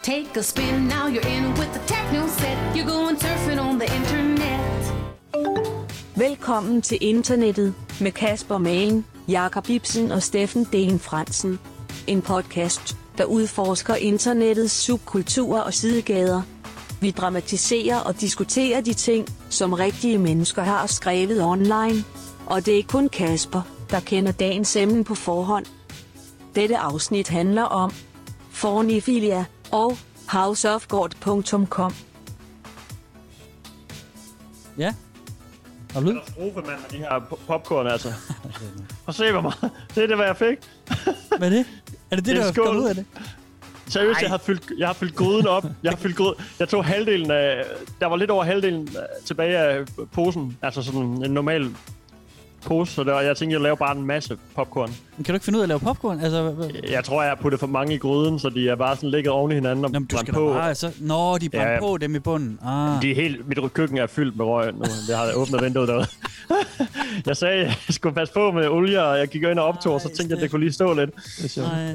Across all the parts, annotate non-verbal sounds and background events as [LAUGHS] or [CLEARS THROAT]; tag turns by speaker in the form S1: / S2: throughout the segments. S1: Take a spin, now you're in with the techno set. You're going surfing on the internet.
S2: Velkommen til internettet med Kasper Magen, Jakob Ibsen og Steffen Delen Fransen. En podcast, der udforsker internettets subkulturer og sidegader. Vi dramatiserer og diskuterer de ting, som rigtige mennesker har skrevet online. Og det er kun Kasper, der kender dagens emne på forhånd. Dette afsnit handler om Fornifilia og houseofgård.com.
S3: Ja. Har du lyd?
S4: Katastrofe, mand, med de her po-
S3: [LAUGHS]
S4: popcorn, altså. Og se, hvor meget. Det er det, hvad jeg fik.
S3: Hvad er det? Er det det,
S4: Det er
S3: der
S4: skål.
S3: kommer ud af det?
S4: Seriøst, jeg har, fyldt, jeg har fyldt gryden op. Jeg har fyldt gryden. Jeg tog halvdelen af... Der var lidt over halvdelen øh, tilbage af posen. Altså sådan en normal pose. Så der, jeg tænkte, jeg laver bare en masse popcorn.
S3: Men Kan du ikke finde ud af at lave popcorn? Altså, hvad- hvad-
S4: Jeg tror, jeg har puttet for mange i gryden, så de er bare sådan ligget oven i hinanden og
S3: Nå, men du
S4: brændt
S3: skal da
S4: på.
S3: bare... Altså, Nå, de brændte
S4: Ja, ja.
S3: på dem i bunden. Ah.
S4: De er helt, mit køkken er fyldt med røg nu. Jeg har åbnet vinduet derude. [LAUGHS] jeg sagde, jeg skulle passe på med olie, og jeg gik ind og optog, og så
S3: Ej,
S4: tænkte jeg, at
S3: Steff.
S4: det kunne lige stå lidt.
S3: Nej,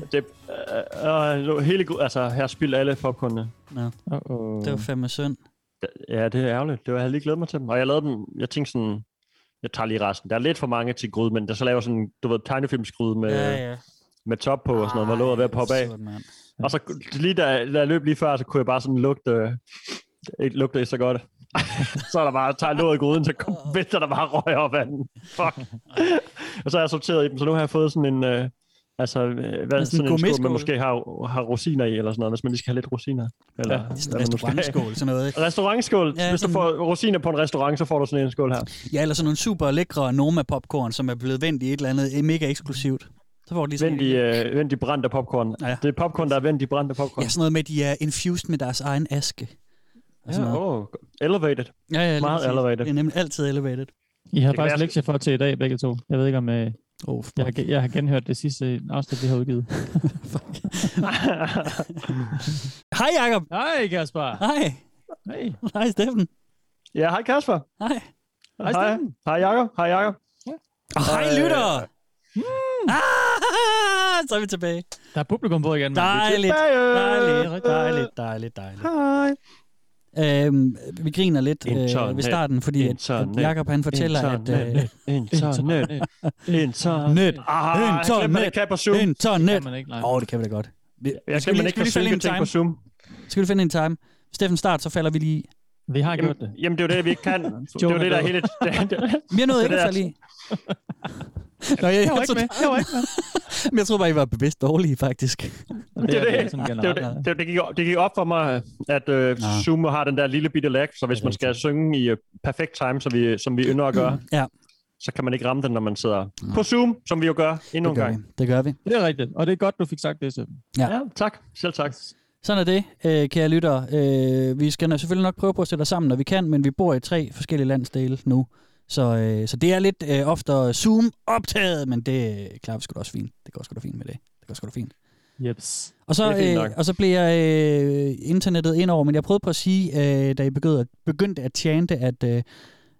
S4: Det, øh, øh, hele, gru- altså, her spildt alle popcornene.
S3: Nå.
S4: Uh-oh.
S3: det var fandme synd.
S4: Ja, det er ærgerligt. Det var, jeg havde lige glædet mig til dem. Og jeg lavede dem, jeg tænkte sådan, jeg tager lige resten. Der er lidt for mange til gryde, men der så laver sådan, du ved, tegnefilmsgryde med, ja, ja.
S3: ja.
S4: med top på og sådan noget, hvor låget er ved at poppe af.
S3: Sådan, mand.
S4: Og så lige da, da jeg løb lige før, så kunne jeg bare sådan lugte, ikke lugte ikke så godt. [LAUGHS] så er der bare, tager jeg låget i gryden, så kom, vælter der bare røg op af den.
S3: [LAUGHS]
S4: Fuck. og så har jeg sorteret i dem, så nu har jeg fået sådan en, øh, altså, øh, hvad,
S3: en
S4: sådan, sådan en skål,
S3: gourmetskål.
S4: man måske har, har rosiner i, eller sådan noget, hvis man lige skal have lidt rosiner. Eller,
S3: Ja, det er sådan en
S4: hvad man nu skal have.
S3: restaurantskål, sådan noget. Ikke?
S4: Restaurantskål.
S3: Ja,
S4: Ja, Hvis du
S3: sådan-
S4: får rosiner på en restaurant, så får du sådan en skål her.
S3: Ja, eller sådan nogle super lækre Norma-popcorn, som er blevet vendt i et eller andet eh, mega eksklusivt. Så får du lige sådan
S4: Vent i, øh, vent i brændt af popcorn.
S3: Ja, ja.
S4: Ja. Det er popcorn, der er vendt i brændt af popcorn.
S3: Ja, sådan noget med, at de er infused med deres egen aske. Og sådan
S4: Ja,
S3: noget.
S4: oh, elevated.
S3: Ja, ja, lige
S4: meget
S3: præcis.
S4: elevated.
S3: Det er nemlig altid elevated.
S5: I har
S4: kan
S5: faktisk
S4: være-
S5: lektier for til i dag, begge to. Jeg ved ikke, om øh,
S3: Oh,
S5: jeg, har, gen- jeg har genhørt det sidste afsnit, vi har udgivet.
S4: [LAUGHS]
S3: Hej, Jacob!
S5: Hej, Kasper!
S3: Hej!
S5: Hej.
S3: Hej, Steffen!
S4: Ja, hej Kasper.
S3: Hej!
S5: Hej,
S4: Hej,
S5: Steffen.
S4: hej Jakob. Hej Jakob.
S3: Og hej,
S4: øh,
S3: lytter! Ah, så er vi tilbage.
S5: Mm. Der er publikum på igen. mand.
S3: Dejligt.
S4: tilbage.
S3: Dejligt, dejligt, dejligt, dejligt.
S4: Hej.
S3: Øhm, vi griner lidt øh,
S4: Internet.
S3: ved starten, fordi at, at
S4: Internet.
S3: Jacob han fortæller, at... Øh, [LAUGHS]
S4: Internet. Internet. Internet.
S3: Net.
S4: Ah,
S3: Internet.
S4: Internet. Man ikke kan på Zoom.
S5: Det
S3: Internet.
S5: kan man ikke, nej.
S3: Åh, oh, det kan vi da godt. Vi,
S4: Jeg skal man ikke kan synke ting på Zoom.
S3: Skal vi finde en time? Steffen start, så falder vi lige. i.
S5: Vi har gjort det.
S4: Jamen, jamen, det er jo det, vi ikke
S3: [LAUGHS]
S5: [LAUGHS]
S4: kan. Det er jo [LAUGHS] det, der er hele...
S3: Vi har nået
S4: Det
S3: ikke at
S4: der-
S3: falde i. Nå, jeg, jeg,
S5: var ikke med.
S3: Jeg var ikke med. [LAUGHS] Men jeg tror bare, I var bevidst dårlige, faktisk.
S4: Det er
S5: sådan
S4: det. Det, var
S5: generelt.
S4: det, det, det, gik, det gik op for mig, at øh, Zoom har den der lille bitte lag, så hvis man skal synge i øh, perfekt time, så vi, som vi ynder at gøre,
S3: Ja.
S4: så kan man ikke ramme den, når man sidder på Zoom, som vi jo gør endnu
S3: Det
S4: en
S3: gør,
S4: gang.
S3: vi. det gør vi.
S5: Det er rigtigt. Og det er godt, du fik sagt det, Steffen.
S4: Ja, tak. Selv tak.
S3: Sådan er det, øh, kære lyttere. Øh, vi skal nok- selvfølgelig nok prøve på at sætte os sammen, når vi kan, men vi bor i tre forskellige landsdele nu. Så, øh, så det er lidt øh, oftere Zoom-optaget, men det øh, klarer vi sgu da også fint. Det går sgu da fint med det. Det går sgu da fint.
S5: Jeps.
S3: Og så,
S4: Det er fint nok.
S3: øh, og så blev jeg øh, internettet ind over, men jeg prøvede på at sige, øh, da I begyndte at, begyndte at chante, at, øh,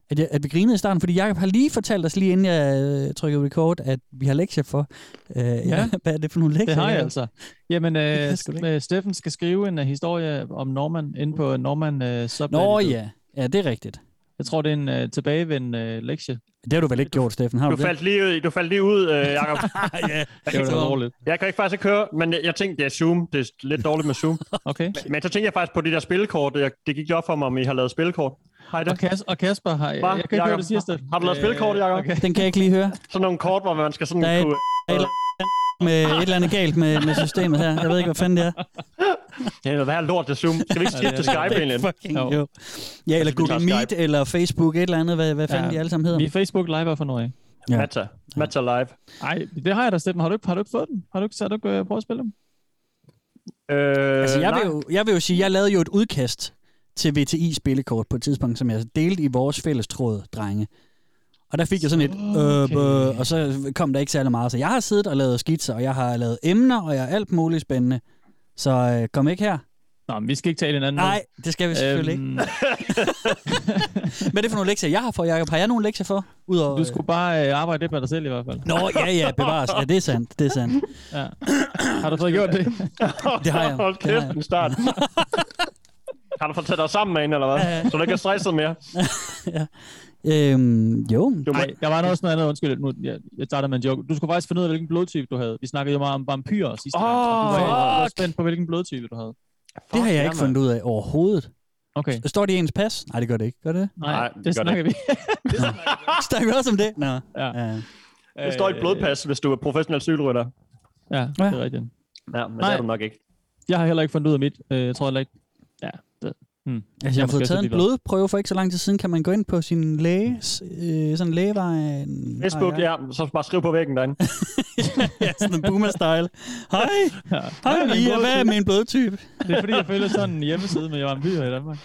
S3: at, jeg, at vi grinede i starten, fordi Jacob har lige fortalt os, lige inden jeg øh, trykkede record, at vi har lektier for. Øh, ja. [LAUGHS] Hvad er det for nogle lektier?
S5: Det har jeg
S3: Jacob?
S5: altså. Jamen,
S3: [LAUGHS]
S5: øh,
S3: Det skal du ikke.
S5: øh, Steffen skal skrive en øh, historie om Norman inde på Norman øh, Subreddit.
S3: Nå ja, ja, det er rigtigt.
S5: Jeg tror, det er en øh, tilbagevendende øh, lektie.
S3: Det har du vel ikke gjort, Steffen? Har du,
S4: Du faldt lige ud, du faldt lige ud øh, Jacob.
S3: ja,
S5: Det var da dårligt.
S4: Jeg kan ikke faktisk ikke høre, men jeg, jeg tænkte, det er Zoom. Det er lidt dårligt med Zoom.
S5: Okay.
S4: Men så tænkte jeg faktisk på det der spillekort. Jeg, det gik op for mig, om I har lavet spillekort. Hej da.
S5: Og, Kas- og Kasper har... Øh, Jeg,
S4: Hva,
S5: jeg kan ikke høre,
S4: Jacob?
S5: det siger, Steffen.
S4: Har du lavet
S5: Øh,
S4: spilkort, Jacob?
S5: Okay.
S3: Den kan jeg ikke lige høre.
S4: Sådan nogle kort, hvor man skal sådan
S3: Der er et-
S4: kunne...
S3: Med et eller andet galt med, med systemet her. Jeg ved ikke, hvad fanden det
S5: Øh,
S3: er.
S4: Det er noget værre lort til Zoom. Skal vi ikke skifte til Skype egentlig?
S3: Fucking
S5: Jo.
S3: jo. Ja, eller
S4: vi tager
S3: Google Meet, eller Facebook, et eller andet. Hvad, hvad fanden
S5: Ja.
S3: de alle sammen hedder.
S5: Vi er Facebook Live for noget af.
S3: Ja.
S4: Mata. Mata live.
S5: Ej, det har jeg da, Steffen. Har du ikke, har du ikke fået den? Har du ikke, har du ikke øh, prøvet at spille dem?
S4: Øh,
S3: Altså, jeg,
S4: nej.
S3: vil jo, jeg vil jo sige, jeg lavede jo et udkast til VTI spillekort på et tidspunkt, som jeg delte i vores fælles tråd, drenge. Og der fik jeg sådan et, øh, bøh, og så kom der ikke særlig meget. Så jeg har siddet og lavet skitser, og jeg har lavet emner, og jeg har alt muligt spændende. Så øh, kom ikke her
S5: Nå, men vi skal ikke tale hinanden. Øhm.
S3: Nej, det skal vi selvfølgelig ikke. [LAUGHS] Hvad er det for nogle lektier, jeg har for, Jacob? Har jeg nogle lektier for? Udover,
S5: Du skulle bare øh, arbejde lidt med dig selv i hvert fald.
S3: Nå, ja, ja, bevares. Ja, det er sandt, det er sandt.
S5: Ja. Har du fået gjort det?
S3: Det har jeg.
S4: [LAUGHS] Hold
S3: Det har
S4: kæft,
S3: jeg.
S4: en
S3: [LAUGHS]
S4: start. Har du fået taget dig sammen med en, eller hvad?
S3: Ja, ja.
S4: Så du ikke er stresset mere.
S3: Øhm, jo,
S4: Du må,
S5: Nej, der var også noget andet, undskyld, nu, jeg, jeg starter med en joke. Du skulle faktisk finde ud af, hvilken blodtype du havde. Vi snakkede jo meget om vampyrer sidste gang, og du var, du var
S4: fuck.
S5: spændt på, hvilken blodtype du havde.
S3: det har jeg ikke fundet ud af overhovedet.
S5: Okay,
S3: Står det i ens pas? Nej, det gør det ikke. Gør det?
S5: nej,
S4: Nej,
S5: nej
S4: det
S5: det,
S4: gør det
S5: snakker vi.
S3: [LAUGHS] Snakker vi også om det? Nå.
S5: Ja.
S3: Ja.
S4: Det står i et blodpas, hvis du er professionel cykelrytter.
S5: Ja, det er rigtigt.
S4: Ja, men Nej. det
S5: Nej.
S4: er du nok ikke.
S5: Jeg har heller ikke fundet ud af mit. Øh, Jeg tror heller ikke. Ja, det. Hmm.
S3: Altså, jeg har
S5: måske
S3: fået
S5: også
S3: taget en
S5: lidt
S3: blodprøve for ikke så lang tid siden. Kan man gå ind på sin læge, øh, sådan lægevej?
S4: Facebook, ja. så bare skriv på væggen derinde.
S3: [LAUGHS] ja, sådan en boomer-style. Hej,
S5: Ja.
S3: hej,
S5: Hvad er min
S3: Mia, hvad er
S5: blodtype?
S3: min blodtype?
S5: Det er fordi, jeg følger sådan en hjemmeside med vampyrer i
S4: [LAUGHS]
S5: Danmark.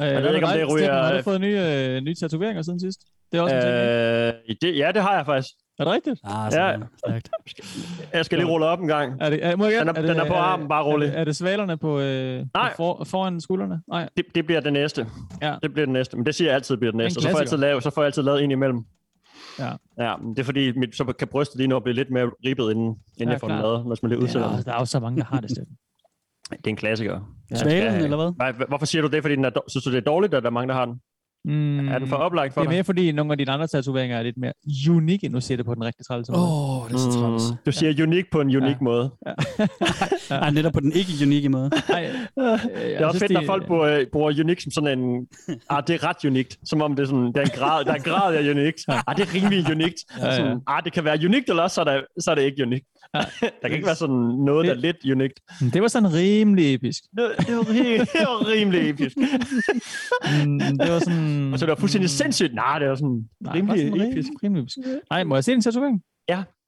S5: Øh, jeg
S4: ikke, om det ryger-
S5: Har du fået nye, øh, nye tatoveringer siden sidst? Det er også øh... en ting, ikke?
S4: Øh, i det, ja, det har jeg faktisk.
S5: Er det rigtigt?
S3: Ah,
S4: Ja.
S3: sådan, stærkt.
S4: Jeg skal lige rulle op en gang.
S5: Er det, er, må jeg,
S4: Den er-
S5: er det,
S4: den er på armen, bare rolig.
S5: Er, det- er det svalerne på, øh,
S4: Nej.
S5: på for, foran skuldrene? Nej.
S4: Det, det bliver det næste.
S5: Ja.
S4: Det bliver det næste. Men det siger jeg altid bliver det næste. Og Så får, jeg
S5: klassiker.
S4: altid lavet, så får jeg altid lavet en imellem.
S5: Ja.
S4: Ja, men det er fordi, mit, så kan brystet lige nå at blive lidt mere ribbet, inden, inden ja,
S5: Ja,
S4: jeg får den
S5: klart.
S4: lavet, hvis man lige udsætter
S5: Ja,
S4: den.
S5: der er jo så mange, der har det
S4: [LAUGHS]
S5: sted.
S4: Det er en klassiker. Man skal-
S3: Svalen, eller hvad?
S4: Nej, h- hvorfor siger du det? Fordi den er, do- synes du, det er dårligt, at der er mange, der har den?
S5: Mm,
S4: Mm. Er den for oplagt for
S5: Det er
S4: dig?
S5: mere fordi, nogle af dine andre tatoveringer er lidt mere unikke. Nu siger jeg det på den rigtige træls måde.
S3: Åh, oh, det er så træls.
S4: Mm. Du siger unik på en unik ja. måde.
S3: Ej, netop på den ikke-unikke måde.
S5: Nej, øh,
S4: Det er også fedt, når folk bruger, øh, bruger unik som sådan en... Ah, det er ret unikt. Som om det er sådan, der er en grad, der er en grad af unikt. Ah, det er rimelig unikt.
S5: [LAUGHS] ja.
S4: Sådan, ah, det kan være unikt, eller også så er, der, så er det ikke unikt.
S5: Ja.
S4: [LAUGHS] Der kan ikke være sådan noget, der er lidt unikt.
S5: Det var sådan rimelig episk.
S4: Det var- det var, ri- [LAUGHS] det var rimelig episk.
S5: Mm, det var sådan... Mm.
S4: Og så det var fuldstændig sindssygt. Nej, det var sådan
S5: Nej, det var
S4: rimelig
S5: sådan
S4: episk.
S5: Rimelig episk. Nej, må jeg se din tatovering?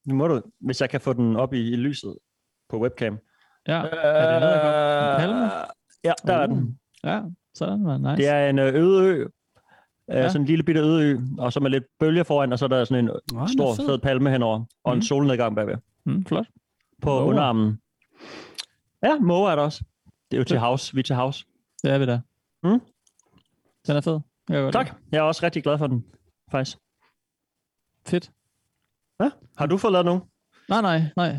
S4: Nu må du, hvis jeg kan få den op i, i lyset på webcam.
S5: Ja, er det noget, jeg godt... En palme?
S4: Øh, Ja, der er
S5: Uh.
S4: den.
S5: Ja, sådan var nice.
S4: Det er en øh, øde ø. Ja.
S5: Ja.
S4: Sådan en lille bitte øde ø, og så med lidt bølge foran, og så er der sådan en
S3: Nå,
S4: stor, fed palme henover, og en
S5: Mhm.
S4: solnedgang bagved.
S5: Mm, flot.
S4: På
S5: Måger.
S4: underarmen. Ja, måger er der også. Det er jo til havs. Vi er til havs.
S5: Det er vi da.
S4: Mm.
S5: Den er fed. Jeg kan godt
S4: Tak. Jeg er også rigtig glad for den, faktisk.
S5: lide den. Fedt.
S4: Har du fået lavet nogen?
S5: Nej, nej, [LAUGHS] nej.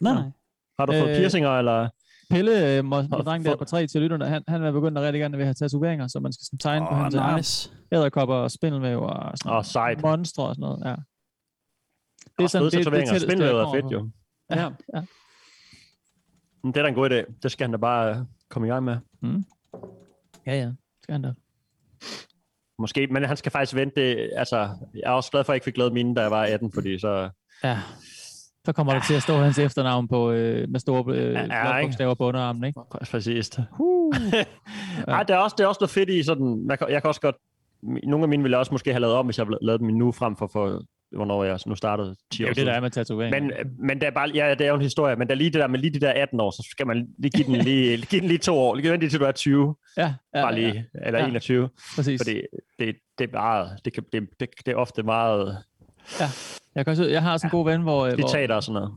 S3: Nej, nej.
S4: Har du fået
S5: Øh,
S4: piercinger, eller?
S5: Pelle, øh, må,
S4: Nå,
S5: min dreng
S4: for-
S5: der på tre til lytterne, han, han er begyndt at rigtig gerne vil have tatoveringer, så man skal sådan tegne på
S3: Åh,
S5: hans arm.
S3: nice.
S5: Æderkopper og spindelvæv og sådan
S4: Åh, oh, sejt.
S5: monstre og sådan noget. Ja.
S4: Det er sådan, det, det,
S5: tætteste, jeg
S4: Spindelvævet er
S5: kommer
S4: fedt,
S5: på.
S4: jo.
S5: Ja, ja.
S4: Men Det er da en god idé. Det skal han da bare øh, komme i gang med.
S5: Ja, ja. Skal han da.
S4: Måske, men han skal faktisk vente. Det, altså, jeg er også glad for, at jeg ikke fik lavet mine, da jeg var 18, fordi så...
S5: Ja. Så kommer der til at stå hans efternavn på, øh, med store øh, ja,
S4: ikke?
S5: bogstaver på underarmen, ikke?
S4: Præcis. [LAUGHS] Uh. Ej, der er, også, der er også noget fedt i sådan... Jeg kan, jeg kan også godt... Nogle af mine ville jeg også måske have lavet om, hvis jeg lavede dem nu frem for, for hvornår jeg nu startede 10
S5: Det er
S4: år
S5: jo det, der er
S4: siden.
S5: med tatoveringer.
S4: Men, men der er bare, ja, det er jo en historie, men der er lige det der med lige de der 18 år, så skal man lige give den lige,
S5: [LAUGHS]
S4: give den lige to år. Lige vente til du er 20,
S5: ja, ja,
S4: bare
S5: Ja,
S4: lige, eller
S5: Ja.
S4: 21.
S5: præcis. Fordi...
S4: Fordi det, det er meget, det, kan, det, det, det er ofte meget
S5: Jeg, kan også, jeg har også en god ven, hvor, øh, hvor,
S4: diktater og sådan noget.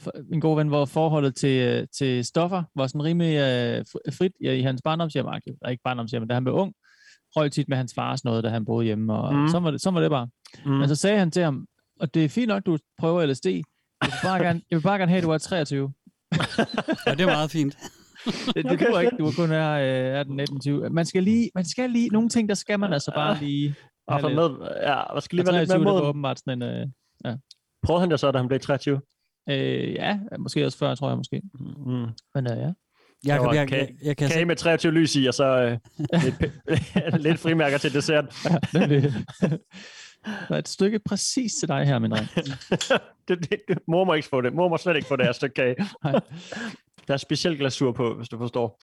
S5: for- en god ven, hvor forholdet til, øh, til stoffer var sådan rimelig øh, fri- frit ja, i hans barndomshjem. agtigt. Eller ikke barndomshjem, men da han blev ung, røg tit med hans far og sådan noget, da han boede hjemme. Og
S4: Mm.
S5: mm. så, var det, så var det bare. Mm.
S4: Mm.
S5: Men så sagde han til ham, og det er fint nok, du prøver LSD. Jeg vil bare gerne, jeg vil bare gerne have, at du er 23.
S3: Ja, det er meget fint.
S5: Det, det duer ikke, du er kun er øh, 18, 19, 20. Man skal lige, man skal lige, nogle ting, der skal man altså bare lige.
S4: Og for
S5: lidt.
S4: med, ja, der skal
S5: Lige
S4: lige være lidt mere
S5: det var
S4: mod.
S5: åbenbart sådan en, øh,
S4: Prøvede han det så, da han blev 23?
S5: øh, ja, måske også før, tror jeg måske.
S4: Mm.
S5: Men øh, ja.
S3: Jacob,
S4: var
S3: jeg,
S4: kage-
S3: jeg, jeg, kan
S4: kage med 23 lys i, og så
S5: [LAUGHS]
S4: øh, lidt, p- [LAUGHS] lidt frimærker til dessert.
S5: Der er et stykke præcis til dig her, min dreng.
S4: [LAUGHS] Det, det, det, mor må ikke få det. Mor må slet ikke få det her stykke kage.
S5: [LAUGHS] Nej.
S4: Der er speciel glasur på, hvis du forstår.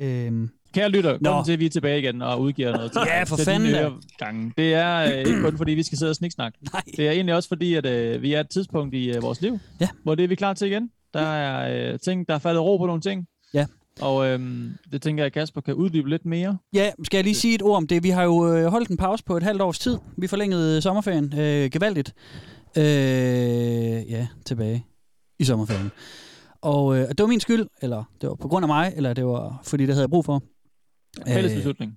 S3: Øhm,
S5: Kære lytter,
S3: Nå.
S5: kom til, at vi er tilbage igen og udgiver noget til,
S3: Ja, for
S5: til
S3: fanden da.
S5: gange. Det er øh, ikke kun fordi, vi skal sidde og sniksnakke.
S3: [LAUGHS] nej.
S5: Det er egentlig også fordi, at øh, vi er et tidspunkt i øh, vores liv,
S3: Ja.
S5: hvor det er vi klar til igen. Der er øh, ting, der er faldet ro på nogle ting.
S3: Ja.
S5: Og øhm, det tænker jeg, at Kasper kan uddybe lidt mere.
S3: Ja, skal jeg lige sige et ord om det? Vi har jo øh, holdt en pause på et halvt års tid. Vi forlængede sommerferien øh, gevaldigt. Øh, ja, tilbage i sommerferien. Og øh, og det var min skyld, eller det var på grund af mig, eller det var fordi, det havde jeg brug for.
S5: Fælles
S3: Øh,
S5: beslutning.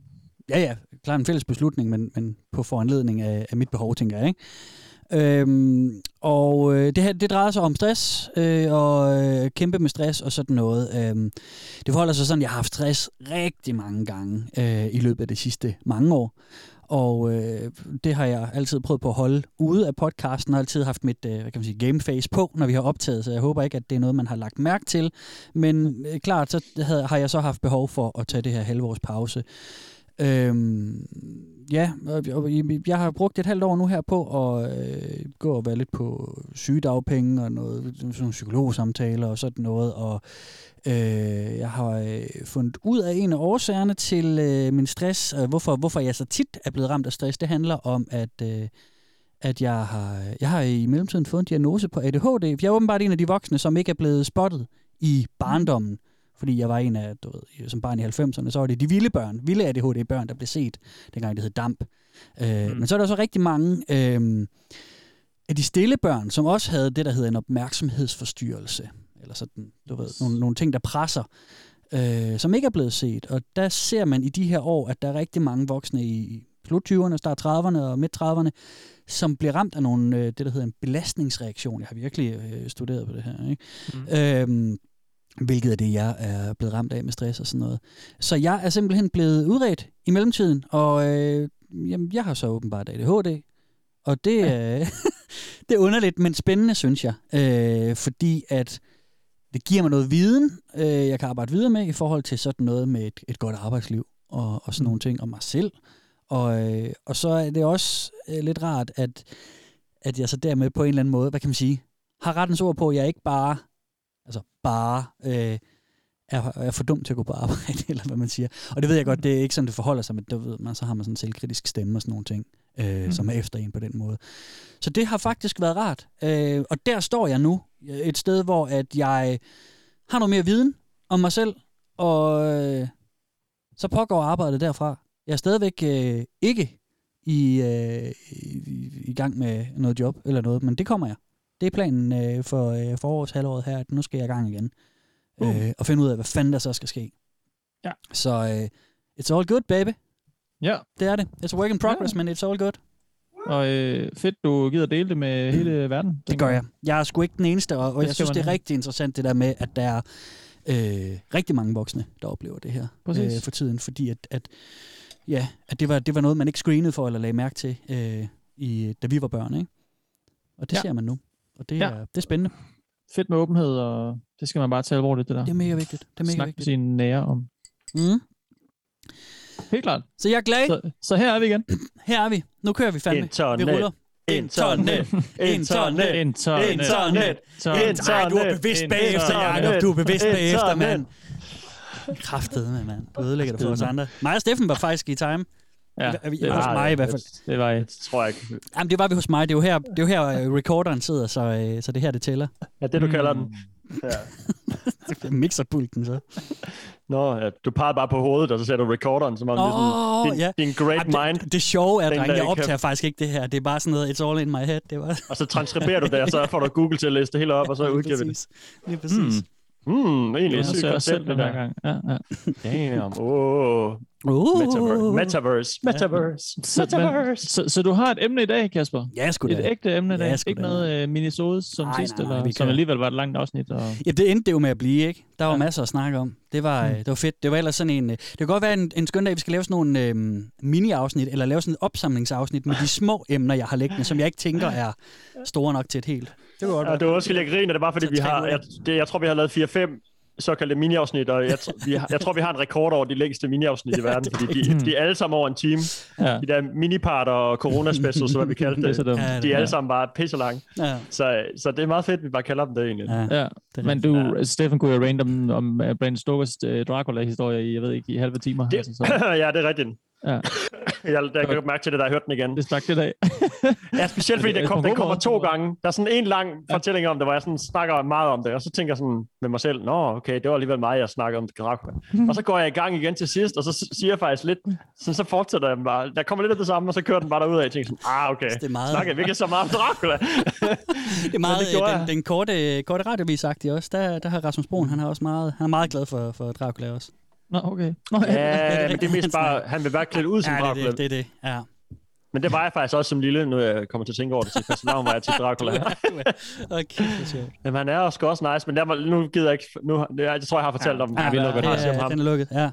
S3: Ja, ja, klart en fælles beslutning, men, men på foranledning af, af mit behov, tænker jeg. Ikke? Øhm, og øh, det her det drejer sig om stress, øh, og øh, kæmpe med stress og sådan noget. Øhm, det forholder sig sådan, at jeg har haft stress rigtig mange gange øh, i løbet af de sidste mange år. Og øh, det har jeg altid prøvet på at holde ude af podcasten, og altid haft mit øh, hvad kan man sige, gameface på, når vi har optaget, så jeg håber ikke, at det er noget, man har lagt mærke til. Men øh, klart, så havde, har jeg så haft behov for at tage det her halvårs pause. Øhm, ja, og- og jeg- jeg har brugt et halvt år nu her på at øh, gå og være lidt på sygedagpenge og noget, sådan nogle psykologsamtaler og sådan noget. Og øh, jeg har øh, fundet ud af en af årsagerne til øh, min stress, øh, hvorfor, hvorfor jeg så tit er blevet ramt af stress. Det handler om, at... Øh, at jeg har, jeg har i mellemtiden fået en diagnose på ADHD. Jeg er åbenbart en af de voksne, som ikke er blevet spottet i barndommen. Fordi jeg var en af, du ved, som barn i 90'erne, så var det de vilde børn, vilde ADHD-børn, der blev set, dengang det hed DAMP. Øh,
S5: Mm.
S3: Men så er der så rigtig mange øh, af de stille børn, som også havde det, der hedder en opmærksomhedsforstyrrelse. Eller sådan, du ved, nogle, nogle ting, der presser øh, som ikke er blevet set. Og der ser man i de her år, at der er rigtig mange voksne i slut 20'erne, start 30'erne og midt 30'erne, som bliver ramt af nogle, øh, det der hedder en belastningsreaktion. Jeg har virkelig øh, studeret på det her. Ikke? Mm. Øhm, hvilket er det, jeg er blevet ramt af med stress og sådan noget. Så jeg er simpelthen blevet udredt i mellemtiden, og øh, jamen, jeg har så åbenbart ADHD, og det, ja. øh, [LAUGHS] det er underligt, men spændende, synes jeg. Øh, fordi at det giver mig noget viden, øh, jeg kan arbejde videre med i forhold til sådan noget med et, et godt arbejdsliv og, og sådan nogle ting om mig selv. Og, øh, og så er det også øh, lidt rart, at, at jeg så dermed på en eller anden måde, hvad kan man sige, har rettens ord på, at jeg ikke bare, altså bare, øh, er, er for dum til at gå på arbejde, [LAUGHS] eller hvad man siger. Og det ved jeg godt, det er ikke sådan, det forholder sig, men der ved man, så har man sådan en selvkritisk stemme og sådan nogle ting, øh, mm. som er efter en på den måde. Så det har faktisk været rart. Øh, og der står jeg nu, øh, et sted, hvor at jeg har noget mere viden om mig selv, og øh, så pågår arbejdet derfra. Jeg er stadigvæk øh, ikke i, øh, i, i gang med noget job eller noget, men det kommer jeg. Det er planen øh, for øh, forårshalvåret her, at nu skal jeg i gang igen.
S5: Uh.
S3: Øh, og finde ud af, hvad fanden der så skal ske.
S5: Ja.
S3: Så øh, it's all good, baby.
S5: Ja,
S3: Det er det. It's a work in progress, men it's all good.
S5: og øh, fedt, du gider dele det med hele verden.
S3: Mm. Det
S5: tænker
S3: gør
S5: jeg.
S3: jeg. Jeg er sgu ikke den eneste, og, og
S5: Det
S3: jeg
S5: skal
S3: synes,
S5: man
S3: det er
S5: have.
S3: rigtig interessant det der med, at der er øh, rigtig mange voksne, der oplever det her øh,
S5: Præcis.
S3: for tiden, fordi at, at, ja, at det, var, det var noget, man ikke screenede for eller lagde mærke til, øh, i, da vi var børn. Ikke? Og det
S5: Ja.
S3: ja. ser man nu, og det,
S5: Ja.
S3: ja. er, det er spændende.
S5: Fedt med åbenhed, og det skal man bare tage alvorligt, det der.
S3: Det er mega vigtigt. Det er mega
S5: Snak med
S3: vigtigt.
S5: sine nære om.
S3: Mm.
S5: Helt klart.
S3: Så jeg er glad.
S5: Så, så her er vi igen.
S3: Her er vi. Nu kører vi fandme. Vi
S4: Internet.
S3: ruller.
S4: Internet.
S5: Internet.
S4: Internet. Internet.
S5: Internet.
S3: Ej, du er bevidst
S5: Internet.
S3: bagefter, Jacob. Du er bevidst
S4: Internet.
S3: bagefter, mand. Kraftedeme, mand. Du ødelægger det for os andre. Mig og Steffen var faktisk i time.
S5: Ja,
S3: Er vi-
S5: det
S3: hos
S5: var-
S3: mig i hvert fald.
S5: Det var
S4: Det tror jeg ikke.
S3: Jamen, det var vi hos mig. Det er jo her, det er jo her øh, recorderen sidder, så, øh, så det er her, det tæller.
S4: Ja, det du
S5: Mm.
S4: kalder den.
S3: Mm.
S4: Ja.
S3: Det er Mixerpulten, så.
S4: Nå, ja, du peger bare på hovedet, og så sætter du recorderen, som om det er
S3: Åh,
S4: sådan, din,
S3: ja.
S4: din great
S3: Jamen,
S4: mind,
S3: det, det sjove er,
S4: Den,
S3: drenge,
S4: der
S3: jeg
S4: ikke kan-
S3: optager faktisk ikke det her. Det er bare sådan noget, it's all in my head. Det var
S4: og så transkriberer du
S3: [LAUGHS]
S4: det, og så får du Google til at læse det hele op, og så udgiver vi det.
S3: præcis. Lige præcis.
S4: Hmm, egentlig
S5: Jeg
S4: et sygt
S5: ser også selv
S4: koncept,
S5: den
S4: det
S5: her
S4: der.
S5: gang. Ja, ja.
S4: Damn, oh,
S3: Mm. Uh.
S4: metaverse, metaverse, metaverse,
S5: Så, men,
S4: metaverse.
S5: så, så du har et emne i dag, Kasper?
S3: Ja, sgu
S5: Et
S3: da.
S5: ægte emne i dag?
S3: Ja, sgu
S5: ikke
S3: da.
S5: noget øh, minisodes som
S3: Nej,
S5: sidst,
S3: nej, nej,
S5: eller,
S3: vi
S5: som
S3: kører.
S5: alligevel var et langt afsnit? Og...
S3: Ja, det endte det jo med at blive, ikke? Der var
S5: Ja.
S3: ja. masser at snakke om. Det var, mm. det var fedt. Det var ellers sådan en... øh, Det kan godt være en, en skøn dag, vi skal lave sådan nogle øh, mini-afsnit, eller lave sådan et opsamlingsafsnit med de små emner, jeg har liggende, som jeg ikke tænker er store nok til et helt. Det var godt.
S4: Ja,
S3: være.
S4: det var undskyld, jeg griner, det er bare fordi,
S3: Så
S4: vi
S3: tre
S4: har, jeg,
S3: minutter.
S4: det, jeg tror, vi har lavet 4-5 såkaldte mini-afsnit, og jeg, tr- vi har, jeg tror, vi har en rekord over de længste
S3: [LAUGHS]
S4: mini-afsnit i verden, fordi de, de er alle sammen over en time.
S5: Ja.
S4: De der miniparter og corona-specials, hvad vi kaldte
S5: Det er så
S4: det,
S5: dumt.
S3: Ja,
S4: de er
S5: Ja.
S4: alle sammen bare pisse lange.
S3: Ja.
S4: Så, så det er meget fedt, at vi bare kalder dem det egentlig.
S3: Ja.
S5: Ja,
S3: er
S5: men du, Steffen kunne jo random om øh, Brandon Stokers øh, Dracula-historie i, jeg ved ikke, i halve timer.
S4: Det, [CLEARS THROAT]
S5: Altså, så,
S4: ja, det er rigtigt.
S5: Ja.
S4: Jeg, jeg kan godt mærke til det, der jeg hørte den igen.
S5: Det stak det dag.
S4: [LAUGHS] Ja, specielt fordi
S5: Altså,
S4: det kom,
S5: på
S4: den
S5: hvor
S4: kommer
S5: måde?
S4: to gange. Der er sådan en lang fortælling om det, hvor jeg sådan snakker meget om det, og så tænker jeg sådan med mig selv, nå, okay, det var alligevel mig, jeg snakker om
S5: [LAUGHS]
S4: Dracula. og så går jeg i gang igen til sidst, og så s- siger jeg faktisk lidt, så, så fortsætter jeg bare. Der kommer lidt af det samme, og så kører den bare derud af. Jeg tænker sådan, ah, okay,
S3: Altså, Det er meget-
S4: snakker jeg virkelig så meget om
S3: [LAUGHS]
S4: Dracula?
S3: Det er meget
S4: det
S3: det
S4: gjorde
S3: den,
S4: jeg.
S3: den korte, øh, korte radiovisagtige også. Der, der har Rasmus Broen, han har også meget, han er meget glad for, for Dracula også.
S5: Nå, okay. Nå, ja.
S4: ja, men det er mest bare, han vil bare klæde ud som
S3: Ja, det,
S4: Dracula.
S3: det, det, det, ja.
S4: Men det var jeg faktisk også som lille, nu jeg kommer til at tænke over det til første navn, var jeg til Dracula.
S3: [LAUGHS] Okay, det er sjovt.
S4: Jamen, han er også også nice, men der var, nu gider jeg ikke... Nu, jeg tror, jeg har fortalt ja, om,
S3: Ja,
S4: vi lukker
S3: det
S4: det, om
S3: er,
S4: ham.
S3: den er lukket, ja.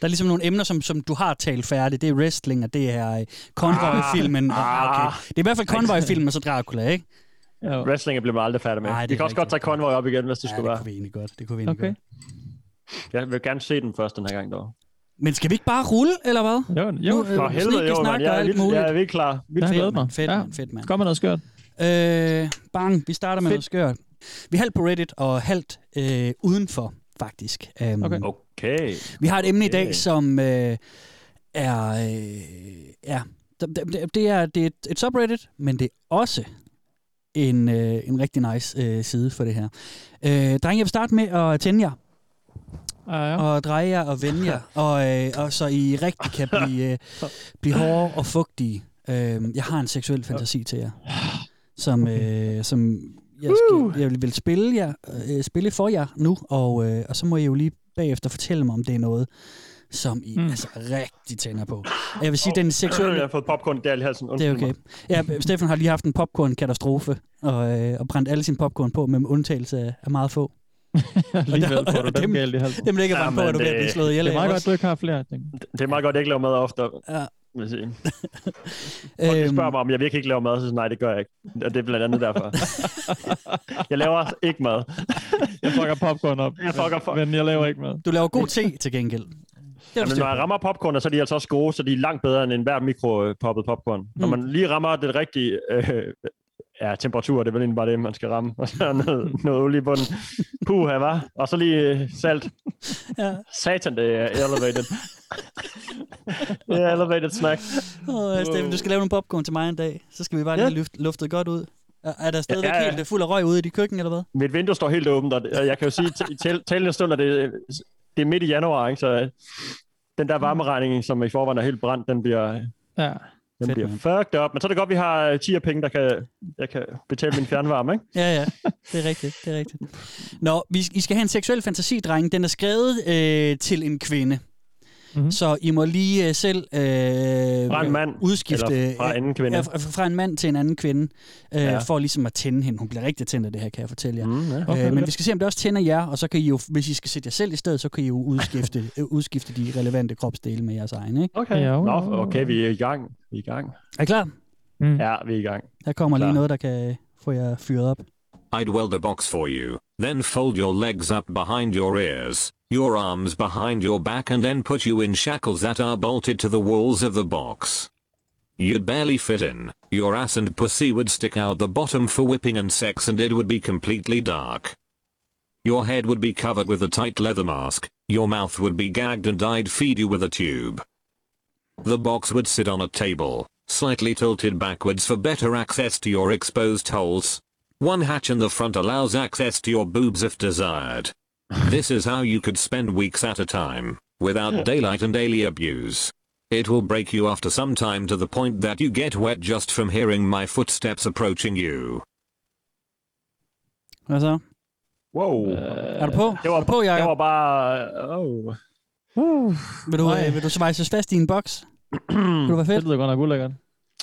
S3: Der er ligesom nogle emner, som, som du har talt færdigt. Det er wrestling, og det er øh, Convoy-filmen. Ah, ah, okay. Det er i hvert fald Convoy-filmen, og så Dracula, ikke?
S5: Jo.
S4: Wrestling bliver man aldrig færdig med.
S3: Nej, det
S4: Ej,
S3: er
S4: vi kan også godt tage
S3: rigtigt.
S4: Convoy op igen, hvis det
S3: Ja,
S4: skulle
S3: det
S4: være.
S3: kunne vi egentlig godt. Det kunne vi egentlig okay.
S5: Okay.
S3: godt.
S4: Jeg vil gerne se den først den her gang, dog.
S3: Men skal vi ikke bare rulle, eller hvad?
S5: Jo, jo.
S3: Nu, øh,
S4: For helvede, jo, man.
S3: snakker
S4: Jeg er,
S3: alt
S4: vildt,
S3: muligt.
S4: jeg er virkelig klar. Vildt
S5: Ja.
S4: fedt.
S5: glæder mig.
S3: Fedt,
S5: Ja.
S3: mand, fedt, mand.
S5: Kom med noget skørt.
S3: Øh, bang, vi starter med
S5: Fedt.
S3: noget skørt. Vi er halvt på Reddit og halvt øh, udenfor, faktisk. Um,
S5: Okay.
S4: Okay.
S3: Vi har et emne i dag,
S4: Okay.
S3: som øh, er... Øh, ja, det, det- det er, det er et, et subreddit, men det er også en, øh, en rigtig nice øh, side for det her. Øh, drenge, jeg vil starte med at tænde jer,
S5: Ja, ja.
S3: og dreje jer og vende
S5: [LAUGHS]
S3: jer, og, øh, og så I rigtig kan blive, øh, blive hårde og fugtige. Øh, jeg har en seksuel fantasi til jer, som, øh, som jeg, skal, jeg vil- vil spille, jer, øh, spille for jer nu, og, øh, og så må I jo lige bagefter fortælle mig, om det er noget, som I mm.
S5: Mm.
S3: altså rigtig tænder på. Og Jeg vil sige, den seksuelle...
S4: Jeg har fået popcorn der i halsen.
S3: Det er
S4: Undskyld
S3: okay. Ja, Steffen har lige haft en popcorn-katastrofe, og, øh, og brændt alle sine popcorn på, med undtagelse af- af meget få.
S5: [LAUGHS]
S3: [LAUGHS]
S5: Alligevel får du
S3: Dem-
S5: den galt i halsen.
S3: Dem ligger bare
S4: Jamen,
S3: på, at du bliver
S4: det-
S3: blive slået ihjel
S5: Det
S3: af,
S5: er meget
S3: ikke
S5: godt, du ikke har flere. ting.
S4: mig. Det er meget godt, at jeg ikke laver mad ofte.
S3: Ja.
S4: Ja. Vil jeg
S3: [LAUGHS]
S4: sige.
S3: også?
S4: Folk
S3: Øhm,
S4: spørger mig, om jeg virkelig ikke laver mad, så siger jeg, nej, det gør jeg ikke. Og det er blandt andet
S3: [LAUGHS]
S4: derfor. jeg laver ikke mad.
S5: Jeg fucker popcorn op.
S4: Jeg fucker for...
S5: Men jeg laver ikke mad.
S3: Du laver god te til gengæld. Det er
S4: Jamen, når jeg rammer popcorn, så er de altså også gode, så de er langt bedre end enhver mikropoppet popcorn. Mm. Når man lige rammer det rigtige øh, ja, temperatur, det er vel egentlig bare det, man skal ramme. Og så
S3: Mm.
S4: noget, noget olie i bunden. Puh, her var. Og så lige øh, salt.
S3: [LAUGHS] Ja.
S4: Satan, det er elevated. det er elevated snack.
S3: Åh, Steffen, du skal lave nogle popcorn til mig en dag. Så skal vi bare lige
S4: Ja.
S3: have luft, luftet godt ud. Er- Er der stadigvæk
S4: Ja, ja.
S3: helt øh, fuld af røg ude i dit køkken, eller hvad?
S4: Mit vindue står helt åbent, og det- og jeg kan jo sige, at i tæl- tællende stunder, det, er- det er midt i januar, ikke? så øh, den
S3: Mm.
S4: der varmeregning, som i forvejen er helt brændt, den bliver,
S5: Ja.
S4: Den
S3: Fedt,
S4: Fedt, bliver
S3: mand.
S4: fucked up. Men så er det godt, vi har 10 penge, der kan, jeg kan betale min fjernvarme, ikke?
S3: Ja, ja. Det er rigtigt, det er rigtigt. Nå, vi, I skal have en seksuel fantasi, drenge. Den er skrevet øh, til en kvinde. Mm-hmm.
S5: Mhm.
S3: Så I må lige øh, selv øh,
S4: Fra en mand.
S3: udskifte...
S4: Eller fra anden kvinde.
S3: Ja, fra, fra en mand til en anden kvinde, øh, ja.
S4: Ja.
S3: for ligesom at tænde hende. Hun bliver rigtig tændt af det her, kan jeg fortælle jer.
S4: Mm, ja.
S3: Okay, øh, men vi skal se, om det også tænder jer, og så kan I jo, hvis I skal sætte jer selv i stedet, så kan I jo
S4: [LAUGHS]
S3: udskifte, øh, udskifte de relevante kropsdele med jeres egen. Ikke?
S4: Okay.
S5: Ja, jo, jo,
S4: Nå,
S5: jo.
S4: okay, vi er i gang. Vi er i gang.
S3: Er I klar?
S5: Mm.
S4: Ja, vi er i gang.
S3: Her kommer lige
S4: Klar.
S3: noget, der kan få jer fyret op.
S6: I'd weld a box for you, then fold your legs up behind your ears, your arms behind your back, and then put you in shackles that are bolted to the walls of the box. You'd barely fit in, your ass and pussy would stick out the bottom for whipping and sex, and it would be completely dark. Your head would be covered with a tight leather mask, your mouth would be gagged, and I'd feed you with a tube. The box would sit on a table, slightly tilted backwards for better access to your exposed holes. One hatch in the front allows access to your boobs if desired. This is how you could spend weeks at a time, without daylight and daily abuse. It will break you after some time to the point that you get wet just from hearing my footsteps approaching you.
S3: Hvad så? Øh,
S4: Wow.
S3: Er du på? er
S4: det var,
S3: du på,
S4: jeg
S3: Jacob?
S4: var bare... Oh.
S3: Vil du,
S5: Nej.
S3: øh, vil du svejses fast i en boks? Vil du være
S5: Det
S3: fedt? Mm.
S5: lyder godt nok ulækkert.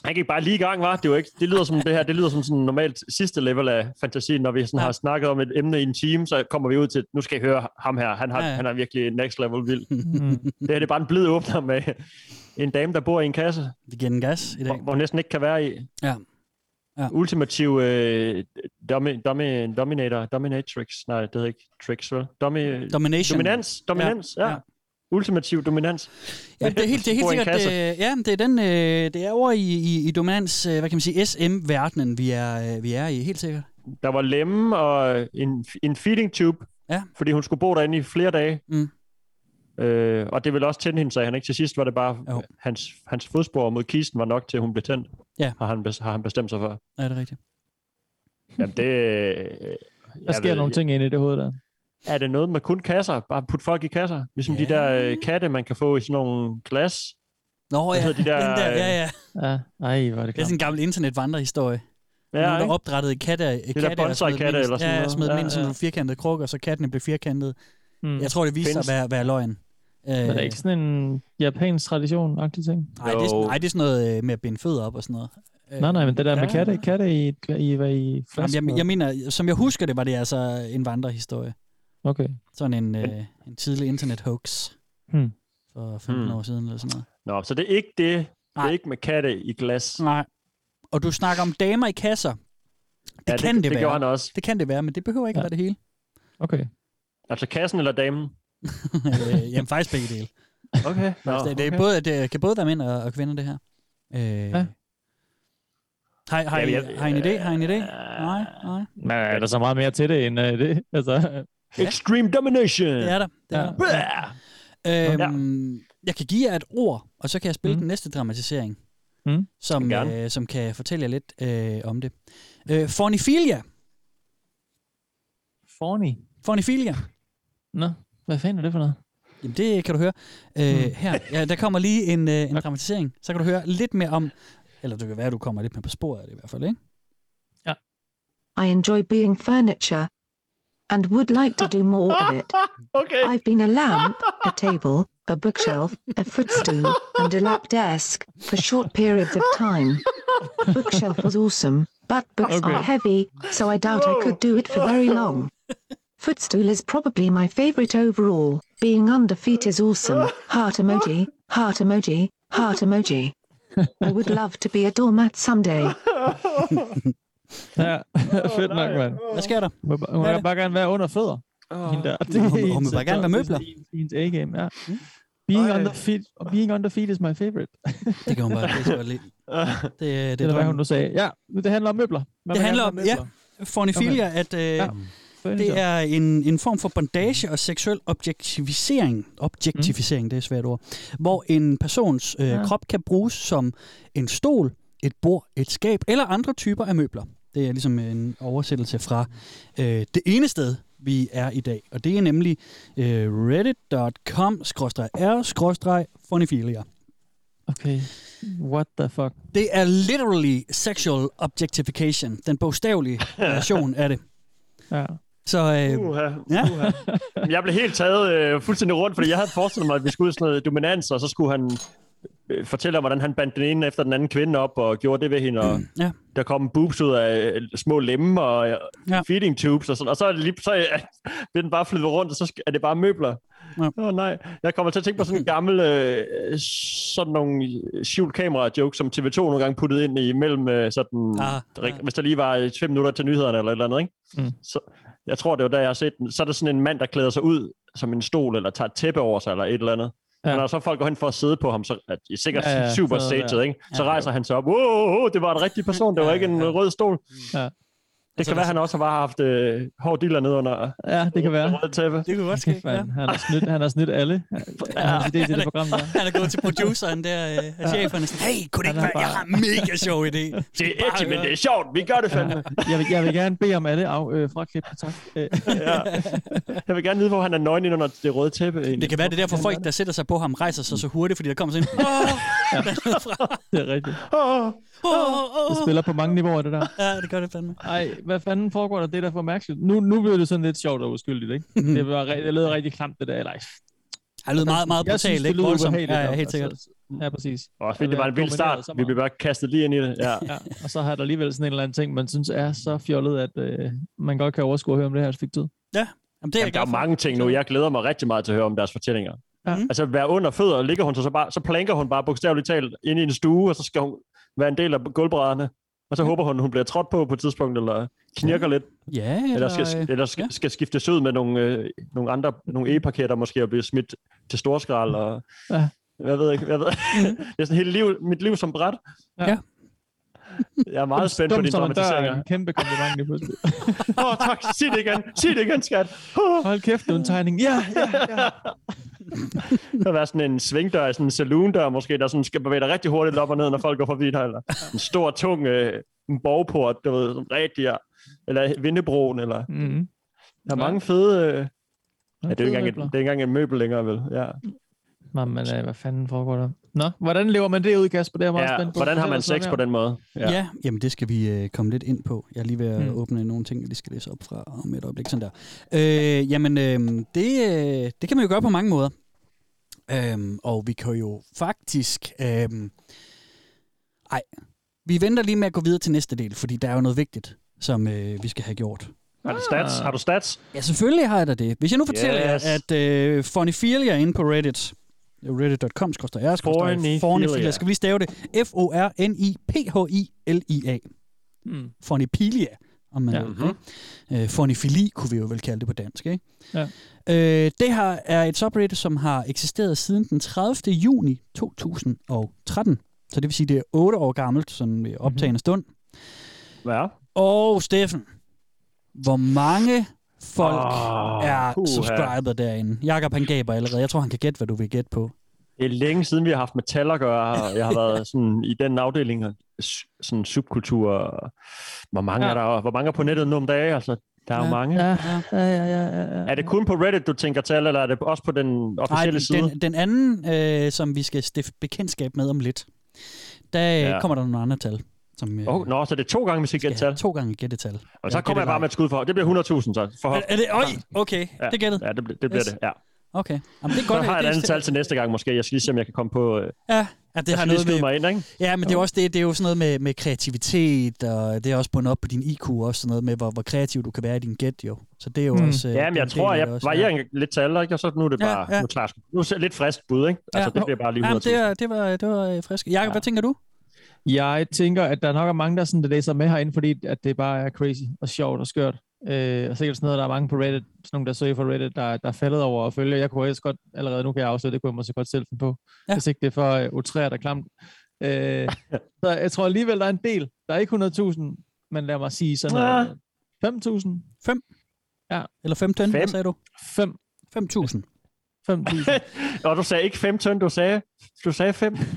S4: Han gik bare lige i gang, var? Det, var ikke, det lyder som det her, det lyder som sådan normalt sidste level af fantasi, når vi sådan
S3: Ja.
S4: ja. har snakket om et emne i en time, så kommer vi ud til, nu skal I høre ham her, han, har,
S3: Ja,
S4: ja,
S3: ja.
S4: ja. han er virkelig next level vild.
S3: [LAUGHS]
S5: Mm.
S4: det her det er bare en blid åbner med en dame, der bor i en kasse,
S3: Vi giver den gas i dag.
S4: hvor, hvor hun næsten ikke kan være i.
S3: Ja. Ja.
S4: Ultimativ øh, domi, domi, dominator, dominatrix, nej, det hedder ikke tricks, vel? Domi,
S3: Domination.
S4: dominans, dominans, ja.
S3: Ja.
S4: ja. Ultimativ dominans.
S3: Ja, det er helt, det er helt
S4: Bor i en
S3: sikkert. Øh, ja, det er, den, øh, det er over i, i, i dominans, øh, hvad kan man sige, SM-verdenen, vi er, øh, vi er i, helt sikkert.
S4: Der var lemme og en, en feeding tube,
S3: Ja.
S4: fordi hun skulle bo derinde i flere dage.
S3: Mm.
S4: Øh, og det vil også tænde hende, sagde han ikke. Til sidst var det bare,
S3: Jo.
S4: jo. hans, hans fodspor mod kisten var nok til, at hun blev tændt.
S3: Ja.
S4: Har han, bes- har han bestemt sig for.
S3: Er det rigtigt?
S4: Jamen det... øh,
S5: Der
S4: jeg
S5: sker
S4: ved-
S5: nogle ting inde i det hoved der.
S3: Øh.
S4: Er det noget med kun kasser? Bare putte folk i kasser? Ligesom
S3: Ja.
S4: de der øh, katte, man kan få i sådan nogle glas.
S3: Nå ja,
S4: hedder de der,
S3: den der, ja, ja.
S5: Ja. Ej, hvor er det
S3: Det er sådan
S5: klart.
S3: en gammel internetvandrehistorie. Ja,
S4: Ja,
S3: Nogen, der
S4: ikke?
S3: opdrettede katte, det
S4: der bonsai-katte eller sådan
S3: ja,
S4: noget.
S3: smed dem
S4: Ja,
S3: ind i sådan
S4: ja. Hmm.
S3: nogle firkantede krukker, så kattene blev firkantede.
S5: Mm.
S3: Jeg tror, det viste sig at
S4: Findes-
S3: være, være løgn. Øh,
S5: Men er det ikke sådan en japansk tradition-agtig ting?
S3: nej, det er, sådan-
S4: Jo.
S3: nej, det er sådan noget øh, med at binde fødder op og sådan noget. Øh,
S5: Nej, nej, men det der med
S4: Ja.
S5: katte, katte i, i, hvad i
S3: Jamen,
S5: flaske.
S3: jeg, jeg mener, som jeg husker det, var det altså en vandrehistorie.
S5: Okay.
S3: Sådan en, øh, en tidlig internet-hoax
S5: Hmm.
S3: for 15
S4: Hmm.
S3: år siden eller sådan noget.
S4: Nå, så det er ikke det. Det
S3: Nej.
S4: er ikke med katte i glas.
S3: Nej. Og du snakker om damer i kasser. Det
S4: ja,
S3: ja, kan det, det,
S4: det
S3: være.
S4: gjorde han også.
S3: Det kan det være, men det behøver ikke ja.
S5: Ja.
S3: at være det hele.
S5: Okay.
S4: Altså kassen eller damen?
S3: [LAUGHS] øh, jamen faktisk begge dele.
S4: Okay. Nå,
S3: Altså, det, det,
S4: okay.
S3: er både, det kan både være mænd og, og kvinder, det her. Øh, ja. Har, har,
S4: Jamen,
S3: I,
S4: jeg-
S3: har I en idé? Har I en idé?
S4: Øh,
S3: Nej, nej.
S5: Men er der så meget mere til det end uh, det? [LAUGHS] Altså,
S4: Extreme domination!
S3: Det er der. Det er
S5: Ja.
S3: der.
S4: Bæh!
S3: Øhm, jeg kan give jer et ord, og så kan jeg spille mm.
S5: Mm.
S3: den næste dramatisering,
S5: Mm.
S3: som,
S4: Gerne.
S3: øh, som kan fortælle jer lidt øh, om det. Øh, fornifilia.
S5: Forni.
S3: Fornifilia.
S5: Nå, hvad fanden er det for noget? Mhm.
S3: Jamen, det kan du høre øh, mm. her. Ja, der kommer lige en, øh, en
S5: Okay.
S3: dramatisering. Så kan du høre lidt mere om... Eller det kan være, at du kommer lidt mere på sporet af det i hvert fald, ikke?
S7: I enjoy being furniture and would like to do more of it.
S4: Okay.
S7: I've been a lamp, a table, a bookshelf, a footstool, and a lap desk for short periods of time. Bookshelf was awesome, but books are heavy, so I doubt I could do it for very long. Footstool is probably my favorite overall. Being under feet is awesome. Heart emoji, heart emoji, heart emoji. I would love to be a doormat someday.
S5: Ja, [LAUGHS] fedt nok, mand.
S3: Hvad sker der?
S5: Hun vil- Hun
S3: Hvad er
S5: vil bare gerne være under fødder. Hende der. Det er
S3: Hun- hun vil
S5: hendes-
S3: bare gerne være møbler.
S5: Det er hendes- hendes A-game, ja. Hmm? Being
S4: Ej.
S5: under feet, being under feet is my favorite.
S3: Det kan hun bare det kan hun godt
S5: [LAUGHS]
S4: [LAUGHS]
S3: lide.
S4: Ah.
S3: Det, det,
S5: Det er hvad
S3: drømmen.
S5: hun nu sagde. Ja, det handler om møbler. Man
S3: Det
S5: vil
S3: handler
S5: gerne
S3: om,
S5: være
S3: ja,
S5: møbler.
S3: fornifilia, okay. at øh, ja. det
S5: Furniture.
S3: er en, en form for bondage og seksuel objektivisering, objektificering, mm. det er et svært ord, hvor en persons øh, ja.
S5: Ja.
S3: krop kan bruges som en stol, et bord, et skab eller andre typer af møbler. Det er ligesom en oversættelse fra øh, det ene sted, vi er i dag, og det er nemlig øh, reddit.com-r-fornifilia.
S5: Okay. What the fuck?
S3: Det er literally sexual objectification, den
S5: [LAUGHS]
S3: bogstavelige version af det.
S5: Ja.
S3: Så øh,
S4: Uha,
S3: Ja.
S4: uha. Jamen, Jeg blev helt taget øh, fuldstændig rundt, fordi jeg havde forestillet mig, at vi skulle ud i sådan noget dominans, og så skulle han øh, fortælle om, hvordan han bandt den ene efter den anden kvinde op, og gjorde det ved hende, og
S3: Mm, ja.
S4: der kom boobs ud af øh, små lemme, og øh,
S3: Ja.
S4: feeding tubes, og sådan, og så, er det lige, så øh, [LAUGHS] bliver den bare flyttet rundt, og så sk- er det bare møbler.
S3: Ja.
S4: Åh oh, nej, jeg kommer til at tænke på sådan en gammel, øh, sådan nogle skjult kamera-joke, som TV2 nogle gange puttede ind i mellem øh, sådan,
S3: Ah,
S4: ah,
S3: ja.
S4: hvis der lige var øh, fem minutter til nyhederne eller et eller andet, ikke?
S5: Mm.
S4: Så, jeg tror, det var der, jeg har set den. Så er der sådan en mand, der klæder sig ud som en stol, eller tager et tæppe over sig, eller et eller andet.
S5: Ja.
S4: Ja. Men når så folk går hen for at sidde på ham, så er det sikkert
S5: Ja,
S4: ja,
S5: ja,
S4: ja, super
S5: sådan noget
S4: staged, ikke? Så
S3: Ja.
S4: rejser han sig op. Wow, wow, wow, det var en rigtig person, det var ikke en
S3: Ja, ja.
S4: rød stol.
S5: Ja. Mm.
S4: Det
S3: Altså,
S4: kan være, han også har bare haft øh, hård dealer ned under
S5: Ja, det kan være.
S4: det røde tæppe.
S3: Det kunne godt ske.
S5: Kæft,
S3: Ja.
S5: mand. Han har snydt, han har snydt
S3: [LAUGHS]
S5: alle. Hans idé til det program, der.
S3: Han er gået til produceren der, øh, og cheferne sådan, hey, kunne det ikke
S5: Han er
S3: være, jeg har en mega sjov idé.
S5: [LAUGHS]
S4: Det er
S3: Bare
S4: edgy, men
S3: høre.
S4: det er sjovt. Vi gør det fandme.
S5: Jeg vil, jeg vil gerne bede om alle af, øh, fraklip, tak. Øh,
S4: Ja. Jeg vil gerne vide, hvor han er nøgen ind under det røde tæppe. egentlig.
S3: Det kan være, det er derfor folk, der sætter sig på ham, rejser sig så hurtigt, fordi der kommer
S5: [LAUGHS]
S3: sådan en, åh, [LAUGHS]
S5: det er rigtigt.
S4: [LAUGHS] Åh,
S3: åh,
S5: Det
S3: åh, åh.
S5: spiller på mange niveauer, det der.
S3: Ja, det gør det fandme.
S5: Ej, hvad fanden foregår der? Det er da for mærkeligt. Nu, nu blev det sådan lidt sjovt og uskyldigt, ikke? Det, var, re- det lød rigtig klamt, det der. Eller, ej,
S3: Mhm. Det lyder meget, meget
S5: jeg synes,
S3: brutalt,
S5: det
S3: ikke?
S5: lyder
S3: Voldsomt.
S5: ubehageligt.
S3: Ja, ja, helt
S5: altså.
S3: sikkert.
S5: Ja, præcis. Altså,
S4: Også fordi det var en vild start. Vi blev bare kastet lige ind i det. Ja.
S5: Ja, og så har der alligevel sådan en eller anden ting, man synes er så fjollet, at øh, man godt kan overskue at høre om det her et stykke tid.
S3: Jamen, det er
S4: Jamen, der er jo mange ting nu. Jeg glæder mig rigtig meget til at høre om deres fortællinger.
S5: Ja.
S4: Ja. Altså, være under fødder, ligger hun så, så bare, så planker hun bare bogstaveligt talt ind i en stue, og så skal hun være en del af gulvbrædderne. Og så håber hun, hun bliver trådt på på et tidspunkt, eller knirker lidt,
S3: Mm. Ja,
S4: eller skal,
S3: eller...
S4: eller skal, skal skiftes ud med nogle, øh, nogle andre, nogle e-paketter måske, og blive smidt til storskrald, og
S5: Ja.
S4: ja. jeg ved ikke, jeg ved,
S3: Mm.
S4: [LAUGHS] det er sådan hele liv, mit liv som bræt.
S5: Ja.
S4: Jeg er meget spændt på
S5: Dum
S4: dine
S5: som en dør er
S4: dramatiseringer.
S5: en kæmpe kompliment lige
S4: [LAUGHS]
S5: pludselig.
S4: Åh, oh, tak. Sig det igen. Sig det igen, skat.
S5: Hold kæft, det er en tegning. Ja, ja, ja.
S4: Der var sådan en svingdør, sådan en saloondør måske, der sådan skal bevæge dig rigtig hurtigt op og ned, når folk går forbi dig. Eller en stor, tung øh, en borgport, du ved, sådan rigtig, ja. eller vindebroen, eller...
S5: Mm-hmm.
S4: Der er
S5: Ja.
S4: mange fede... Øh... Ja, det er jo ikke engang, et,
S5: møbler.
S4: det er ikke engang en møbel længere, vel? Ja.
S5: Nå, men øh, hvad fanden foregår der? Nå, hvordan lever man det ud, Kasper? Det er jeg meget
S4: ja
S5: spændt på.
S4: hvordan har
S5: Fortæl
S4: man
S5: os noget
S4: sex
S5: mere.
S4: på den måde? Ja.
S3: Ja, jamen det skal vi øh, komme lidt ind på. Jeg er lige ved at
S5: Mm.
S3: mm. åbne nogle ting, jeg lige skal læse op fra om et øjeblik. Sådan der. Øh, jamen, øh, det, øh, det kan man jo gøre på mange måder. Øhm, og vi kan jo faktisk... Øhm, ej, vi venter lige med at gå videre til næste del, fordi der er jo noget vigtigt, som øh, vi skal have gjort.
S4: Har du stats? Har du stats?
S3: Ah. Ja, selvfølgelig har jeg da det. Hvis jeg nu fortæller
S4: Yes.
S3: yes. jer, at øh, Fornifilia inde på Reddit, det er jo reddit.com, skrøster jeg,
S4: Fornifilia.
S3: skrøster Fornifilia, skal vi lige stave det, F-O-R-N-I-P-H-I-L-I-A,
S5: Mm.
S3: Fornipilia, om man
S5: Ja. mhm.
S3: ja. øh, Fornifili kunne vi jo vel kalde det på dansk, ikke?
S5: Ja.
S3: Øh, det her er et subreddit, som har eksisteret siden den 30. juni 2013. Så det vil sige, det er 8 år gammelt, sådan ved optagende stund.
S4: Ja.
S3: Og Steffen, hvor mange folk
S4: Åh,
S3: oh, er
S4: Ah, puha.
S3: subscriber derinde? Jakob han gaber allerede. Jeg tror, han kan gætte, hvad du vil gætte på.
S4: Det er længe siden, vi har haft metal at gøre. og Jeg har været sådan i den afdeling, og s- sådan subkultur. og Hvor mange,
S5: Ja.
S4: ja. er der, hvor mange er på nettet nu om dagen? Altså, der er jo
S3: Ja.
S4: mange.
S5: Ja, ja, ja, ja, ja.
S4: Er det kun på Reddit, du tænker tal, eller er det også på den
S3: Nej,
S4: officielle
S3: den,
S4: side?
S3: den- den anden, øh, som vi skal stifte bekendtskab med om lidt, der
S4: Ja.
S3: ja. kommer der nogle andre tal. Som, øh,
S4: Oh, nå, så det er to gange, vi skal
S3: skal
S4: gætte
S3: have
S4: tal.
S3: To gange gættetal.
S4: Og så
S3: Ja,
S4: kommer jeg bare med et skud for. Det bliver 100.000, så. For
S3: Er, er det, øj, okay,
S4: Ja.
S3: ja. det gættede.
S4: Ja, det, bl- det bliver
S3: Yes.
S4: det. Ja.
S3: Okay. Jamen, det er
S4: Så
S3: godt. øh,
S4: har jeg
S3: det
S4: et
S3: er
S4: andet tal til næste gang måske. Jeg skal lige se, om jeg kan komme på... øh,
S3: Ja, ja det
S4: Jeg
S3: har
S4: skal lige
S3: noget
S4: skyde
S3: med,
S4: mig ind, ikke?
S3: Ja, men det er, jo også, det, det er jo sådan noget med, med kreativitet, og det er også bundet op på din IQ, og også sådan noget med, hvor, hvor kreativ du kan være i din gæt, jo. Så det er jo
S5: Mm.
S3: også... øh,
S4: Ja,
S3: det
S4: men
S3: er
S4: Hmm. jeg
S3: en
S4: tror,
S3: del af
S4: jeg
S3: det også,
S4: varierer en lidt taler, ikke? Og så nu er det
S3: Ja,
S4: bare,
S3: ja.
S4: nu tager jeg sgu- nu er det lidt frisk bud, ikke? Altså,
S3: Ja.
S4: det bliver bare lige
S3: Jamen,
S4: 100
S3: det, er, det var, det var øh, frisk. Jakob,
S4: Ja.
S3: ja. hvad tænker du?
S5: Jeg tænker, at der nok er mange, der, sådan, der læser med herinde, fordi at det bare er crazy og sjovt og skørt. Øh, og sikkert sådan noget, der er mange på Reddit, sådan nogle, der søger for Reddit, der, der er faldet over at følge. Jeg kunne også godt, allerede nu kan jeg afsløre, det kunne jeg måske godt selv finde på, ja.
S3: Ja.
S5: hvis ikke det er for øh, utræret og klamt. Øh, så jeg tror alligevel, der er en del. Der er ikke 100.000, men lad mig sige sådan
S4: Ja.
S5: noget. 5.000?
S3: Eller 15,
S4: Fem.
S3: hvad sagde du?
S5: 5?
S3: 5.000.
S5: 5.000?
S4: [LAUGHS] Og du sagde ikke 5 tøn, du sagde, du sagde 5.
S3: [LAUGHS]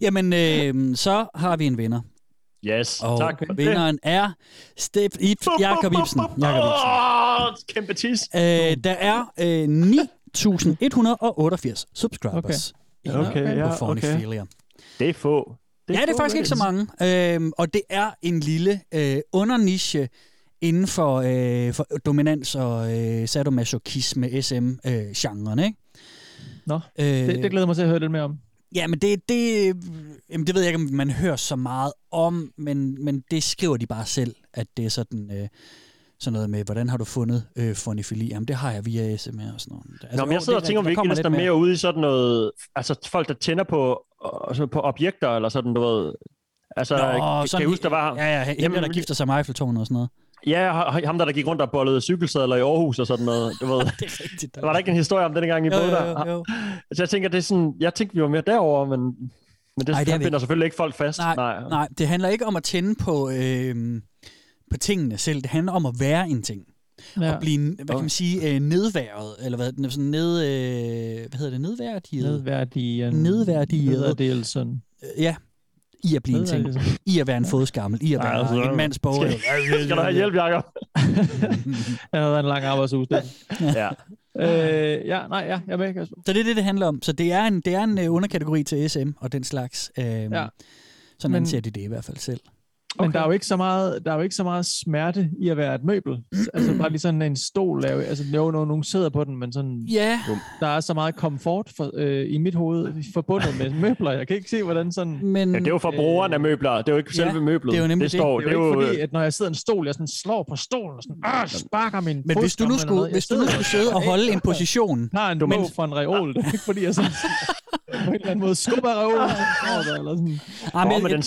S3: Jamen, øh, så har vi en vinder.
S4: Yes,
S3: Og
S4: tak.
S3: vinderen er Stef It Jakob Ibsen. Jakob Ibsen.
S4: Åh, kæmpe tis.
S3: Øh, der er øh, 9.188 subscribers. inde
S4: Okay,
S3: på
S4: ja,
S3: Phony
S4: okay.
S3: Failure.
S4: Det er få.
S3: Ja, det er
S4: få,
S3: faktisk ikke så mange. Øhm, og det er en lille øh, underniche inden for, øh, for dominans og øh, sadomasochisme SM-genren, ikke?
S5: Nå,
S3: øh,
S5: det, det glæder jeg mig til at høre lidt mere om.
S3: Ja, men det, det, øh, jamen det ved jeg ikke, om man hører så meget om, men, men det skriver de bare selv, at det er sådan, øh, sådan noget med, hvordan har du fundet øh, fornifili? Jamen, det har jeg via SMR og sådan noget. Altså,
S4: Altså, Nå, men jeg
S3: jo,
S4: sidder
S3: det
S4: og
S3: er
S4: tænker, om vi
S3: rigtigt, der
S4: ikke
S3: kommer
S4: næsten er
S3: lidt
S4: mere ude i sådan noget... Altså, folk, der tænder på, og- sådan på objekter eller sådan, du ved... Altså, Nå, kan, kan
S3: sådan-
S4: jeg huske, der var...
S3: Ja, ja, hende,
S4: Jamen,
S3: der gifter sig med Eiffeltårnet og sådan noget.
S4: Ja, ha- ham der, der gik rundt og bollede cykelsadler i Aarhus og sådan noget, du ved.
S3: [LAUGHS] Det er rigtigt.
S4: Var der ikke en historie om den gang, I
S3: Jo,
S4: boede
S3: jo,
S4: der?
S3: jo, jo.
S4: Så jeg tænker, det er sådan, jeg tænkte, vi var mere derover, men, men det,
S3: Ej,
S4: Ej,
S3: det er
S4: det
S3: vi
S4: binder selvfølgelig ikke folk fast.
S3: Nej,
S4: Nej.
S3: Nej, det handler ikke om at tænde på, øh, på tingene selv. Det handler om at være en ting.
S5: Ja.
S3: Ja. At blive, hvad kan man sige, øh, nedværet, eller hvad, sådan ned, øh, hvad hedder det, nedværdiget?
S5: Nedværdigen.
S3: Nedværdiget.
S5: Nedværdigelsen.
S3: Øh, Ja, i at blive en ting.
S5: Nedværdigelsen.
S3: I at være en fodskammel, i at
S4: Ej,
S3: være
S4: altså,
S3: en mands borger.
S4: skal- Skal du have hjælp, Jacob?
S5: Jeg havde en lang arbejdsuge. Steffen.
S4: [LAUGHS] Ja.
S5: Øh, ja, nej, ja, jeg er med, Kasper.
S3: Så det er det, det handler om. Så det er en, det er en øh, underkategori til SM og den slags. Øh, ja. Sådan
S5: Men-
S3: anser de det i hvert fald selv.
S5: Men der er, jo ikke så meget, der er jo ikke så meget smerte i at være et møbel. altså bare lige sådan en stol. Er jo, altså, jo, no, nogen sidder på den, men sådan,
S3: Ja,
S5: der er så meget komfort for, øh, i mit hoved forbundet
S3: [LAUGHS]
S5: med møbler. Jeg kan ikke se, hvordan sådan...
S3: men... øh,
S4: Ja, det er jo for brugeren af møbler. Det er jo ikke
S3: Ja,
S4: selve møblet.
S3: det er jo nemlig
S4: det. øh,
S3: det.
S4: Står,
S5: Det er jo ikke fordi, at når jeg sidder i en stol, jeg sådan slår på stolen og sådan, "Arh, Øh, ah, sparker min
S3: Men hvis du nu skulle, hvis du nu skulle sidde og holde en position,
S5: har en
S3: Men-
S5: domæn fra en reol, [LAUGHS] det er ikke fordi, jeg sådan, på en eller anden måde skubber
S3: [LAUGHS]
S5: reolen.
S3: Ah.
S5: Eller sådan.
S3: Ej, men,
S4: Åh, men den,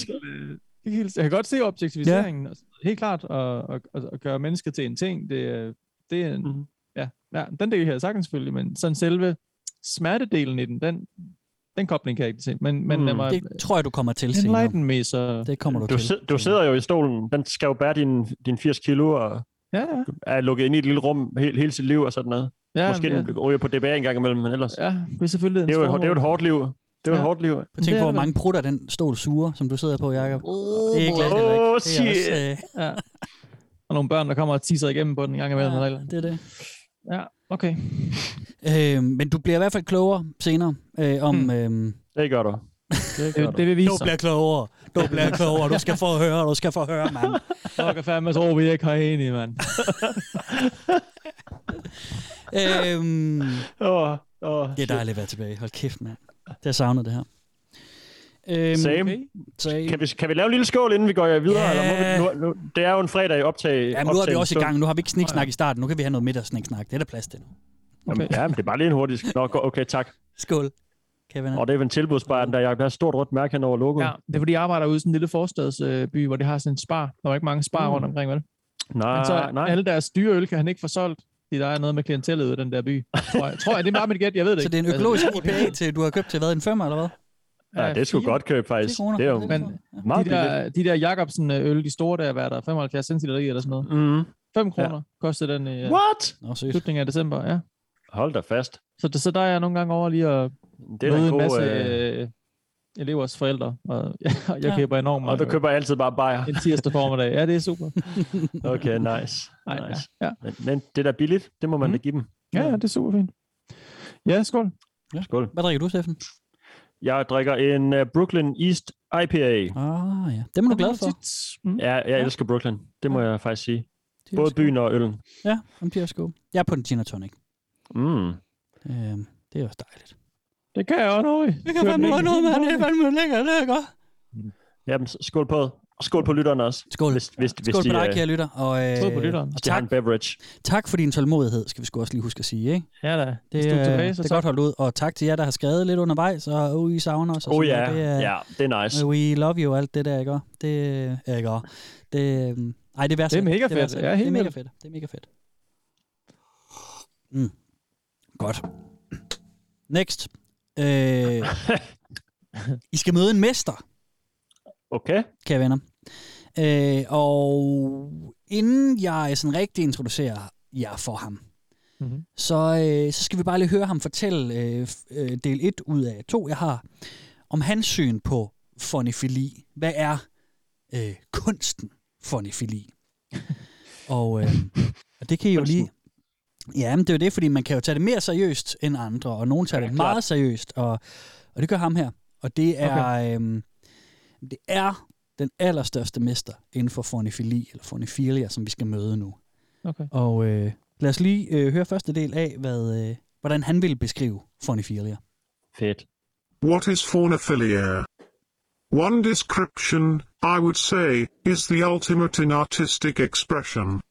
S5: Det er helt, jeg kan godt se objektiviseringen, ja. helt klart, og, og, og, og gøre mennesket til en ting, det, er- det er en,
S4: Mhm.
S5: mm. ja, ja, den del her sagtens selvfølgelig, men sådan selve smertedelen i den, den, den kobling kan jeg ikke se, men, men lad
S4: Mm.
S5: mig
S3: det tror jeg, du kommer til senere.
S5: enlighten me, så
S3: Det kommer du,
S4: du,
S3: til.
S4: sid- du sidder jo i stolen. Den skal jo bære din, din 80 kilo og
S5: ja, ja.
S4: er lukket ind i et lille rum hele, hele sit liv og sådan noget.
S5: Ja,
S4: Måske
S5: ja,
S4: den ryger på DBA en gang imellem, men ellers...
S5: ja, det er selvfølgelig en
S4: Det er, jo,
S5: stor
S4: det er jo et hårdt liv. Det er jo
S5: Ja.
S4: et hårdt liv.
S3: Prøv at tænke
S5: Det
S3: på,
S5: er
S3: hvor
S5: det.
S3: mange prutter den stol sure, som du sidder på, Jacob. Det er ikke glat, det er
S4: oh,
S3: ikke. Det er også,
S4: shit.
S3: øh,
S5: Ja. Og nogle børn, der kommer og tisser igennem på den en gang imellem. Ja. Eller et eller
S3: ja,
S5: andet.
S3: det er det.
S5: ja, okay.
S3: Øh, men du bliver i hvert fald klogere senere øh, om...
S5: Hmm.
S3: Øh,
S4: Det gør du.
S5: Det,
S4: gør
S5: det
S3: du
S5: vil vise sig.
S3: bliver klogere. Du bliver klogere. Du skal få høre, du skal få høre, mand.
S5: Fuck, jeg fandme tror, vi ikke har enige, mand.
S3: øhm,
S4: Åh, åh.
S3: det er dejligt at være tilbage. Hold kæft, mand. Det har savnet, det her. Øhm,
S4: Same.
S5: Okay.
S3: same.
S4: Kan vi, kan vi lave en lille skål, inden vi går videre?
S3: Ja.
S4: Eller må vi, nu, nu, det er jo en fredag i optag.
S3: Jamen, nu er vi
S4: optagen
S3: også i
S4: stund.
S3: gang. Nu har vi ikke sniksnak i starten. Nu kan vi have noget middagssniksnak. Det er der plads til nu.
S4: Jamen, ja, men det er bare lige en hurtig... Nå, go- okay, tak.
S3: Skål. Kevin.
S4: Og det er vel en tilbudsbar, den der, Jacob. Der er et stort rødt mærke hen over logoet.
S5: Ja, det er fordi, jeg arbejder ude i sådan en lille forstadsby, hvor det har sådan en spar. Der var ikke mange spar
S3: Mm.
S5: rundt omkring, vel? Men
S4: Nej,
S5: så
S4: Ah, nej.
S5: alle deres dyre øl kan han ikke få solgt, fordi der er noget med klientellet ude i den der by. Tror jeg, tror jeg det er bare mit gæt, jeg ved det
S3: Så
S5: ikke.
S3: det er en økologisk IPA, til, du har købt til hvad, en femmer eller hvad?
S4: Ja, det er sgu
S3: fire-
S4: godt køb,
S3: 10
S4: faktisk.
S3: kroner.
S4: Det er jo
S5: Men
S4: meget
S5: de
S4: billigt.
S5: der, de der Jacobsen øh, øl, de store der, hvad er der, 75 centiliter i eller sådan noget.
S4: Mm.
S5: 5 kroner kostede den i øh,
S4: What?
S3: Nå, seriøst.
S5: slutningen af december, ja.
S4: Hold da fast.
S5: Så, det, så der er jeg nogle gange over lige at
S4: Det er da
S5: møde
S4: en
S5: en
S4: god...
S5: masse
S4: øh,
S5: øh, elevers forældre, og [LAUGHS] jeg, jeg
S3: Ja.
S5: køber enormt
S4: Og
S5: meget.
S4: du køber altid bare bajer.
S5: øl en tirsdag formiddag. Ja, det er super.
S4: [LAUGHS] Okay, nice.
S5: Ej, ja,
S4: nice.
S5: ja. Mhm.
S4: Men, men det der billigt, det må man da give dem.
S5: ja, ja, det er super fint. Ja, skål.
S4: Skål.
S3: Hvad drikker du, Steffen?
S4: Jeg drikker en uh, Brooklyn East
S3: Ah,
S4: IPA.
S3: ja. Dem er du glad for.
S5: Mm.
S4: Ja, jeg elsker Brooklyn. Det må jeg faktisk sige.
S3: De er
S4: Både
S3: også gode.
S4: byen og øllen.
S3: Ja, om de er også gode. Jeg er på en gin og tonic.
S4: Mm.
S3: Øhm, det er også dejligt.
S5: Det kan jeg også noget.
S3: Det kan fandme noget, mand. Det er fandme lækkert, det er godt.
S4: Jamen, s- skål på. Og skål på lytterne også.
S3: Skål.
S4: Hvis, hvis, hvis
S3: Skål
S4: de,
S3: på dig,
S4: øh,
S3: kære lytter. Og, øh,
S5: Skål på lytteren.
S3: Og
S4: de har
S3: tak,
S4: en beverage.
S3: tak for din tålmodighed, skal vi sgu også lige huske at sige. Ikke?
S5: Ja da.
S3: Det,
S5: Hvis du er
S3: øh,
S5: tilbage, så
S3: det er
S5: tak.
S3: godt holdt ud. Og tak til jer, der har skrevet lidt undervejs, og uh, I savner os. og
S4: Åh oh,
S3: sådan
S4: ja,
S3: noget. Det er-
S4: ja, det er nice.
S3: Men We love you, alt det der, ikke? også? Det er ikke også? Det, øhm, ej, det er værd
S5: Det er mega fedt.
S3: værdsat.
S5: Ja,
S3: det er
S5: helt
S3: mega
S5: vildt.
S3: fedt. Det er mega fedt. Mm. Godt. Next. Øh, I skal møde en mester,
S4: Okay.
S3: kære venner. Øh, og inden jeg sådan rigtig introducerer jer for ham,
S5: Mhm.
S3: så, øh, så skal vi bare lige høre ham fortælle øh, f- øh, del 1 ud af 2, jeg har, om hans syn på fonefili. Hvad er øh, kunsten
S4: [LAUGHS]
S3: fonefili? og, øh, og det kan I jo lige... Ja, men det er jo det, fordi man kan jo tage det mere seriøst end andre, og nogen tager
S4: Ja,
S3: det
S4: klart.
S3: meget seriøst, og, og det gør ham her. Og det er, okay. øhm, det er den allerstørste mester inden for fonefili, eller fonefilia, som vi skal møde nu.
S5: Okay.
S3: Og øh, lad os lige øh, høre første del af, hvad, øh, hvordan han ville beskrive fonifilia.
S4: Fedt.
S8: What is faunophilia? One description, I would say, is the ultimate in artistic expression.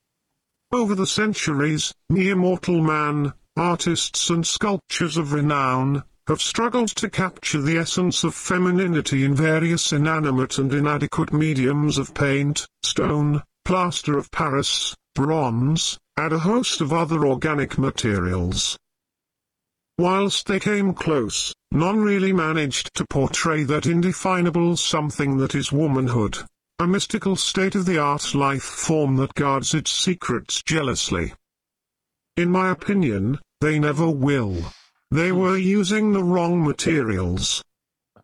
S8: Over the centuries, mere mortal man, artists and sculptures of renown, have struggled to capture the essence of femininity in various inanimate and inadequate mediums of paint, stone, plaster of Paris, bronze, and a host of other organic materials. Whilst they came close, none really managed to portray that indefinable something that is womanhood, a mystical state-of-the-art life form that guards its secrets jealously. In my opinion, they never will. They were using the wrong materials.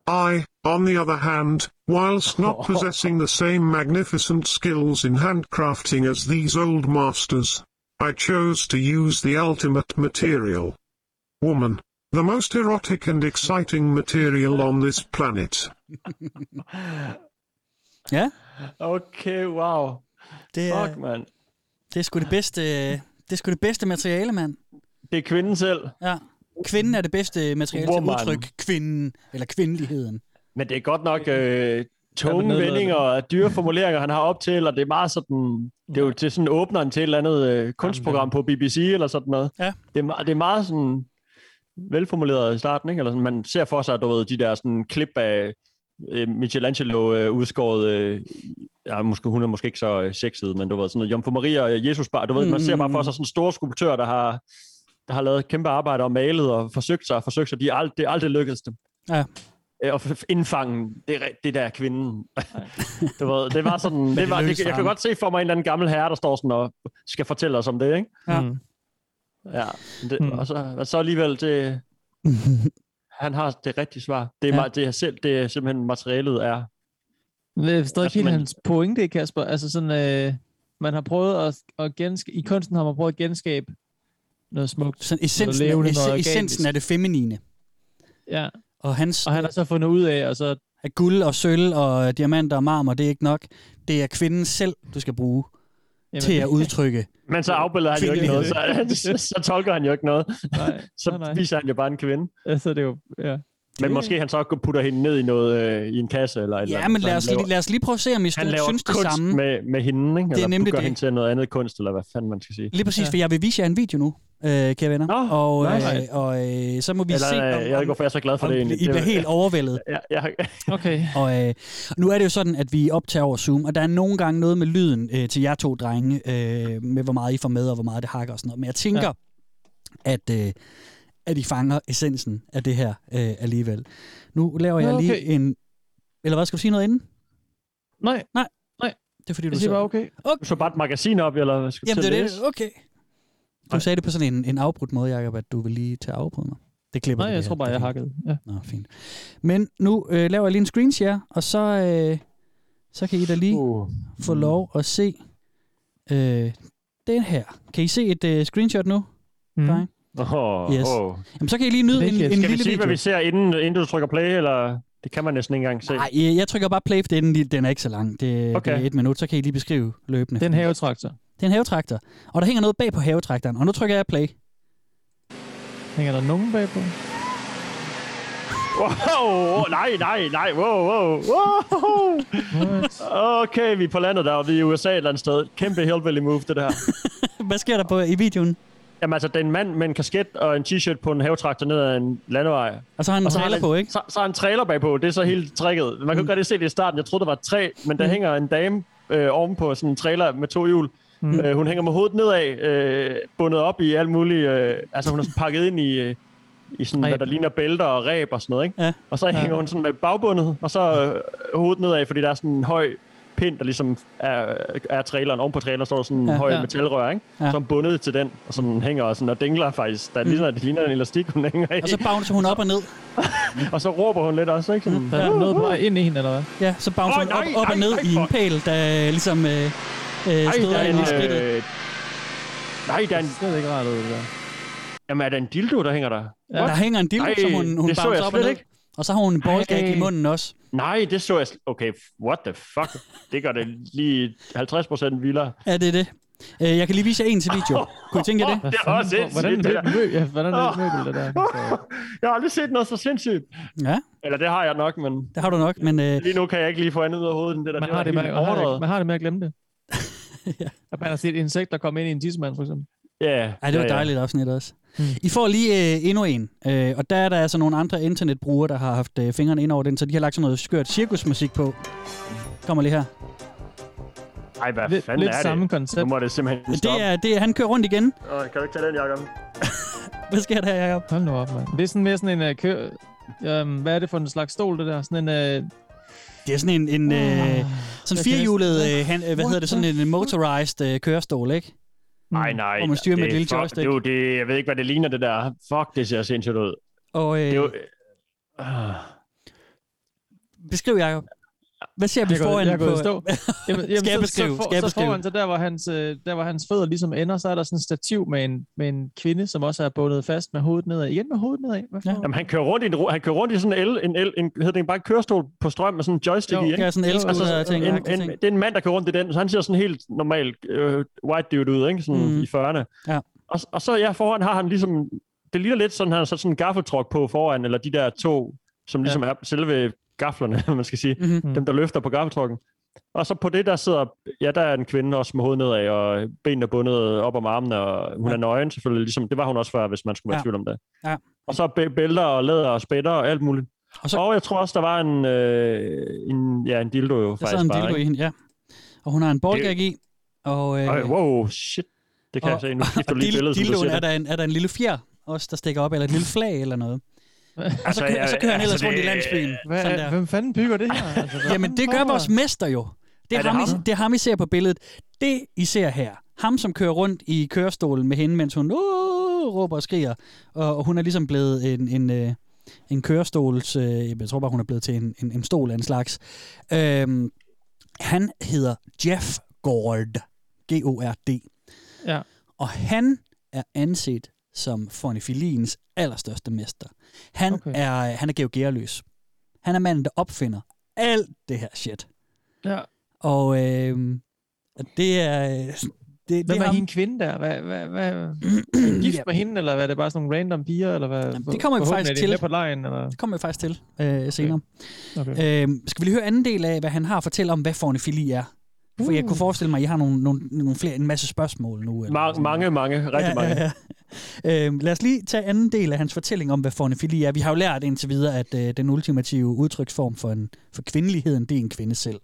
S8: I, on the other hand, whilst not possessing the same magnificent skills in handcrafting as these old masters, I chose to use the ultimate material. Woman. The most erotic and exciting material on this planet.
S3: Ja,
S4: Okay, wow.
S3: det er,
S4: Fuck, mand.
S3: det er sgu det bedste, det er sgu det bedste materiale, mand.
S4: Det er kvinden selv.
S3: Ja. Kvinden er det bedste materiale til
S4: Woman.
S3: udtryk kvinden, eller kvindeligheden.
S4: Men det er godt nok øh, tunge
S5: nedladende.
S4: vendinger og dyre formuleringer, han har op til, og det er meget sådan, det er jo til sådan åbneren til et eller andet øh, kunstprogram på BBC eller sådan noget.
S3: Ja.
S4: Det, er, me- det er meget sådan velformuleret i starten, ikke? Eller sådan, man ser for sig, du ved, de der sådan klip af øh, Michelangelo øh, udskåret, øh, ja, måske, hun er måske ikke så øh, sexet, men du ved, sådan noget Jomfru Maria og Jesus bar, du ved, man ser bare for sig sådan store skulptører, der har, der har lavet kæmpe arbejde og malet og forsøgt sig og forsøgt sig, de er ald- det er aldrig lykkedes dem
S3: Ja.
S4: øh, og f- indfange det, re- det der kvinden. [LAUGHS] du ved, det var sådan,
S3: det
S4: det var, det,
S3: lykkedes for
S4: jeg
S3: ham.
S4: kan godt se for mig en eller anden gammel herre, der står sådan og skal fortælle os om det, ikke?
S3: Ja.
S5: Mm.
S4: Ja, men det,
S3: Hmm.
S4: mm. og, så, og så
S3: [LAUGHS]
S4: alligevel, det, han har det rigtige svar. Det er,
S3: Ja.
S4: ja. det er, selv, det er simpelthen materialet er.
S5: Men Det er stadig ikke
S4: Altså,
S5: helt
S4: man-
S5: hans pointe, Kasper. Altså sådan, øh, man har prøvet at, at genskabe, i kunsten har man prøvet at genskabe noget smukt.
S3: Sådan essensen,
S5: Noget levende,
S3: esse-
S5: noget organisk.
S3: essensen af det feminine.
S5: Ja,
S3: Og hans
S5: og han har så fundet ud af, og så
S3: at guld og sølv og øh, diamanter og marmor, det er ikke nok. Det er kvinden selv, du skal bruge
S5: Jamen,
S3: til at udtrykke.
S4: Men så afbilder han jo ikke noget, så,
S3: [LAUGHS]
S4: så, [LAUGHS] så tolker han jo ikke noget.
S5: Nej,
S4: [LAUGHS] Så
S5: nej, nej.
S4: viser han jo bare en kvinde.
S5: altså, det er jo, ja.
S4: Men måske han så også putter hende ned i noget øh, i en kasse eller et eller
S3: Ja,
S4: andet,
S3: men
S4: så
S3: lad
S4: han
S3: os,
S4: laver-
S3: lige, lad os lige prøve at se, om I
S4: han
S3: stø-
S4: laver
S3: synes det
S4: kunst
S3: samme.
S4: med, med hende, ikke?
S3: er
S4: Eller det er
S3: nemlig
S4: nemlig gør
S3: det.
S4: hende til noget andet kunst, eller hvad fanden man skal sige.
S3: Lige præcis,
S5: Ja.
S3: for jeg vil vise jer en video nu, øh, kære venner.
S4: Nå,
S3: og øh,
S4: nice.
S3: og øh, så må vi
S4: Eller,
S3: se,
S4: øh, jeg ved ikke, hvorfor jeg er så glad for
S3: om,
S4: det egentlig.
S3: I bliver
S4: Det-
S3: helt overvældet.
S4: Ja, [LAUGHS] jeg,
S5: Okay.
S3: Og øh, nu er det jo sådan, at vi optager over Zoom, og der er nogle gange noget med lyden øh, til jer to drenge, øh, med hvor meget I får med, og hvor meget det hakker og sådan noget. Men jeg tænker, ja. at, øh, at I fanger essensen af det her øh, alligevel. Nu laver jeg
S5: Nå,
S3: lige
S5: okay.
S3: en... Eller hvad, skal du sige noget inden?
S5: Nej,
S3: Det er fordi, du
S5: jeg siger bare
S3: sad-
S5: okay.
S4: du så bare et magasin op, eller hvad skal du
S3: Jamen,
S4: til
S3: det er
S4: at læse?
S3: det. Okay. Du
S4: Nej.
S3: sagde det på sådan en, en afbrudt måde, Jacob, at du vil lige tage afbrud mig. Det klipper
S5: Nej,
S3: vi, det
S5: jeg
S3: her.
S5: tror bare,
S3: Det er
S5: jeg
S3: fint.
S5: hakkede. Ja.
S3: Nå, fint. Men nu øh, laver jeg lige en screenshare, og så, øh, så kan I da lige
S4: Uh,
S3: få lov
S5: Mm.
S3: at se øh, den her. Kan I se et øh, screenshot nu?
S5: Mm.
S3: Nej.
S4: oh,
S3: Yes.
S4: yes. oh.
S3: Jamen, så kan I lige nyde
S5: Det
S3: en, en
S5: er ikke-
S4: Skal vi
S3: lille
S4: sige,
S3: video.
S4: hvad vi ser, inden, inden du trykker play, eller det kan man næsten ikke engang se?
S3: Nej, øh, jeg trykker bare play, for den, den er ikke så lang. Det, okay.
S4: Okay.
S3: det er et minut, så kan I lige beskrive løbende.
S5: Det er en havetraktor.
S3: det er en havetraktor, og der hænger noget bag på havetraktoren, og nu trykker jeg play.
S5: Hænger der nogen bagpå?
S4: Wow, nej, nej, nej, wow, wow, wow. Okay, vi er på landet der, og vi er i USA et eller andet sted. Kæmpe hillbilly move, det der.
S3: [LAUGHS] Hvad sker der på i videoen?
S4: Jamen altså, det er en mand med en kasket og en t-shirt på en havetraktor ned ad en landevej.
S3: Og så har han en
S4: så har
S3: trailer
S4: han-
S3: på, ikke?
S4: Så, så er en trailer bagpå, det er så hele tricket. Man kan mm. godt se det i starten, jeg troede, der var tre, men der mm. hænger en dame øh, ovenpå sådan en trailer med to hjul. Mm. Øh, hun hænger med hovedet nedad, øh, bundet op i alt muligt. Øh, altså hun er sådan pakket ind i, øh, i sådan,
S5: Ræb.
S4: hvad der ligner bælter og ræb og sådan noget. Ikke?
S3: Ja.
S4: Og så hænger hun sådan med bagbundet, og så øh, hovedet nedad, fordi der er sådan en høj pind, der ligesom er, er traileren. Oven på traileren står der sådan en
S3: Ja.
S4: ja, høj
S5: Ja.
S4: ja. metalrør, ikke?
S3: Ja.
S4: Ja. som bundet til den, og sådan hænger og, sådan, og dingler faktisk. Der ligner, det ligner en elastik, hun hænger i.
S3: Mm. Og så bouncer hun op og ned.
S4: [LAUGHS] Og så råber hun lidt også, ikke? Sådan,
S5: Der er noget på vej ind i hende, eller hvad?
S3: Ja, så bouncer
S4: Åh,
S3: hun op,
S4: nej,
S3: op og
S4: nej,
S3: ned
S4: nej,
S3: i en
S4: fuck.
S3: pæl, der øh, ligesom øh, øh,
S4: Ej, der
S3: støder
S4: er
S3: ind i
S4: en...
S3: skridtet.
S4: Øh, nej, der er en...
S5: Det ser ikke rart ud, det der.
S4: Jamen, er der en dildo, der hænger der?
S5: Ja.
S3: Der hænger en dildo,
S4: Ej,
S3: som hun, hun
S4: det så
S3: bouncer
S4: jeg
S3: op og
S4: slet
S3: ned.
S4: ikke.
S3: Og så har hun en ballgag i
S4: Ej.
S3: munden også.
S4: Nej, det så jeg... sl- Okay, what the fuck? Det gør det lige 50% vildere.
S3: Ja, det er det. Øh, Jeg kan lige vise jer en til
S4: [LAUGHS]
S3: video. Kunne I tænke jer det?
S4: Det er
S5: fanden for-
S4: også sindssygt,
S5: Hvordan
S4: det
S5: er det
S4: der.
S5: mø- ja, hvordan er det
S4: Åh.
S5: møbel, det der?
S4: Jeg har aldrig set noget så sindssygt.
S3: Ja,
S4: Eller det har jeg nok, men
S3: det har du nok, men øh,
S4: lige nu kan jeg ikke lige få andet ud af hovedet end det der.
S5: Man
S4: det
S5: har, det med, man, har det,
S4: med.
S5: man har det med at
S3: [LAUGHS]
S5: glemme det.
S3: Ja.
S5: ja. At man har set insekt, der kommer ind i en tissemand, for eksempel.
S4: Ja,
S3: ej, det var et
S4: ja, ja.
S3: dejligt afsnit også.
S4: Mm.
S3: I får lige øh, endnu en, øh, og der er der altså nogle andre internetbrugere, der har haft øh, fingrene ind over den, så de har lagt sådan noget skørt cirkusmusik på. Kommer
S4: Ah.
S3: lige her. Øh,
S4: Ej, hvad
S5: Lidt,
S4: fanden
S5: lidt
S4: er
S5: samme
S4: det? Nu
S5: koncept.
S4: må det simpelthen
S3: Det
S4: stoppe.
S3: er, det er, han kører rundt igen.
S4: Åh, Kan du ikke tage den, Jacob?
S3: Hvad sker der, Jacob?
S5: Hold nu op, mand. Det er sådan mere sådan en uh, kø... Um, hvad er det for en slags stol, det der? Sådan en... Uh,
S3: Det er sådan en, en øh, sådan
S5: jeg
S3: firehjulet,
S5: kan
S3: øh, han, øh, hvad hedder det, sådan en motorized øh, kørestol, ikke?
S4: Nej, nej.
S3: Hvor man styrer med
S4: det
S3: et
S4: er
S3: lille
S4: fuck-
S3: joystick.
S4: Det, er jo det, jeg ved ikke, hvad det ligner, det der. Fuck, det ser sindssygt ud.
S3: Og øh, ah.
S4: Det er jo... Øh,
S3: beskriv, Jacob. Hvad ser vi
S5: jeg går,
S3: foran
S5: jeg går
S3: på? [LAUGHS]
S5: i stå. Jamen, jamen,
S3: Skal jeg
S5: så-
S3: beskrive?
S5: Så, for,
S3: Skal jeg
S5: så
S3: beskrive?
S5: foran, så der, hvor hans, øh, der, hvor hans fødder ligesom ender, så er der sådan et stativ med en, med en kvinde, som også er bundet fast med hovedet nedad. Igen med hovedet nedad. Hvad
S3: Ja.
S5: for?
S4: Jamen, han kører rundt i, en, ro- han kører rundt i sådan en el, en el, en, hedder det bare en kørestol på strøm med sådan en joystick
S5: Jo,
S4: i, ikke?
S3: Ja, sådan en elsker,
S5: Altså,
S3: der
S4: en,
S3: tænker.
S4: en, det er en mand, der kører rundt i den, så han ser sådan helt normal øh, white dude ud, ikke? Sådan
S3: Mm.
S4: mm. i 40'erne.
S3: Ja.
S4: Og, og så ja, foran har han ligesom, det ligner lidt sådan, han har sat sådan en gaffeltruk på foran, eller de der to, som ligesom ja. er selve gaflerne, [LAUGHS] man skal sige.
S3: Mhm.
S4: Dem, der løfter på gaffeltrukken. Og så på det, der sidder, ja, der er en kvinde også med hovedet nedad, og benene er bundet op om armene, og hun
S3: Ja.
S4: ja. er nøgen selvfølgelig, ligesom, det var hun også før, hvis man skulle være
S3: Ja.
S4: i tvivl om det.
S3: Ja.
S4: Og så bæ- bælter og læder og spætter og alt muligt.
S3: Og
S4: Og,
S3: så-
S4: så... og jeg tror også, der var en, øh, en, ja, en dildo jo
S3: Der
S4: faktisk
S3: sidder en
S4: bare,
S3: dildo
S4: ikke?
S3: i hende, ja. Og hun har en ballgag i. Og, øh,
S4: Ej, wow, shit. Det kan
S3: og,
S4: jeg se. Nu skifter
S3: og
S4: du lige
S3: dil-
S4: billedet, som du
S3: dildoen
S4: siger
S3: er
S4: det.
S3: der, en, er der en lille fjer også, der stikker op, eller et lille flag eller noget. Og så,
S4: Altså,
S3: kører, og så
S4: jeg-
S3: kører han ellers
S4: altså,
S3: rundt i
S4: det-
S3: landsbyen.
S5: Hvad,
S3: Sådan der.
S5: hvem fanden bygger det her? Altså, hvad
S3: Jamen, det
S5: fanden
S3: gør
S5: foregår
S3: vores
S5: der?
S3: mester jo. Det er,
S4: Er det
S3: ham, I,
S4: ham?
S3: det er ham, I ser på billedet. Det, I ser her. Ham, som kører rundt i kørestolen med hende, mens hun... Uh, uh, råber og skriger. Og, og hun er ligesom blevet en, en, øh, en kørestols... Øh, jeg tror bare, hun er blevet til en, en, en stol af en slags. Øhm, han hedder Jeff Gord. G-O-R-D.
S5: Ja.
S3: Og han er anset som Fonifilins allerstørste mester. Han, okay.
S5: Okay.
S3: er, han er Georg Gerløs. Han er manden, der opfinder alt det her shit.
S5: ja.
S3: Og øh, det er... øh, Det, det
S5: Hvem er
S3: ham.
S5: hende kvinde der? Hvad, hvad,
S3: [CLEARS THROAT]
S5: hvad, er hun gift med hende, eller hvad? Er det bare sådan nogle random piger? Eller hvad?
S3: Jamen, det kommer vi
S5: Forhåbentlig
S3: faktisk
S5: er de
S3: til.
S5: Med på lejen, eller?
S3: Det kommer vi faktisk til øh, senere.
S5: Okay.
S3: Okay. Øh, skal vi lige høre anden del af, hvad han har at fortælle om, hvad fornefili er? For jeg
S5: Uh.
S3: kunne forestille mig, at I har nogle, nogle, nogle flere, en masse spørgsmål nu. Eller
S4: Ma-
S3: sådan.
S4: mange, mange. Rigtig mange.
S3: Ja, ja. Øhm, lad os lige tage anden del af hans fortælling om, hvad fornefili er. Vi har jo lært indtil videre, at øh, den ultimative udtryksform for, en, for kvindeligheden, det er en kvinde selv.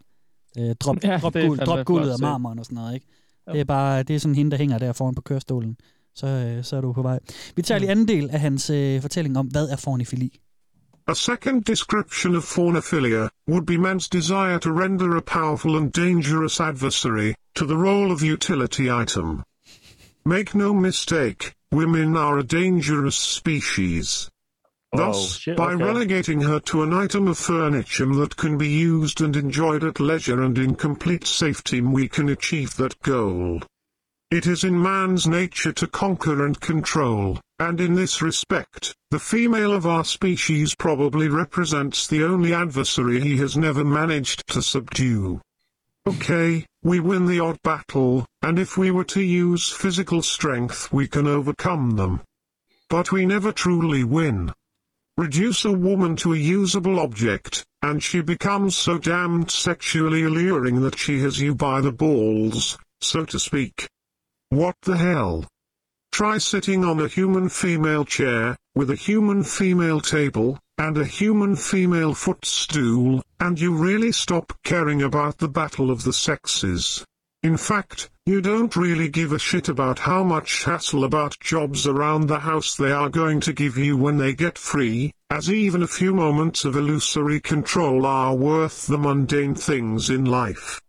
S3: Øh, drop,
S5: Ja,
S3: ja, drop,
S5: det er altså
S3: guld,
S5: fandme
S3: drop guldet
S5: flot
S3: og
S5: set.
S3: marmoren og sådan noget. Ikke?
S5: Jo.
S3: Det, er bare, det er sådan hende, der hænger der foran på kørestolen. Så, øh, så er du på vej. Vi tager lige anden del af hans øh, fortælling om, hvad er fornefili.
S8: A second description of faunophilia would be man's desire to render a powerful and dangerous adversary to the role of utility item. Make no mistake, women are a dangerous species.
S4: Oh,
S8: Thus,
S4: shit,
S8: by
S4: okay.
S8: relegating her to an item of furniture that can be used and enjoyed at leisure and in complete safety, we can achieve that goal. It is in man's nature to conquer and control, and in this respect, the female of our species probably represents the only adversary he has never managed to subdue. Okay, we win the odd battle, and if we were to use physical strength, we can overcome them. But we never truly win. Reduce a woman to a usable object, and she becomes so damned sexually alluring that she has you by the balls, so to speak. What the hell? Try sitting on a human female chair, with a human female table, and a human female footstool, and you really stop caring about the battle of the sexes. In fact, you don't really give a shit about how much hassle about jobs around the house they are going to give you when they get free, as even a few moments of illusory control are worth the mundane things in life.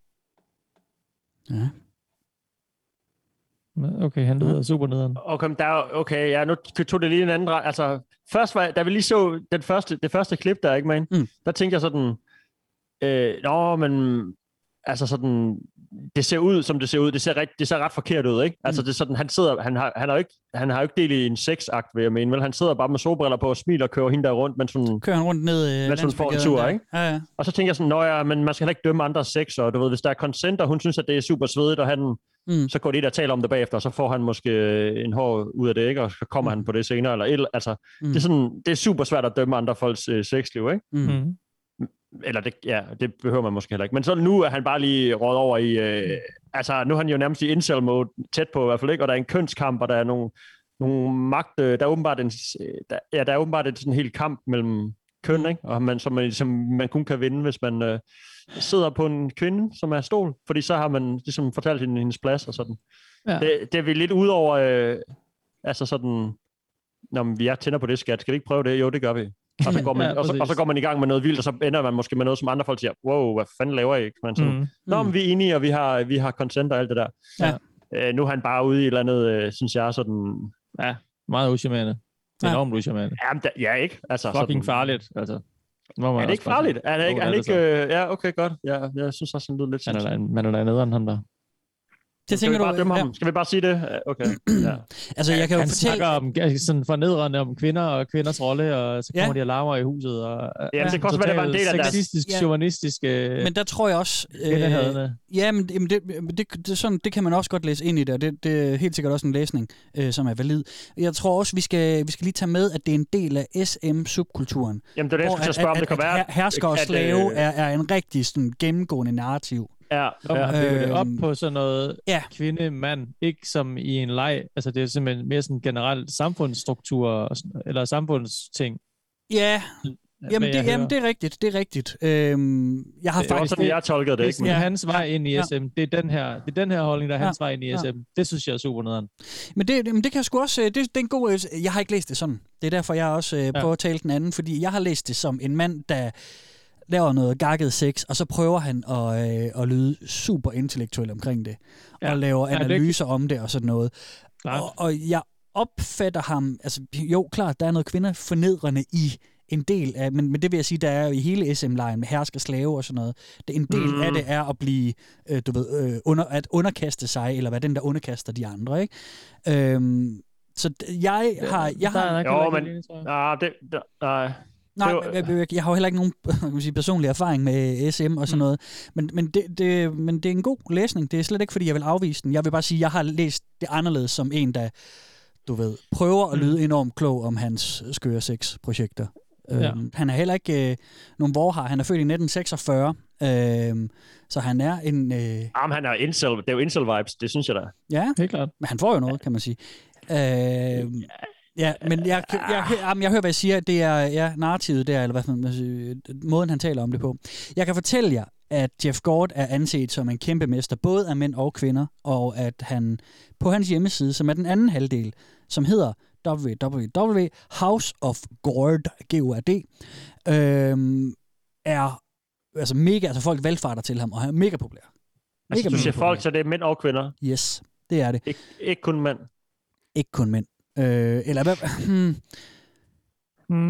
S3: Ja.
S5: Okay, han lyder super nederen.
S4: Okay, men der er, okay, ja, nu tog det lige en anden drej- Altså, først var, da vi lige så den første, det første klip der, ikke, man?
S3: Mm.
S4: Mm. Der tænkte jeg sådan, øh, nå, men altså sådan, det ser ud, som det ser ud. Det ser, ret, det ser ret forkert ud, ikke?
S3: Mm.
S4: Altså, det er sådan, han sidder, han har, han har jo ikke, han har jo ikke del i en sexakt, vil jeg mene, vel? Han sidder bare med solbriller på og smiler og kører hende der rundt, men sådan,
S3: Kører han rundt ned øh,
S4: Mens hun får en
S3: landsbygaden
S4: tur,
S3: der.
S4: ikke?
S3: Ja, ja.
S4: og så tænker jeg sådan, nå ja, men man skal heller ikke dømme andre sex, og du ved, hvis der er consent, og hun synes, at det er super svedigt, og han,
S3: Mm.
S4: mm. så går de der og taler om det bagefter, og så får han måske øh, en hår ud af det, ikke? og så kommer mm. han på det senere, eller et eller altså,
S3: Mm.
S4: mm. det, er sådan, det er super svært at dømme andre folks øh, sexliv, ikke?
S3: Mm.
S5: Mm.
S4: Eller det, ja, det behøver man måske heller ikke. Men så nu er han bare lige råd over i, øh, altså nu er han jo nærmest i incel mode, tæt på i hvert fald, ikke? Og der er en kønskamp, og der er nogle, nogle magt, øh, der er åbenbart en, s- øh, der, ja, der er åbenbart en sådan hel kamp mellem køn, ikke? Og man, som, man, som man kun kan vinde, hvis man øh, sidder på en kvinde, som er stol, fordi så har man ligesom fortalt hende hendes plads og sådan.
S5: Ja.
S4: Ja. Det, det er vi lidt ud over, øh, altså sådan, når vi er tænder på det skat, skal vi ikke prøve det? Jo, det gør vi.
S5: [LAUGHS]
S4: Og så, går man,
S5: Ja,
S4: og, så, og så
S5: præcis.
S4: går man i gang med noget vildt, og så ender man måske med noget, som andre folk siger, wow, hvad fanden laver I? ikke? Man sådan, mm.
S5: Mm.
S4: Nå, men vi er enige, og vi har, vi har consent og alt det der.
S5: Ja.
S4: Øh, nu er han bare ude i et eller andet, øh, synes jeg, sådan...
S5: Meget uschammerende.
S3: Ja.
S5: Ja. Enormt uschammerende.
S4: Jamen, da, ja, ikke? Altså,
S5: Fucking
S4: sådan,
S5: farligt, altså. Må man
S4: Er det
S5: også
S4: ikke
S5: bare sige.
S4: farligt? Er det
S5: Jo,
S4: ikke?
S5: det
S4: Er
S5: er
S4: det
S5: det
S4: ikke øh, ja, okay, godt. Ja, jeg synes også, han lyder lidt
S5: Man er
S4: sådan.
S5: da en- Man er da nederen, han
S4: [CLEARS THROAT]
S5: der.
S3: Det
S4: Skal vi
S3: tænker du...
S4: bare dømme
S3: ja.
S4: ham? Skal vi bare sige det? Øh,
S5: Mm.
S4: Okay. Ja.
S3: Altså, jeg kan jo
S5: Han
S3: fortælle...
S5: snakker om, sådan fornedrende om kvinder og kvinders rolle, og så
S3: Ja.
S5: kommer ja. de og larmer i huset. Og,
S4: Jamen, det kan også være, det var en del af deres-
S5: Sexistisk,
S3: Ja.
S5: ja. chauvinistisk, øh,
S3: Men der tror jeg også... Øh,
S5: kvindehadende.
S3: ja, men jamen, det, det, det, er sådan, det kan man også godt læse ind i det, og det, det er helt sikkert også en læsning, øh, som er valid. Jeg tror også, vi skal, vi skal lige tage med, at det er en del af SM-subkulturen.
S4: Jamen, det er det, jeg
S3: hvor
S4: skulle til at spørge, om det kan være...
S3: her- hersker og
S4: at, øh,
S3: slave er, er en rigtig sådan, gennemgående narrativ.
S4: Ja,
S5: Om
S4: ja.
S5: at bygge det op
S3: Øhm,
S5: på sådan noget
S3: ja.
S5: kvinde-mand, ikke som i en leg. Altså, det er simpelthen mere sådan generelt samfundsstruktur, og sådan- eller samfundsting.
S3: Ja,
S5: hvad
S3: jamen,
S5: jeg
S3: det, jamen
S5: hører.
S3: det er rigtigt, det er rigtigt. Øhm, jeg har
S5: Det er
S4: Det var
S3: faktisk...
S4: sådan, jeg tolkede det,
S5: Det er
S4: ikke?
S5: sådan,
S4: Men-
S5: ja. hans vej ind i
S3: Ja.
S5: SM. Det er den her, det er den her holdning, der er
S3: Ja.
S5: hans vej ind i
S3: Ja.
S5: SM. Det synes jeg er super nederen.
S3: Men det, men det kan jeg sgu også... øh, Det, det er en god... øh, Jeg har ikke læst det sådan. Det er derfor, jeg også øh, prøver at tale den anden, fordi jeg har læst det som en mand, der laver noget gakket sex, og så prøver han at, øh, at lyde super intellektuel omkring det, ja.
S5: Ja.
S3: og laver
S5: Ja, det er ikke-
S3: analyser om det og sådan noget.
S5: Klart.
S3: Og, og jeg opfatter ham, altså jo, klart, der er noget kvinder fornedrende i en del af, men, men det vil jeg sige, der er jo i hele SM-lejen med hersker slave og sådan noget, det, en del mm. af det er at blive, øh, du ved, øh, under, at underkaste sig, eller hvad den, der underkaster de andre, ikke? Øhm, så d- jeg har... Jeg
S5: der er
S3: har
S5: nok
S4: Jo,
S5: heller ikke
S4: men-
S5: alene, tror jeg.
S4: Nej, det... der- Nej.
S3: Nej,
S4: Det var-
S3: men jeg, jeg, jeg har jo heller ikke nogen [LAUGHS] kan man sige, personlig erfaring med SM
S4: Mm.
S3: og sådan noget, men, men, det, det, men det er en god læsning. Det er slet ikke, fordi jeg vil afvise den. Jeg vil bare sige, at jeg har læst det anderledes som en, der, du ved, prøver
S4: Mm.
S3: at lyde enormt klog om hans skøre sexprojekter.
S5: Ja.
S3: Ja. Øhm, han er heller ikke øh, nogen vorhar. Han er født i 1946, øhm, så han er en... Øh,
S4: Jamen, han er incel. Det er jo incel-vibes, det synes jeg da. Altså,
S3: ja,
S5: Helt klart.
S3: men han får jo noget, kan man sige. Øh, ja, men jeg, jeg, jeg, jamen, jeg hører, hvad I siger. Det er ja, narrativet der, eller hvad man siger, måden, han taler om det på. Jeg kan fortælle jer, at Jeff Gord er anset som en kæmpe mester, både af mænd og kvinder, og at han på hans hjemmeside, som er den anden halvdel, som hedder www.houseofgord.gord, øhm, er altså mega, altså folk valgfarter til ham, og han er mega populær. Mega,
S4: Altså, du
S3: mega
S4: siger folk, så det er mænd og kvinder.
S3: Yes, det er det.
S4: Ik- ikke kun mænd.
S3: Ikke kun mænd. Øh, eller hvad? Hmm.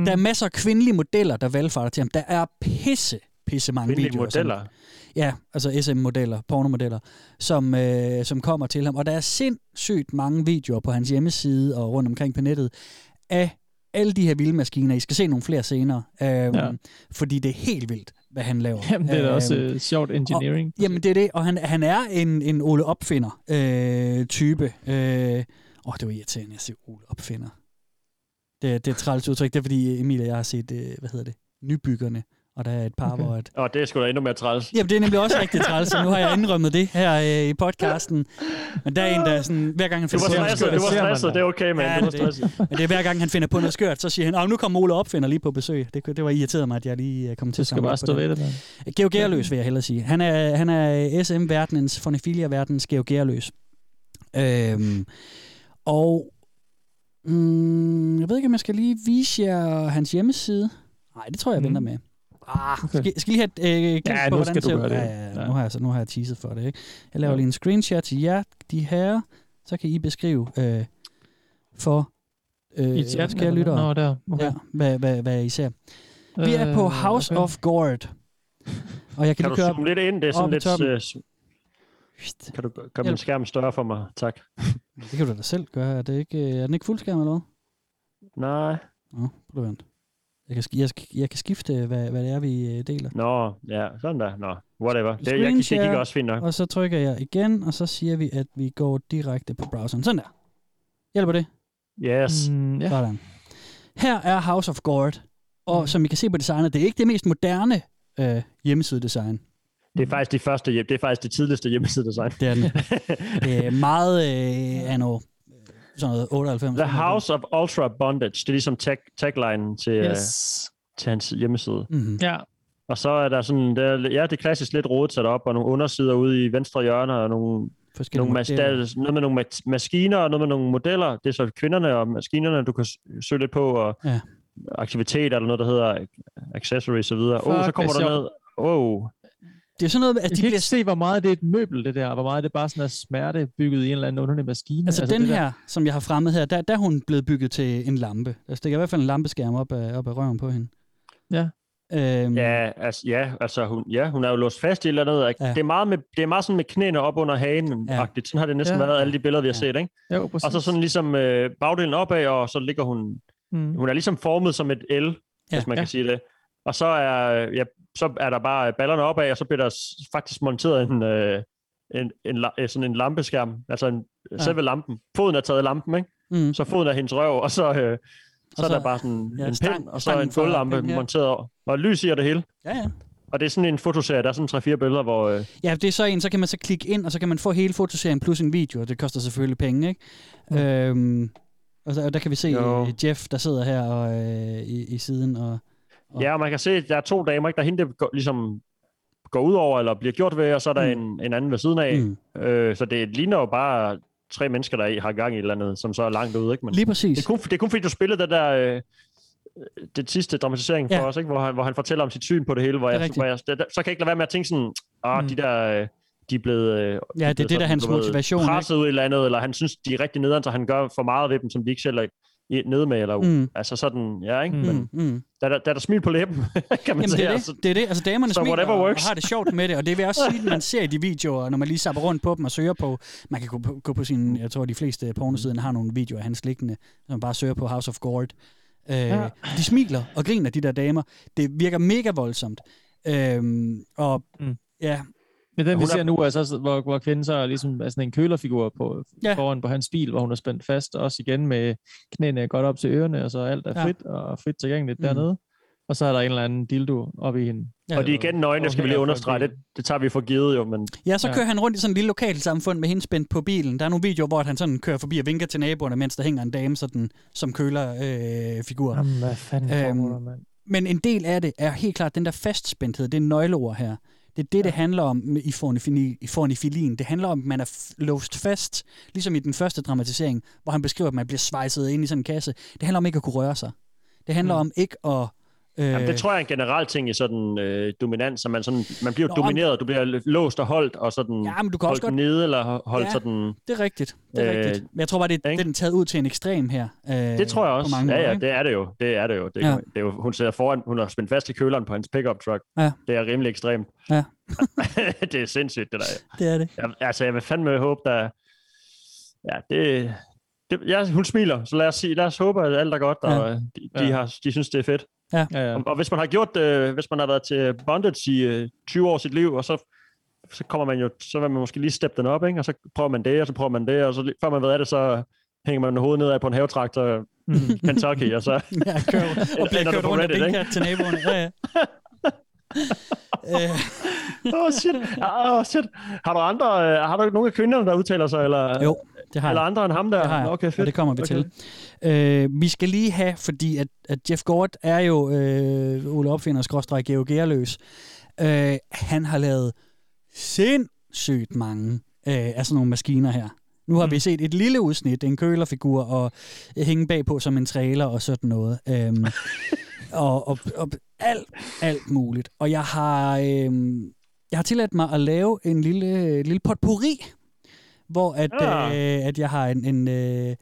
S3: Der er masser af kvindelige modeller, der valgfarter til ham. Der er pisse, pisse mange
S4: Kvindelige
S3: videoer. som-
S4: modeller.
S3: Ja, altså SM-modeller, pornomodeller, som, øh, som kommer til ham. Og der er sindssygt mange videoer på hans hjemmeside og rundt omkring på nettet af alle de her vilde maskiner. I skal se nogle flere senere, øh, ja. fordi det er helt vildt, hvad han laver.
S5: Jamen, det er da
S3: Øhm,
S5: også øh, sjovt engineering.
S3: og, jamen, det er det. Og han, han er en, en Ole Opfinder-type. Øh, type. øh, åh, det var irriterende at sige Ole Opfinder. Det, det er et træls udtryk. Det er, fordi Emil og jeg har set, øh, hvad hedder det, Nybyggerne. Og der er et par, okay. hvor at,
S4: Og det er sgu da endnu mere træls.
S3: Jamen, det er nemlig også rigtig træls, så nu har jeg indrømmet det her øh, i podcasten. Men der er en, der er sådan, hver gang han
S4: Du
S3: finder
S4: var
S3: på noget
S4: stresset,
S3: skørt,
S4: du var
S5: ser man
S4: stresset.
S5: da.
S4: Det er okay, mand.
S3: Ja,
S4: Du var
S3: det er det.
S4: stresset.
S3: men det er hver gang han finder på noget skørt, så siger han, "Åh, nu kommer Ole Opfinder lige på besøg. Det, kunne- det var irriteret mig, at jeg lige øh, kom til
S5: Det skal
S3: at
S5: bare
S3: samle op på
S5: stå ved det, mand.
S3: Georg Gerløs vil jeg hellere sige. Han er, han er øh, SM-verdenens, fornefilia-verdenens Georg Gerløs. Øhm, og mm, jeg ved ikke, om jeg skal lige vise jer hans hjemmeside. Nej, det tror jeg, jeg
S4: Mm.
S3: venter med. Ah, okay. skal, skal lige have et øh, glimt
S5: Ja,
S3: på,
S5: nu
S3: hvordan
S5: skal du
S3: ser ud?
S5: gøre det.
S3: Ja, ja, ja.
S5: Ja.
S3: Nu, har jeg, så, nu har jeg teaset for det. Ikke? Jeg laver lige en screenshot til jer, de her. Så kan I beskrive øh, for øh,
S5: I chatten?
S3: kære lyttere,
S5: Nå, der. Okay.
S3: ja, hvad, hvad, hvad I ser. Vi er på
S5: Øh,
S3: House
S5: okay.
S3: of Gord. Og jeg kan,
S4: Kan
S3: lige
S4: du
S3: køre
S4: zoome lidt ind? Det er
S3: op
S4: sådan
S3: i
S4: lidt...
S3: toppen?
S4: øh, zoom-
S3: Pst,
S4: Kan du gøre min
S3: Hjælp.
S4: skærm større for mig? Tak.
S3: Det kan du da selv gøre. Er, det ikke, øh, er den ikke fuldskærm eller hvad?
S4: Nej.
S3: Nå, prøv at vente. Jeg kan, sk- jeg, sk- jeg kan skifte, hvad, hvad det er, vi øh, deler.
S4: Nå, ja, sådan der. Nå, whatever. Det, jeg, det gik
S3: Screenshare.
S4: også fint nok.
S3: Og så trykker jeg igen, og så siger vi, at vi går direkte på browseren. Sådan der. Hjælper det?
S4: Yes.
S5: Mm, ja. Mm.
S3: Sådan. Her er House of Gord. Og som I kan se på designet, det er ikke det mest moderne øh, hjemmesidedesign.
S4: Det er faktisk de første hjem. Det er faktisk det tidligste hjemmesidedesign.
S3: Det er
S4: [LAUGHS]
S3: den. det er meget øh, anno, øh, sådan noget 98.
S4: The House of Ultra Bondage. Det er ligesom tag, taglinen til, øh, yes.
S5: Yes.
S4: til hans hjemmeside.
S3: Mm-hmm.
S5: Ja.
S4: Mhm. Og så er der sådan, der, ja, det er klassisk lidt rodet sat op, og nogle undersider ude i venstre hjørne, og nogle,
S3: Forskellige
S4: nogle mas- der,
S3: modeller.
S4: er noget med nogle ma- maskiner, og noget med nogle modeller. Det er så kvinderne og maskinerne, du kan s- søge lidt på, og
S3: Ja.
S4: ja. aktiviteter, eller noget, der hedder accessories og videre. Åh, oh,
S5: Fuck,
S4: så kommer
S5: hvor
S4: der
S5: sjovt.
S4: ned. Oh.
S3: Det er sådan noget, at
S5: Altså,
S3: de
S5: de kan
S3: bliver
S5: ikke se, hvor meget det er et møbel, det der. og Hvor meget det bare sådan er smerte bygget i en eller anden underlig maskine.
S3: Altså, altså den
S5: det der-
S3: her, som jeg har fremmet her, der, der er hun blevet bygget til en lampe. Altså, Der stikker i hvert fald en lampeskærm op af, op af røven på hende.
S5: Ja.
S3: Øhm, ja.
S4: Ja, altså, ja, altså hun, ja, hun er jo låst fast i et eller andet. ikke?
S3: Ja.
S4: Det, er meget med, det er meget sådan med knæene op under hagen.
S3: Ja.
S4: Ja. Sådan har det næsten
S5: Ja.
S4: ja. været alle de billeder, vi har set. Ikke?
S5: Jo, præcis.
S4: Og så sådan ligesom øh, bagdelen opad, og så ligger hun...
S5: Mm.
S4: Hun er ligesom formet som et L,
S3: Ja.
S4: ja. hvis man
S5: Ja.
S4: ja. kan sige det. Og så er, øh, ja, så er der bare øh, ballerne opad, og så bliver der s- faktisk monteret en, øh, en, en, la- øh, sådan en lampeskærm. Altså en,
S3: Ja.
S4: ja. selve lampen. Foden er taget af lampen, ikke?
S3: Mm.
S4: Så foden er hendes røv, og så... Øh, så,
S3: Og
S4: så
S3: så-
S4: er der bare sådan
S3: ja,
S4: ja, en pind,
S3: stang-
S4: og så
S3: stangen
S4: en
S3: for
S4: gulvlampe
S3: pinden, ja.
S4: monteret over. Og lys i og det hele.
S3: ja, ja.
S4: Og det er sådan en fotoserie, der er sådan 3-4 billeder, hvor... Øh,
S3: Ja, det er så en, så kan man så klikke ind, og så kan man få hele fotoserien plus en video, og det koster selvfølgelig penge, ikke? Mm. Øhm, og, så, og der kan vi se
S4: Jo.
S3: øh, Jeff, der sidder her og, øh, i, i siden. Og, Og-
S4: ja, og man kan se, at der er to damer, ikke? der er hende, der går, ligesom går ud over, eller bliver gjort ved, og så er der
S3: Mm.
S4: mm. en, en anden ved siden af.
S3: mm.
S4: Mm. Øh, så det ligner jo bare tre mennesker, der har gang i et eller andet, som så er langt ude. Ikke? Men
S3: Lige præcis.
S4: det, er kun, det er kun fordi, du spillede det der... Øh, det sidste dramatisering for
S3: Ja.
S4: os, ikke? Hvor, han, hvor han fortæller om sit syn på det hele, hvor
S3: Det er
S4: jeg,
S3: rigtigt.
S4: hvor jeg, der, der, så kan jeg ikke lade være med at tænke sådan, ah,
S5: Mm.
S4: mm. de der øh, de er blevet... Øh, de
S3: det er
S4: blevet
S3: det, der er hans
S4: du ved,
S3: motivation, ikke?
S4: Presset ud i landet, eller han synes, de er rigtig nederen, så han gør for meget ved dem, som de ikke selv er i- nede med, eller
S3: Mm.
S4: mm. altså sådan, ja, ikke? Mm.
S3: Mm, mm.
S4: Der, er der, der er der smil på læben, [LAUGHS] kan man
S3: Jamen,
S4: sige.
S3: det, er
S4: altså.
S3: det. det er det. Altså, damerne
S4: So
S3: smiler
S4: whatever
S3: og, og
S4: works.
S3: har det sjovt med det, og det vil jeg
S5: [LAUGHS]
S3: også sige, når man ser i de videoer, når man lige sapper rundt på dem og søger på... Man kan gå på, gå på sin... Jeg tror, de fleste pornosider har nogle videoer af hans liggende, som man bare søger på House of Gold. Øh, ja. De smiler og griner, de der damer. Det virker mega voldsomt. Øhm, og mm.
S5: Mm.
S3: ja,
S5: Men den, vi
S4: Hun er-
S5: ser nu, er så, også, hvor, hvor kvinden så er ligesom er sådan en kølerfigur på,
S3: Ja.
S5: ja. foran på hans bil, hvor hun er spændt fast, også igen med knæene godt op til ørerne, og så alt er
S3: Ja.
S5: frit og frit tilgængeligt
S3: Mm.
S5: mm. dernede. Og så er der en eller anden dildo op i hende.
S3: Ja.
S4: Og de er igen nøgne, skal vi lige
S5: Afhænger af
S4: understrege. Det,
S5: folk.
S4: det tager vi for givet jo, men
S3: Ja, så
S5: Ja.
S3: kører han rundt i sådan et lille lokalsamfund med hende spændt på bilen. Der er nogle videoer, hvor han sådan kører forbi og vinker til naboerne, mens der hænger en dame sådan, som køler øh, figur.
S5: Jamen, hvad fanden
S3: Øhm,
S5: foregår der, mand?
S3: Men en del af det er helt klart den der fastspændthed, det er nøgleord her. Det er det, ja. det handler om med- i fornifini- i fornifilien. Det handler om, at man er f- låst fast, ligesom i den første dramatisering, hvor han beskriver, at man bliver svejset ind i sådan en kasse. Det handler om ikke at kunne røre sig. Det handler mm. om ikke at... Øh,
S4: Jamen, det tror jeg er en generel ting i sådan øh, dominans, at man, sådan, man bliver
S3: Nå,
S4: Nå, domineret, du bliver låst og holdt, og sådan
S3: Ja, men du kan også
S4: holdt
S3: godt...
S4: nede, eller ho- holdt
S3: Ja.
S4: ja. sådan...
S3: Det er rigtigt. Det er
S4: Øh,
S3: rigtigt. Men jeg tror bare, det er, det
S4: ikke?
S3: er den taget ud til en ekstrem her. Øh,
S4: Det tror jeg
S3: på
S4: også.
S3: mange
S4: Ja,
S3: måder,
S4: ja,
S3: ikke?
S4: det er det jo. Det er det jo. Det,
S3: Ja.
S4: ja. det er jo hun sidder foran, hun har spændt fast i køleren på hans pickup truck.
S3: Ja.
S4: Det er rimelig ekstremt.
S3: Ja.
S4: [LAUGHS] det er sindssygt, det der.
S3: det er det.
S4: Jeg, altså, jeg vil fandme håbe, der... Ja, det... det ja, hun smiler, så lad os, sige, lad os håbe, at alt er godt, og
S3: Ja.
S4: ja. de, de,
S5: Ja.
S4: har, de synes, det er fedt.
S5: Ja, ja.
S4: Og, og hvis man har gjort, øh, hvis man har været til bondage i øh, 20 år af sit liv, og så så kommer man jo, så vil man måske lige steppe den op, ikke? og så prøver man det, og så prøver man det, og så lige- før man ved af det, så hænger man hovedet nedad på en havetraktor i [LAUGHS] Kentucky, og så
S3: Mhm.
S4: [LAUGHS]
S3: Ja, kører, og bliver
S4: ender du
S3: kørt
S4: på
S3: rundt og
S4: Reddit, ikke?
S3: vinker til
S4: [LAUGHS]
S3: naboerne. Ja, ja. Øh,
S4: Åh, oh, shit. Åh, oh, shit. Har du andre, øh, har du nogen af kvinderne, der udtaler sig, eller,
S3: jo, det har
S4: eller
S3: jeg.
S4: andre end ham der?
S3: Det har jeg,
S4: Nå, Okay,
S3: og
S4: fedt.
S3: det kommer vi
S4: Okay.
S3: til. Øh, vi skal lige have, fordi at, at Jeff Gort er jo øh, Ole Opfinder, skråstrej Georg Gerløs. Øh, han har lavet sindssygt mange øh, af sådan nogle maskiner her. Nu har mm. vi set et lille udsnit, en kølerfigur og hænge bagpå som en trailer og sådan noget. Øhm, og, og, og alt, alt muligt. Og jeg har, øhm, jeg har tilladt mig at lave en lille, øh, lille potpourri, hvor at,
S4: Ah.
S3: øh, at jeg har en, en, øh,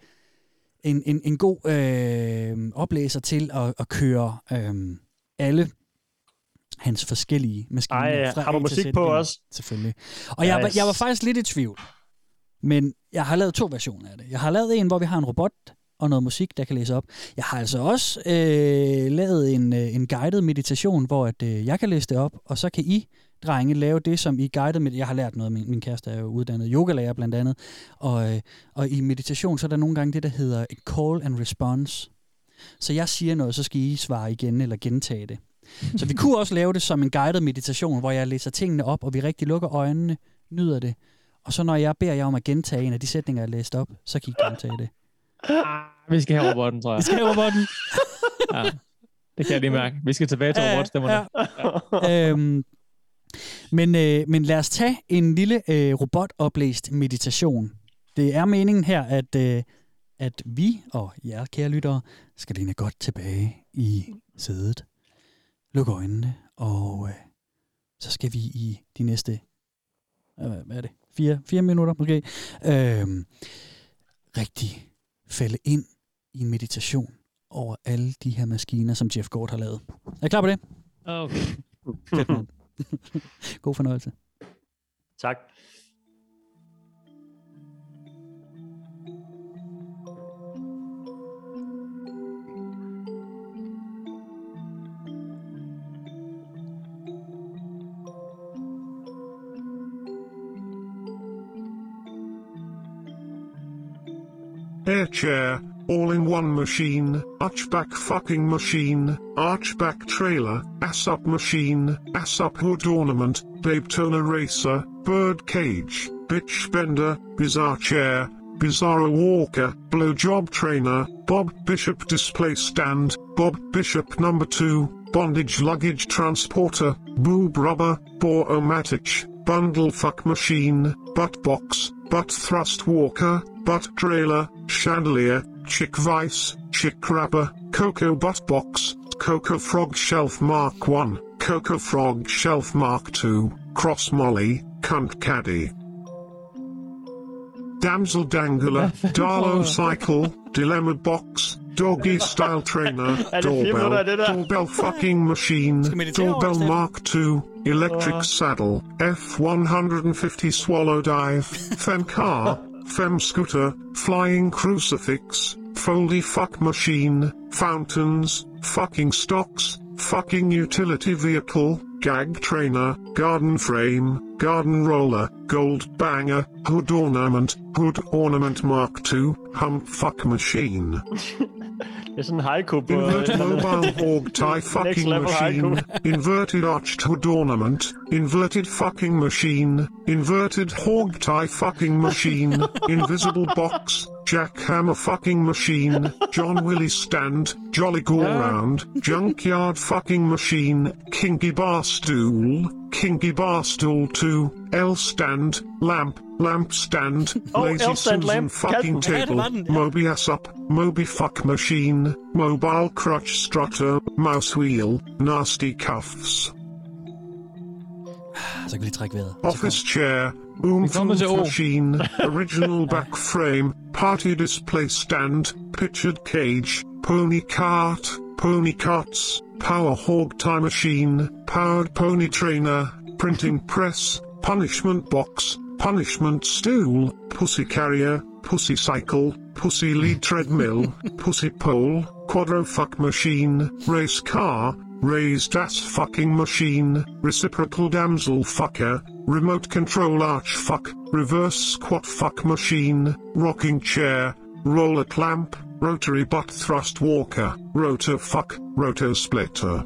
S3: en, en, en god øh, oplæser til at, at køre øh, alle hans forskellige maskiner.
S4: Ej,
S3: fra
S4: har du
S3: A til Z.
S4: musik på også?
S3: Selvfølgelig. Og jeg, var,
S4: Nice.
S3: jeg var faktisk lidt i tvivl. Men jeg har lavet to versioner af det. Jeg har lavet en, hvor vi har en robot og noget musik, der kan læse op. Jeg har altså også øh, lavet en, øh, en guided meditation, hvor at, øh, jeg kan læse det op, og så kan I, drenge, lave det, som I guided med. Jeg har lært noget, min, min kæreste er jo uddannet yogalærer blandt andet, og, øh, og i meditation, så er der nogle gange det, der hedder et call and response. Så jeg siger noget, så skal I svare igen eller gentage det. Så vi kunne også lave det som en guided meditation, hvor jeg læser tingene op, og vi rigtig lukker øjnene, nyder det. Og så når jeg beder jer om at gentage en af de sætninger, jeg læste op, så kan I gentage det.
S5: Ah, Vi skal have robotten, tror jeg.
S3: Vi skal have robotten.
S5: [LAUGHS] Ja. Det kan jeg lige mærke. Vi skal tilbage til
S3: Ja, ja,
S5: robotstemmerne.
S3: ja. øhm, men, øh, men lad os tage en lille øh, robotoplæst meditation. Det er meningen her, at, øh, at vi og jer, kære lyttere, skal læne godt tilbage i sædet. Luk øjnene, og øh, så skal vi i de næste... øh, Hvad er det? Fire, fire minutter måske. Øhm, rigtig falde ind i en meditation over alle de her maskiner, som Jeff Gord har lavet. Er I klar på det?
S5: Okay.
S3: Fedt, mand. [LAUGHS] God fornøjelse.
S4: Tak.
S8: Air chair, all in one machine, archback fucking machine, archback trailer, ass up machine, ass up hood ornament, babe tone eraser, bird cage, bitch bender, bizarre chair, bizarro walker, blowjob trainer, Bob Bishop display stand, Bob Bishop number 2, bondage luggage transporter, boob rubber, bore o bundle fuck machine, butt box, butt thrust walker, butt trailer, chandelier, chick vice, chick wrapper, cocoa butt box, cocoa frog shelf mark 1, cocoa frog shelf mark 2, cross molly, cunt caddy. Damsel dangler, Darlow cycle, dilemma box, doggy style trainer,
S4: Er det fire minutter af
S8: doorbell,
S4: det der?
S8: doorbell fucking machine,
S3: Skal meditere over,
S8: doorbell
S3: Steffen?
S8: mark II, electric saddle, F150 swallow dive, fem car, fem scooter, flying crucifix, foldy fuck machine, fountains, fucking stocks, fucking utility vehicle, gag trainer, garden frame, garden roller, gold banger, hood ornament, hood ornament mark II, hump fuck machine.
S4: Det er sådan en haiku på... øh,
S8: Invert mobile
S4: [LAUGHS]
S8: org tie
S4: Next
S8: fucking
S4: level
S8: machine.
S4: haiku.
S8: Inverted arched hood ornament. Inverted fucking machine. Inverted hog tie fucking machine. Invisible box. Jackhammer fucking machine. John Willie stand. Jolly go round. Junkyard fucking machine. Kinky bar stool. Kinky bar stool 2. L stand. Lamp. Lamp stand.
S4: Oh,
S8: Lazy
S4: L stand,
S8: Susan
S4: lamp.
S8: fucking
S4: Katten.
S3: Ja, det
S8: table.
S3: var den, ja.
S8: Moby ass up, Moby fuck machine, mobile crutch strutter, mouse wheel, nasty cuffs,
S3: Ah, så kan vi lige trække vejret.
S8: office chair, oomph
S5: kommer til
S8: oomph
S5: O.
S8: machine, original back frame, party display stand, pictured cage, pony cart, pony carts, power hog tie machine, powered pony trainer, printing press, punishment box, punishment stool, pussy carrier, pussy cycle, pussy lead treadmill, pussy pole, quadro fuck machine, race car, raised ass fucking machine, reciprocal damsel fucker, remote control arch fuck, reverse squat fuck machine, rocking chair, roller clamp, rotary butt thrust walker, rotor fuck, rotor splitter.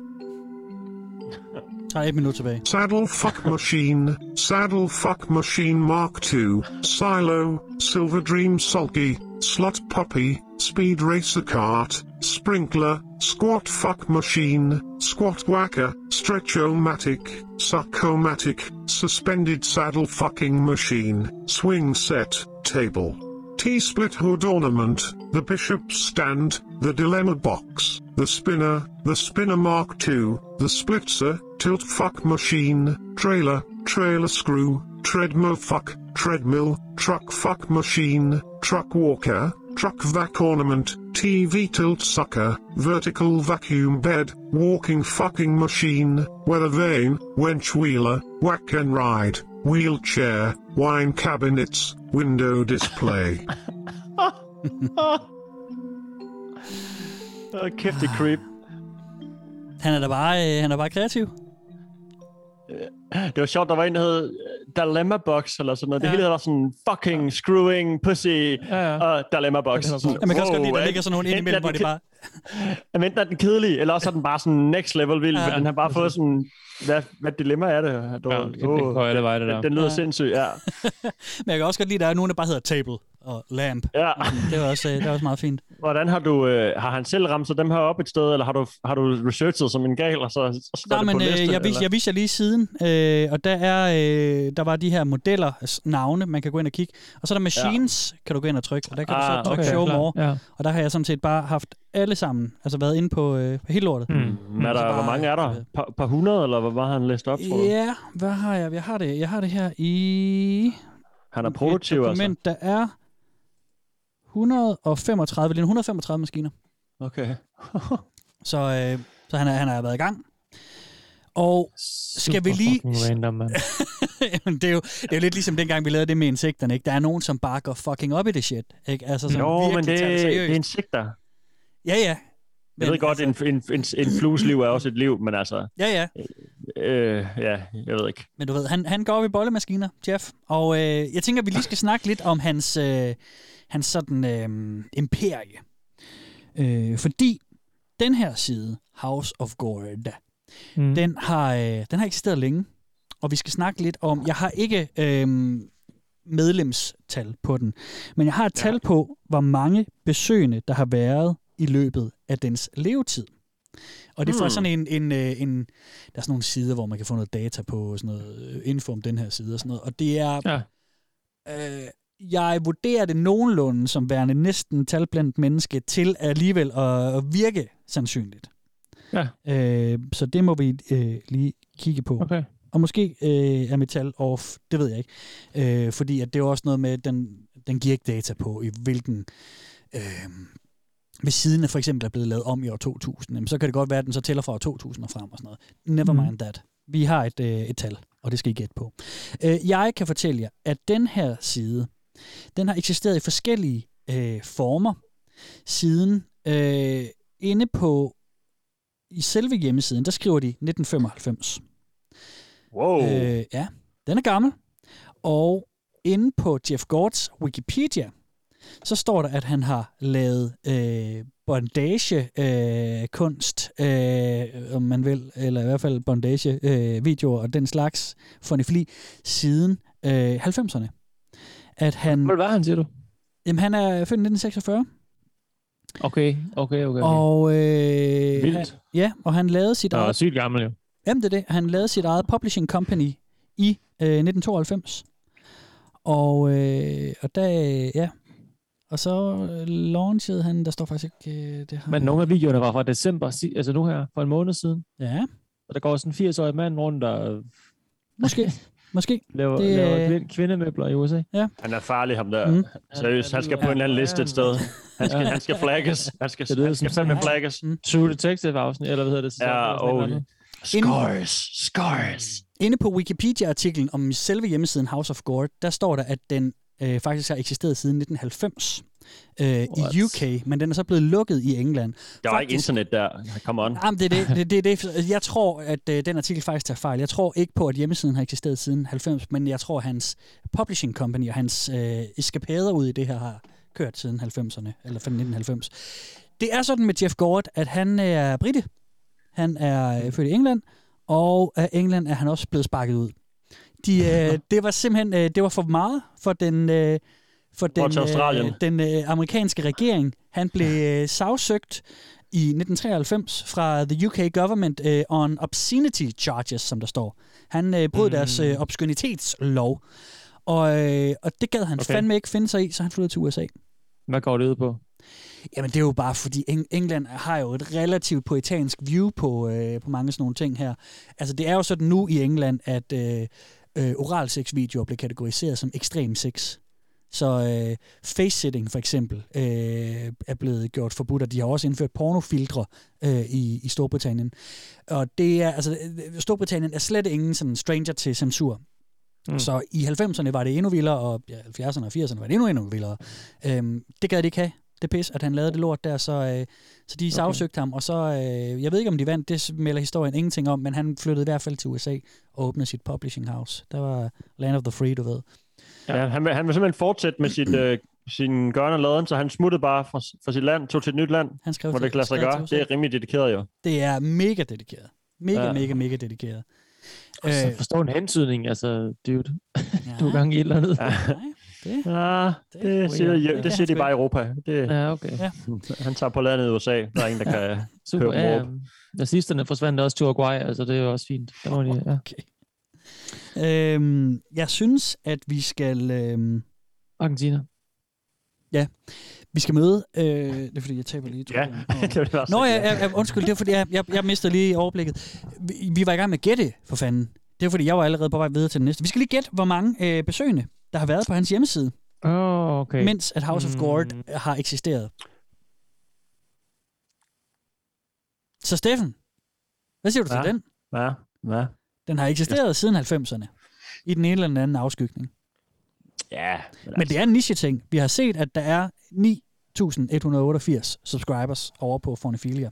S3: Tager et minut tilbage.
S8: Saddle fuck machine, saddle fuck machine Mark II, silo, silver dream sulky, slut puppy, speed racer cart, sprinkler, squat fuck machine, squat whacker, stretchomatic, suckomatic, suspended saddle fucking machine, swing set, table. T-split hood ornament, the bishop's stand, the dilemma box, the spinner, the spinner mark II, the splitzer, tilt fuck machine, trailer, trailer screw, treadmill fuck, treadmill, truck fuck machine, truck walker, truck vac ornament, TV tilt sucker, vertical vacuum bed, walking fucking machine, weather vane, wench wheeler, whack and ride, wheelchair, wine cabinets, window display.
S4: Åh, kæft, det er creep.
S3: Han er da bare, øh, han er bare kreativ.
S4: Øh, Det var sjovt, der var en, der hed øh, Dilemma Box, eller sådan noget. Det hele var sådan fucking screwing pussy
S5: ja.
S4: og Dilemma Box.
S3: Ja, man kan også godt lide, at der ligger sådan nogle ind imellem, hvor det bare...
S4: Jamen, enten [LAUGHS] er den kedelig, eller også er den bare sådan next level vild,
S3: Ja.
S4: ja, men den har bare fået sådan... Hvad, hvad dilemma er det? her? Du,
S5: Ja, det- det går alle veje, det der.
S4: Den, den lyder ja. sindssyg, ja.
S3: [LAUGHS] Men jeg kan også godt lide, at der er nogen, der bare hedder table og lamp. [LAUGHS]
S4: ja.
S3: Det var også, øh, det var også meget fint.
S4: Hvordan har du... Øh, har han selv ramt sig dem her op et sted, eller har du, har du researchet som en gal, og så, så står
S3: Nej,
S4: det
S3: men
S4: på liste,
S3: øh, jeg, vis,
S4: eller?
S3: jeg viste jer lige siden, øh, og der er øh, der var de her modeller, altså navne, man kan gå ind og kigge. Og så er der machines, ja. kan du gå ind og trykke, og der kan ah, du
S4: Ah,
S3: så trykke
S4: okay,
S3: okay, show
S5: klar.
S3: more.
S5: Ja.
S3: Og der har jeg sådan set bare haft alle sammen, altså været inde på, øh, på hele lortet. Mm.
S4: Hmm. Men er der,
S3: bare- altså-
S4: hvor mange er der? Par, par hundrede, eller hvor meget har han læst op, tror du?
S3: Ja, hvad har jeg? Jeg har det, jeg har det her i
S4: Han er
S3: et
S4: produktiv, altså.
S3: dokument, der er 135, lige nu 135 maskiner.
S4: Okay.
S3: Så, øh, så han, er, han har været i gang. Og skal vi
S5: Super
S3: lige...
S5: fucking Random, mand.
S3: [LAUGHS] Jamen, det, er jo, det er jo lidt ligesom dengang, vi lavede det med insekterne. Ikke? Der er nogen, som bare går fucking op i det shit. Ikke? Altså, som
S4: Jo,
S3: virkelig
S4: men det,
S3: tager det
S4: det er
S3: seriøst.
S4: insekter.
S3: Ja, ja. Men,
S4: Jeg ved godt,
S3: altså,
S4: altså... en, en, en, en flues liv er også et liv, men altså...
S3: Ja, ja.
S4: Øh, ja, jeg ved ikke.
S3: Men du ved, han, han går op i bollemaskiner, Jeff. Og øh, jeg tænker, vi lige skal snakke lidt om hans, øh, hans sådan øh, imperie. Øh, fordi den her side, House of Gold,
S5: Mm.
S3: den har, øh, den har eksisteret længe. Og vi skal snakke lidt om, jeg har ikke øh, medlemstal på den, men jeg har et tal på, hvor mange besøgende, der har været i løbet af dens levetid. Og det er
S5: Hmm.
S3: fra sådan en, en, øh, en, der er sådan nogle sider, hvor man kan få noget data på, sådan noget øh, info om den her side og sådan noget. Og det er,
S5: Ja.
S3: øh, jeg vurderer det nogenlunde som værende næsten talblandt menneske til alligevel at, at virke sandsynligt.
S5: Ja.
S3: Øh, så det må vi øh, lige kigge på.
S5: Okay.
S3: og måske øh, er metal off, det ved jeg ikke. Øh, fordi at det er jo også noget med, at den, den giver ikke data på, i hvilken... Øh, hvis siden er for eksempel er blevet lavet om i år 2000, jamen, så kan det godt være, at den så tæller fra år 2000 og frem og sådan noget. Never
S5: Mhm.
S3: mind that. Vi har et, øh, et tal, og det skal I gætte på. Øh, jeg kan fortælle jer, at den her side, den har eksisteret i forskellige øh, former siden. Øh, inde på i selve hjemmesiden, der skriver de 1995.
S4: Wow. Øh,
S3: Øh, ja, den er gammel. Og inde på Jeff Gords Wikipedia, så står der, at han har lavet øh, bondage-kunst, øh, kunst, øh, om man vil, eller i hvert fald bondage-videoer og den slags fonifli, siden øh, 90'erne. At han,
S5: Hvad var han, siger du?
S3: jamen, han er født i 1946,
S5: Okay, okay, okay. okay.
S3: og, øh, han,
S5: Vildt.
S3: ja, og han lavede sit
S5: Og
S3: eget
S5: sygt gammel jo.
S3: Jamen det er det. Han lavede sit eget publishing company i øh, 1992. Og, øh, og der, øh, ja. Og så øh, launchede han, der står faktisk ikke, øh, det har
S5: Men nogle af videoerne var fra december, si- altså nu her, for en måned siden.
S3: Ja,
S5: Og der går sådan en 80-årig mand rundt og
S3: måske. måske.
S5: [LAUGHS] laver,
S3: Det,
S5: det, laver
S3: øh,
S5: kvinde, kvindemøbler i USA.
S4: han er farlig, ham der.
S3: Mm.
S4: Mm. Seriøst, han skal på en eller anden liste et sted. Han skal, han skal flagges. Han skal,
S5: Det lyder
S4: han skal
S5: som- Mm.
S4: fandme
S3: Ja.
S4: flagges.
S5: True Detective afsnit, eller hvad hedder det? sæson
S4: Ja,
S5: eller sådan et
S4: oh.
S5: eller andet.
S4: Scars. Scars.
S3: Inde på Wikipedia-artiklen om selve hjemmesiden House of Gore, der står der, at den øh, faktisk har eksisteret siden 1990 øh, i
S5: What?
S3: UK, men den er så blevet lukket i England.
S4: Der var ikke
S3: Faktisk-
S4: internet der. Come on.
S3: Jamen, det er det, det, det, det. Jeg tror, at øh, den artikel faktisk tager fejl. Jeg tror ikke på, at hjemmesiden har eksisteret siden 90, men jeg tror, at hans publishing company og hans øh, eskapader ud i det her har kørt siden 90'erne, eller fra 1990. Det er sådan med Jeff Gord, at han er brite. Han er
S4: Mm.
S3: øh, født i England, og af England er han også blevet sparket ud. De,
S4: [LAUGHS]
S3: øh, det var simpelthen øh, det var for meget for den... Øh, for
S4: Hvor til
S3: den,
S4: Australien?
S3: øh, den øh, amerikanske regering. Han blev øh, sagsøgt i 1993 fra the UK government øh, on obscenity charges, som der står. Han øh, brød mm. deres øh, obskønitetslov, og, øh, og det gad han okay.
S5: Okay.
S3: fandme ikke finde sig i, så han flyttede til USA.
S5: Hvad går det ud på?
S3: Jamen det er jo bare fordi Eng- England har jo et relativt poetansk view på, øh, på mange sådan nogle ting her. Altså det er jo sådan nu i England, at øh, øh, oralsexvideoer bliver kategoriseret som ekstrem sex. Så øh, face-sitting for eksempel øh, er blevet gjort forbudt, og de har også indført pornofiltre øh, i, i Storbritannien. Og det er, altså, øh, Storbritannien er slet ingen sådan stranger til censur. Mm.
S5: Mm.
S3: Så i 90'erne var det endnu vildere, og ja, 70'erne og 80'erne var det endnu, endnu vildere. Øhm, det gad de ikke have, det pis, at han lavede det lort der, så, øh, så de sagsøgte ham, og så, øh, jeg ved ikke om de vandt, det melder historien ingenting om, men han flyttede i hvert fald til USA og åbnede sit publishing house. Der var Land of the Free, du ved.
S4: Ja, han, vil, han vil simpelthen fortsætte med sit, øh, sin gørn og laden, så han smuttede bare fra, fra sit land, tog til et nyt land,
S3: Han skrev
S4: hvor det kan lade sig
S3: skrev
S4: gøre.
S3: til USA.
S4: Det er rimelig dedikeret
S5: Øh,
S4: jo.
S3: Det er mega dedikeret. Mega, ja.
S5: Ja.
S3: mega, mega dedikeret. Øh,
S5: Altså, forstå en hentydning, altså, dude. Du er
S3: ja,
S5: gang i et eller andet. Ja,
S3: nej, det,
S4: Ja,
S3: Det
S4: det siger,
S3: weird.
S4: det,
S3: Det
S4: det siger de
S3: er
S4: bare i Europa. Det, [LAUGHS]
S5: ja okay.
S3: Ja.
S4: han tager på landet i USA. Der
S5: [LAUGHS]
S4: er ingen, der kan...
S5: Super.
S4: Hør
S5: Ja,
S4: dem
S5: ja. Nazisterne forsvandt også til Uruguay, altså det er jo også fint. Der må de, ja.
S3: øhm, jeg synes, at vi skal, øhm,
S5: Argentina.
S3: vi skal møde... Øh, det er fordi, jeg taber lige.
S4: Ja,
S3: tråden.
S4: [LAUGHS] det vil jeg også
S3: Nå,
S4: sige.
S3: ja, ja, ja, undskyld, det er fordi, jeg, jeg, jeg mistede lige overblikket. Vi, vi var i gang med at gætte, for fanden. Det er fordi, jeg var allerede på vej videre til den næste. Vi skal lige gætte, hvor mange øh, besøgende, der har været på hans hjemmeside,
S5: Åh, oh, okay.
S3: okay. mens at House of Gord
S5: Mm.
S3: har eksisteret. Så Steffen, hvad siger du til
S4: Ja.
S3: den?
S4: Ja, ja.
S3: Den har eksisteret siden 90'erne, i den ene eller den anden afskygning.
S4: ja altså,
S3: Men det er en niche-ting. Vi har set, at der er 9.188 subscribers over på Fornifilia.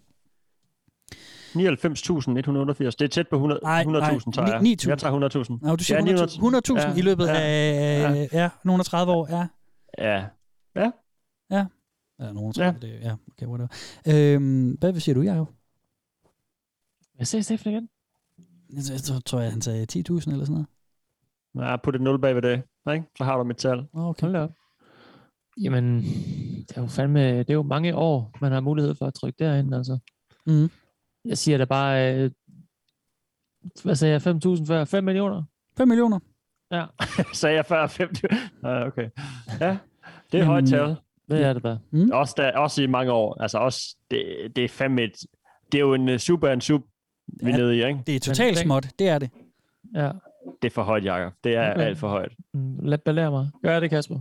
S4: 99.188. Det er tæt på 100
S3: Nej,
S4: 100.000,
S3: nej,
S4: tager jeg.
S3: ni-
S4: Jeg
S3: 9.000.
S4: tager 100.000.
S3: Nå, du siger
S4: Ja,
S3: 100.000
S4: 900.000.
S3: 100.000 i
S4: Ja,
S3: løbet
S4: ja,
S3: af ja. Ja, nogle af 30 år. Ja,
S4: Ja.
S3: ja nogle af
S4: Ja.
S3: 30 ja. ja okay, whatever. Øhm, hvad siger du, Jacob?
S5: Jeg ser Steffen igen.
S3: Jeg, jeg tror- tror, jeg, han sagde 10.000 eller sådan noget.
S4: ja, put et 0 bagved det. Ikke? Så har du mit tal.
S3: Nå, Ah, Okay.
S5: Hold da op. Jamen, det er jo fandme, det er jo mange år, man har mulighed for at trykke derhen, altså.
S3: Mhm.
S5: Jeg siger da bare, øh, hvad sagde jeg, 5.000 før? 5 millioner?
S3: 5 millioner.
S4: [LAUGHS] Sagde jeg før [LAUGHS] 50. Ja, okay. Ja, det er et
S3: Men-
S4: højt tal.
S5: Hvad er det bare?
S3: Hmm?
S4: Også, der, også i mange år. Altså også, det, det er fandme et, Det er jo en øh, super en sub, vi er
S3: Ja.
S4: nede i, ikke?
S3: Det er totalt
S5: Men-
S3: småt, det er det.
S5: Ja.
S4: Det er for højt, Jacob. Det er
S5: Okay.
S4: alt for højt.
S5: Mm, Lad belære mig. Gør det, Kasper.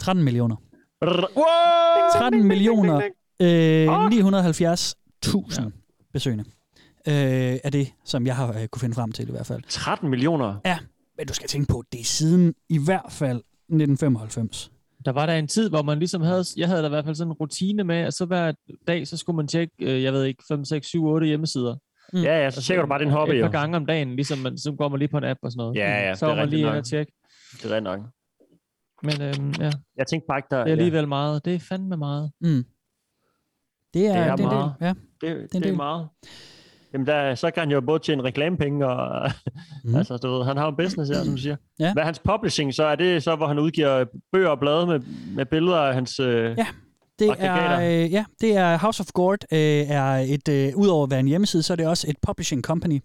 S3: 13 millioner.
S4: Brrr.
S3: 13 millioner øh, 970.000 ja. besøgende. Øh, er det, som jeg har øh, kunne finde frem til i hvert fald.
S4: 13 millioner?
S3: Ja, men du skal tænke på, det er siden i hvert fald 1995.
S5: Der var der en tid, hvor man ligesom havde, jeg havde da i hvert fald sådan en rutine med, at så hver dag, så skulle man tjekke, øh, jeg ved ikke, 5, 6, 7, 8 hjemmesider.
S3: Mm.
S4: Ja, ja, så tjekker du bare din hobby,
S5: Et
S4: jo.
S5: par gange om dagen, ligesom man, så går man lige på en app og sådan noget.
S4: Ja, ja,
S5: så
S4: det
S5: var
S4: er
S5: man
S4: rigtigt
S5: lige
S4: nok.
S5: inde og tjekke.
S4: Det er rigtig nok.
S5: Men øhm, ja,
S4: Jeg tænkte bare ikke, der...
S5: det er alligevel meget. Det er fandme meget.
S3: Mm. Det er,
S4: Det er
S3: det er
S4: meget.
S3: Det, ja.
S4: ja, det,
S3: en
S4: det, det
S3: del.
S4: er meget. Jamen, der, så kan han jo både tjene reklamepenge og...
S3: Mm.
S4: Mm. altså, du ved, han har jo en business her, som du siger.
S3: Ja.
S4: Hvad er hans publishing så? Er det så, hvor han udgiver bøger og blade med, med billeder af hans... Øh,
S3: Ja. Det er,
S4: Aggregater.
S3: øh, ja, det er House of Gourd øh, er et, øh, udover at være en hjemmeside, så er det også et publishing company,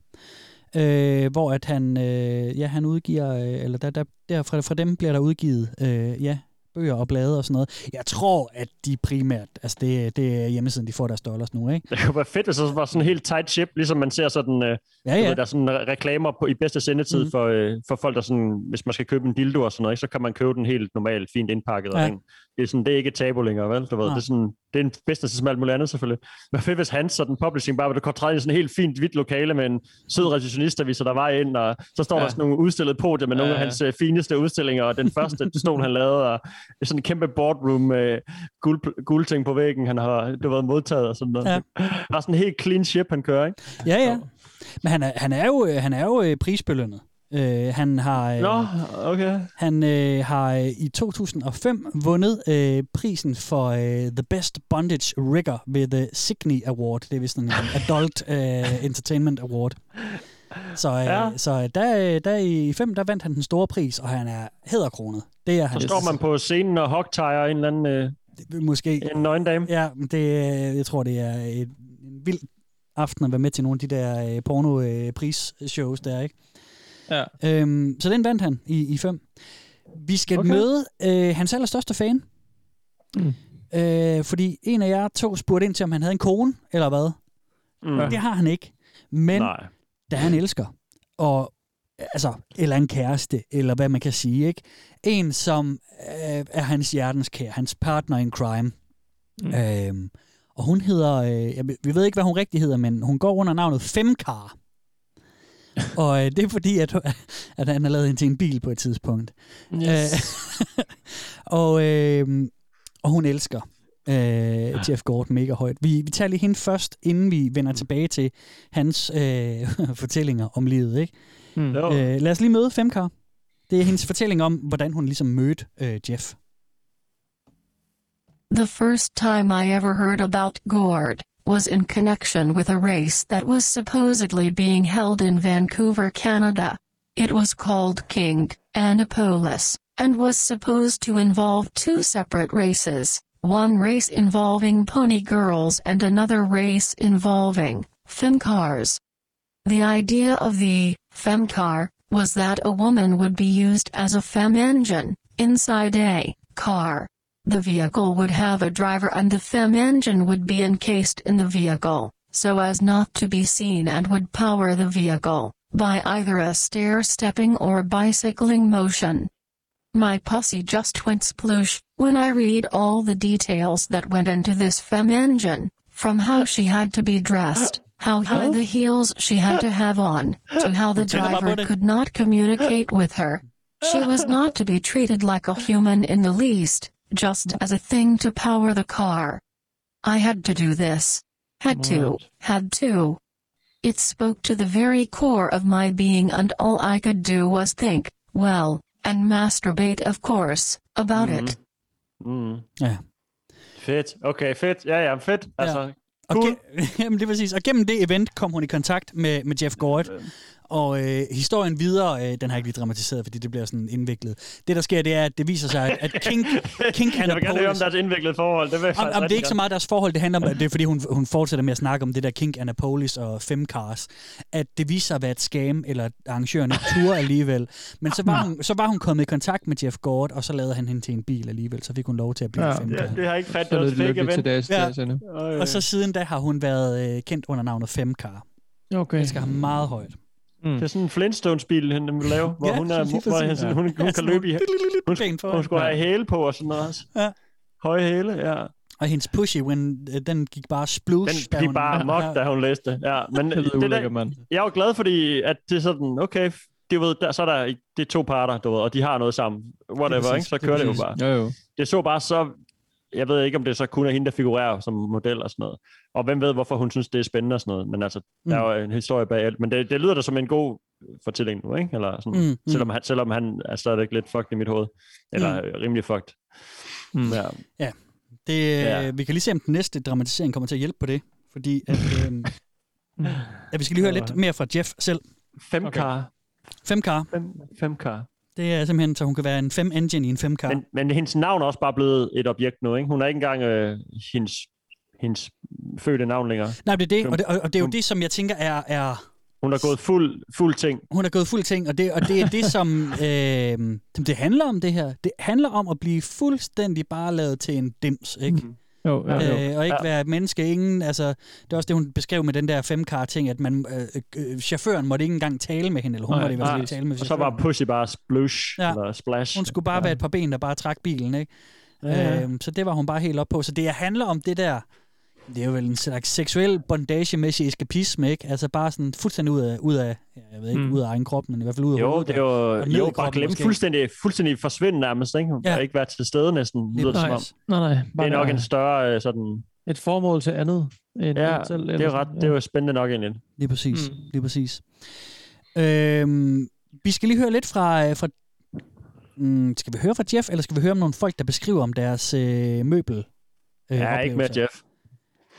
S3: øh, hvor at han, øh, ja, han udgiver, øh, eller der, der, der fra, fra dem bliver der udgivet, øh, ja, bøger og blade og sådan noget. Jeg tror, at de primært, altså det, det er hjemmesiden, de får deres dollars nu, ikke?
S4: [LAUGHS] Det kunne være fedt, hvis det var sådan en helt tight ship, ligesom man ser sådan... Øh,
S3: Ja,
S4: ja.
S3: ja.
S4: ved, der er sådan re- reklamer på, i bedste sendetid
S3: Mhm.
S4: mm. for, øh, for folk, der sådan, hvis man skal købe en dildo og sådan noget, ikke, så kan man købe den helt normalt, fint indpakket.
S3: Ja.
S4: Ja. Det, er sådan, det er ikke et tabu længere, vel? Du ved,
S3: Nej.
S4: det, er sådan, det er en business som alt muligt andet, selvfølgelig. Men fedt, hvis han sådan publishing bare, hvor du kommer træde i sådan et helt fint hvidt lokale med en sød receptionistaviser, der vej ind, og så står ja.
S5: Ja.
S4: der sådan nogle udstillede podier med ja. nogle af
S5: Ja, ja.
S4: hans øh, fineste udstillinger,
S3: [LAUGHS]
S4: og den første stol, han lavede, og sådan en kæmpe boardroom øh, guld, guldting på væggen, han har du ved, modtaget og sådan noget.
S3: Ja.
S4: Ja. Der er sådan en helt clean ship, han kører, ikke?
S3: ja, ja. Men han er, han er jo, øh, han er jo øh, prisbelønnet. Øh, han har... Øh,
S4: Nå, okay.
S3: Han øh, har øh, i 2005 vundet øh, prisen for øh, The Best Bondage Rigger ved The Signy Award. Det er vist sådan en [LAUGHS] Adult øh, Entertainment Award. Så, øh, ja.
S4: Ja.
S3: så der, øh, der i 5 der vandt han den store pris, og han er hæderkronet. Det er han
S4: Så står man på scenen og hogtiger en eller anden øh,
S3: måske.
S4: en nøgendame.
S3: Ja, men det, øh, jeg tror, det er et, en vild aften at være med til nogle af de der øh, porno-prisshows der, ikke?
S5: Ja.
S3: Øhm, så den vandt han i, i fem. Vi skal okay.
S5: Okay.
S3: møde øh, hans allerstørste fan.
S5: Mm.
S3: Øh, fordi en af jer to spurgte ind til, om han havde en kone, eller hvad.
S4: Mm.
S3: Det har han ikke. Men Nej.
S4: Nej.
S3: der er en elsker. Og, altså, eller en kæreste, eller hvad man kan sige, ikke? En, som øh, er hans hjertens kære, hans partner in crime. Mm. Øhm, og hun hedder, øh, jeg, ved- vi ved ikke, hvad hun rigtig hedder, men hun går under navnet Femkar. og øh, det er fordi, at, [LAUGHS] at han har lavet hende til en bil på et tidspunkt. Øh,
S5: Yes.
S3: [LAUGHS] og, øh, og hun elsker øh, Jeff Gordon mega højt. Vi, vi tager lige hende først, inden vi vender tilbage til hans øh, [LAUGHS] fortællinger om livet. Ikke?
S5: Mm.
S4: Jo.
S3: Øh, lad os lige møde Femkar. Det er hendes fortælling om, hvordan hun ligesom mødte øh, Jeff.
S9: The first time I ever heard about Gord was in connection with a race that was supposedly being held in Vancouver, Canada. It was called King Annapolis and was supposed to involve two separate races, one race involving pony girls and another race involving femcars. The idea of the femcar was that a woman would be used as a fem engine inside a car. The vehicle would have a driver and the fem engine would be encased in the vehicle, so as not to be seen and would power the vehicle, by either a stair-stepping or bicycling motion. My pussy just went sploosh, when I read all the details that went into this fem engine, from how she had to be dressed, how high the heels she had to have on, to how the
S3: Tell them about
S9: driver
S3: it.
S9: could not communicate with her. She was not to be treated like a human in the least, just as a thing to power the car. I had to do this. Had to, had to. It spoke to the very core of my being, and all I could do was think, well, and masturbate, of course, about it.
S4: Mm.
S3: Ja.
S4: Fedt. Okay, fedt. Ja, ja, fedt. Altså,
S3: Og
S4: Cool.
S3: gen- [LAUGHS] Jamen, det er præcis. Og gennem det event kom hun i kontakt med, med Jeff Gort. Og øh, historien videre, øh, den har jeg ikke lige dramatiseret, fordi det bliver sådan indviklet. Det, der sker, det er, at det viser sig, at, at
S4: [LAUGHS]
S3: King, King
S4: jeg vil gerne høre om
S3: Annapolis...
S4: deres indviklede forhold. Det, vil jeg
S3: Om,
S4: faktisk
S3: om det er
S4: rigtig
S3: ikke så meget deres forhold, det handler om, at det er fordi, hun, hun fortsætter med at snakke om det der King Annapolis og Femcars, at det viser sig at være et scam, eller at arrangøren ikke turde alligevel. Men så var, hun, så var hun kommet i kontakt med Jeff Gort, og så lavede han hende til en bil alligevel, så fik hun lov til at blive
S5: Ja.
S3: ja, Femcar.
S4: Ja, det har jeg ikke fandt.
S5: Så
S4: Det
S5: lød
S4: var
S5: det altså,
S4: et fake
S5: lykkeligt til dags,
S4: event.
S3: Ja.
S5: ja. dags
S4: Øj.
S3: Og så siden da har hun været øh, kendt under navnet Femcar.
S5: Okay.
S3: Jeg elsker ham meget højt.
S5: Mm.
S4: Det er sådan en Flintstones-bil, han vil lave, hvor
S3: Ja,
S4: hun, er,
S3: lige
S4: hvor
S3: præcis.
S4: han, sådan, hun, hun kan løbe i... Hun,
S3: ben for.
S4: hun skulle have hæle på og sådan noget også.
S3: Ja.
S4: Høje hæle, ja.
S3: Og hendes pushy, when, øh, den gik bare
S4: Den
S3: splush. da
S4: gik
S3: hun-
S4: bare mok, da hun læste det. Ja,
S5: [LAUGHS]
S4: men
S5: Det lyder
S4: det der,
S5: ulækkert, mand.
S4: jeg er jo glad, fordi at det er sådan, okay, f- det ved, der, så er der, det er to parter, du ved, og de har noget sammen. Whatever,
S3: præcis,
S4: ikke? Så
S3: det er
S4: kører det, jo
S3: præcis.
S4: bare.
S5: Jo, jo.
S4: Det så bare så... Jeg ved ikke, om det så kun er hende, der figurerer som model og sådan noget. Og hvem ved, hvorfor hun synes, det er spændende og sådan noget. Men altså, der er jo en historie bag alt. Men det, det lyder da som en god fortælling nu, ikke? Eller sådan,
S3: Mm,
S4: mm,
S3: mm.
S4: mm. Selvom, han, selvom han er stadigvæk lidt fucked i mit hoved. Eller mm. rimelig fucked.
S5: Mm.
S4: Mm. Ja.
S3: Det, ja.
S4: Ja.
S3: Vi kan lige se, om den næste dramatisering kommer til at hjælpe på det. Fordi
S4: [LAUGHS]
S3: at, øh, at vi skal lige høre lidt mere fra Jeff selv.
S4: Femkar. Okay.
S3: Femkar,
S4: Fem, femkar.
S3: det er simpelthen, så hun kan være en fem-engine i en femkar.
S4: Men, men hendes navn er også bare blevet et objekt nu, ikke? Hun er ikke engang øh, hendes, hendes fødte navn længere.
S3: Nej, Ah. det er det,
S4: Hun-
S3: og det, og, og det er jo
S4: hun-
S3: det, som jeg tænker er... er
S4: Hun har gået fuld, fuld ting.
S3: hun er gået fuld ting, og det, og det er det,
S4: [LAUGHS]
S3: som øh, som det handler om, det her. Det handler om at blive fuldstændig bare lavet til en dims, ikke?
S4: Mhm.
S3: Mm.
S5: Jo, jo, jo.
S3: Øh, og ikke være et menneske. Ingen, altså, det er også det, hun beskrev med den der femkar-ting, at man, øh, øh, chaufføren måtte ikke engang tale med hende, eller hun
S5: Nej,
S3: måtte i hvert fald
S4: nej.
S3: ikke tale med
S4: Og så var
S3: chaufføren.
S4: Pussy bare splush,
S3: Ja.
S4: ja. eller splash.
S3: Hun skulle bare være et par ben, der bare trak bilen, ikke?
S4: Ja, ja.
S3: Øhm, så det var hun bare helt op på. Så det handler om det der, det er jo vel en slags seksuel bondagemæssig eskapisme, ikke? Altså bare sådan fuldstændig ud af, ud af jeg ved ikke, mm.
S5: Mm.
S3: ud af egen krop, men i hvert fald ud af
S4: Jo,
S3: hovedet,
S4: det er jo,
S3: ned i
S4: jo bare
S3: kroppen
S4: glemme
S3: måske.
S4: fuldstændig, fuldstændig forsvinde nærmest, ikke?
S3: Ja.
S4: Ja. Ikke være til stede næsten, lyder det som om.
S3: Nice.
S5: Nej, nej.
S4: Det
S5: Bare
S4: er nok en
S5: være
S4: større øh, sådan...
S5: et formål til andet. End
S4: Ja,
S5: en selv,
S4: det er, jo ret, det er jo spændende nok egentlig.
S3: Lige præcis, mm.
S5: Mm.
S3: lige præcis. Øhm, vi skal lige høre lidt fra... øh, fra mm, skal vi høre fra Jeff, eller skal vi høre om nogle folk, der beskriver om deres øh, møbel? Øh,
S4: Ja, ikke med
S3: oplevelser?
S4: Jeff.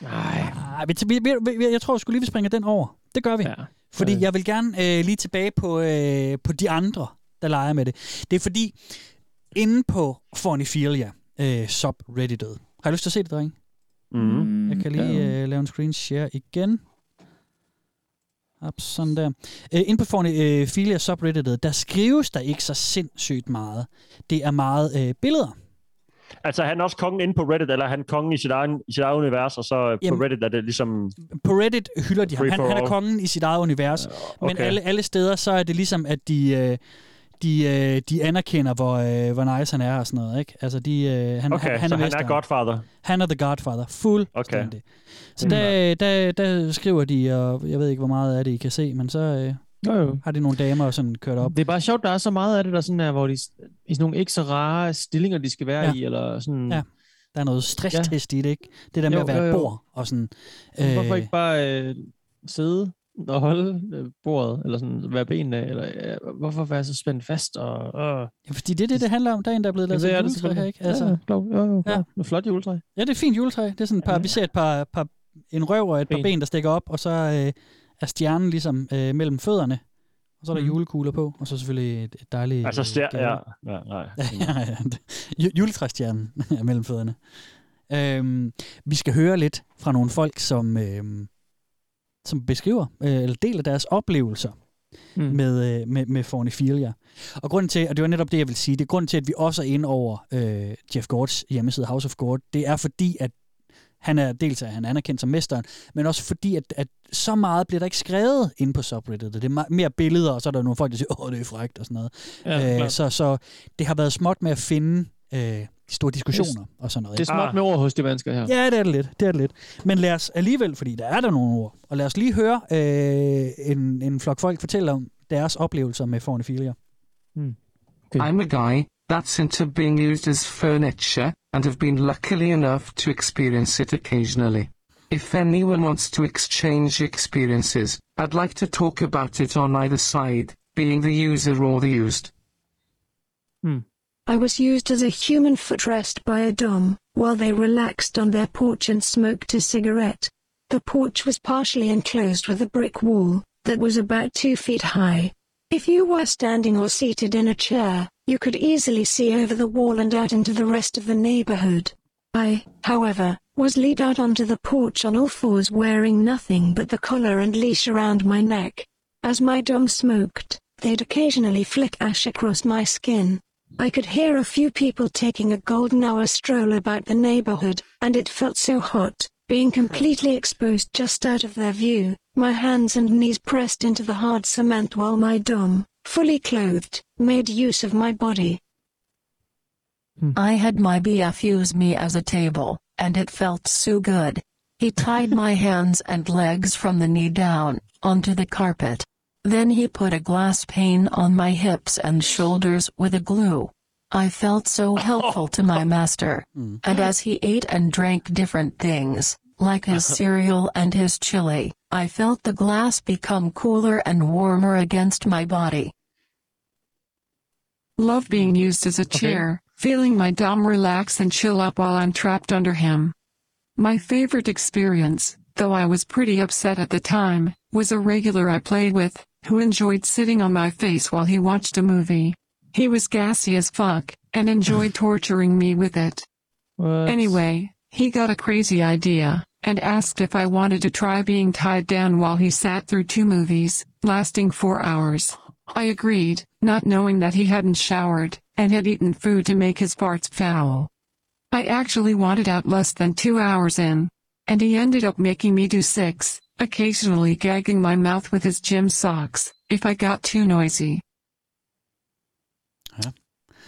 S5: Nej.
S3: Ah, vi, vi, vi, vi, jeg tror sgu lige, vi springer den over. Det gør vi. Ja.
S5: Ja.
S3: Fordi
S5: Øh.
S3: jeg vil gerne øh, lige tilbage på, øh, på de andre, der leger med det. Det er fordi, inde på Forniphilia øh, subredditet. Har I lyst til at se det, drenge?
S4: Mm.
S3: Jeg kan lige
S5: Mm-hmm. ja.
S3: øh, lave en screen share igen. Op, sådan der. Øh, inde på forne, øh, Filia subredditet, der skrives der ikke så sindssygt meget. Det er meget øh, billeder.
S4: Altså, er han også kongen inde på Reddit, eller er han kongen i sit egen, i sit eget univers, og så øh, på
S3: Jamen-
S4: Reddit er det ligesom...
S3: På Reddit hylder de ham.
S4: Free
S3: Han,
S4: for
S3: han er
S4: all.
S3: kongen i sit eget univers. Okay. Men
S4: okay.
S3: alle, alle steder, så er det ligesom, at de... Øh, de, øh, de anerkender, hvor, øh, hvor nice han er og sådan noget, ikke? Altså, de, øh, han,
S4: Okay,
S3: han,
S4: han,
S3: han
S4: så
S3: er,
S4: han er
S3: mesteren.
S4: Godfather.
S3: Han er The Godfather. Fuldstændig. Okay.
S4: Mm.
S3: Så der, der, der skriver de, og jeg ved ikke, hvor meget af det, I kan se, men så øh,
S5: Jo, jo.
S3: har de nogle damer og sådan kørt op.
S5: Det er bare sjovt, der er så meget af det, der sådan er, hvor de i sådan nogle ikke så rare stillinger, de skal være
S3: Ja.
S5: ja. i, eller sådan...
S3: Ja.
S5: Ja.
S3: Der er noget stresstest ja. i det, ikke? Det der med
S5: Jo,
S3: at være
S5: jo,
S3: et
S5: jo.
S3: bord og sådan.
S5: Hvorfor ikke bare øh, sidde og holde øh, bordet, eller sådan være benene, eller øh, hvorfor være så spændt fast? Og, og,
S3: ja, fordi det er det, det handler om. Der er en, der er blevet lavet
S5: Jamen,
S3: sådan et
S5: det er det
S3: juletræ her,
S5: selvfølgelig.
S3: ikke? Altså, ja.
S5: ja, ja, klart. jo, jo,
S3: Ja. Øh,
S5: ja. Med flot juletræ.
S3: ja, det er et fint juletræ. Det er sådan et par, ja. vi ser et par, par, en røv og et par ben,
S5: Ben.
S3: der stikker op, og så øh, er stjernen ligesom øh, mellem fødderne. Og så er der
S5: Mm.
S3: julekugler på, og så selvfølgelig et, et dejligt...
S4: Mhm. Altså,
S3: øh,
S4: stjer...
S3: gave.
S4: Ja, ja, nej.
S3: [LAUGHS] ja, ja. Ju- Juletræstjernen [LAUGHS] er mellem fødderne. Øhm, vi skal høre lidt fra nogle folk, som, øhm, som beskriver øh, eller deler deres oplevelser mm.
S5: Mm.
S3: med, øh, med, med Fornifilia. Og grunden til, og det var netop det, jeg vil sige, det er grunden til, at vi også er inde over øh, Jeff Gords hjemmeside, House of Gord, det er fordi, at han er dels er han anerkendt som mesteren, men også fordi, at, at så meget bliver der ikke skrevet inde på subreddit. Det er me- mere billeder, og så er der nogle folk, der siger, åh, det er frækt og sådan noget.
S5: Ja,
S3: Øh,
S5: klart.
S3: så, så det har været småt med at finde øh, de store diskussioner og sådan noget.
S5: det er smart
S4: Ah.
S5: med ord hos de mennesker her.
S3: Ja, det er det lidt. Det er det lidt. Men lad os alligevel, fordi der er der nogle ord, og lad os lige høre øh, en, en flok folk fortælle om deres oplevelser med fornefilier.
S5: Ah,
S10: I'm a guy that's into being used as furniture, and have been luckily enough to experience it occasionally. If anyone wants to exchange experiences, I'd like to talk about it on either side, being the user or the used.
S11: I was used as a human footrest by a dom, while they relaxed on their porch and smoked a cigarette. The porch was partially enclosed with a brick wall, that was about two feet high. If you were standing or seated in a chair, you could easily see over the wall and out into the rest of the neighborhood. I, however, was lead out onto the porch on all fours wearing nothing but the collar and leash around my neck. As my dom smoked, they'd occasionally flick ash across my skin. I could hear a few people taking a golden hour stroll about the neighborhood, and it felt so hot, being completely exposed just out of their view, my hands and knees pressed into the hard cement while my dom, fully clothed, made use of my body.
S9: I had my BF use me as a table, and it felt so good. He tied my hands and legs from the knee down onto the carpet. Then he put a glass pane on my hips and shoulders with a glue. I felt so helpful to my master. And as he ate and drank different things, like his cereal and his chili, I felt the glass become cooler and warmer against my body.
S12: Love being used as a chair, feeling my dom relax and chill up while I'm trapped under him. My favorite experience, though I was pretty upset at the time, was a regular I played with, who enjoyed sitting on my face while he watched a movie. He was gassy as fuck, and enjoyed torturing me with it. Anyway, he got a crazy idea, and asked if I wanted to try being tied down while he sat through two movies, lasting four hours. I agreed, not knowing that he hadn't showered, and had eaten food to make his farts foul. I actually wanted out less than two hours in, and he ended up making me do six, occasionally gagging my mouth with his gym socks, if I got too noisy.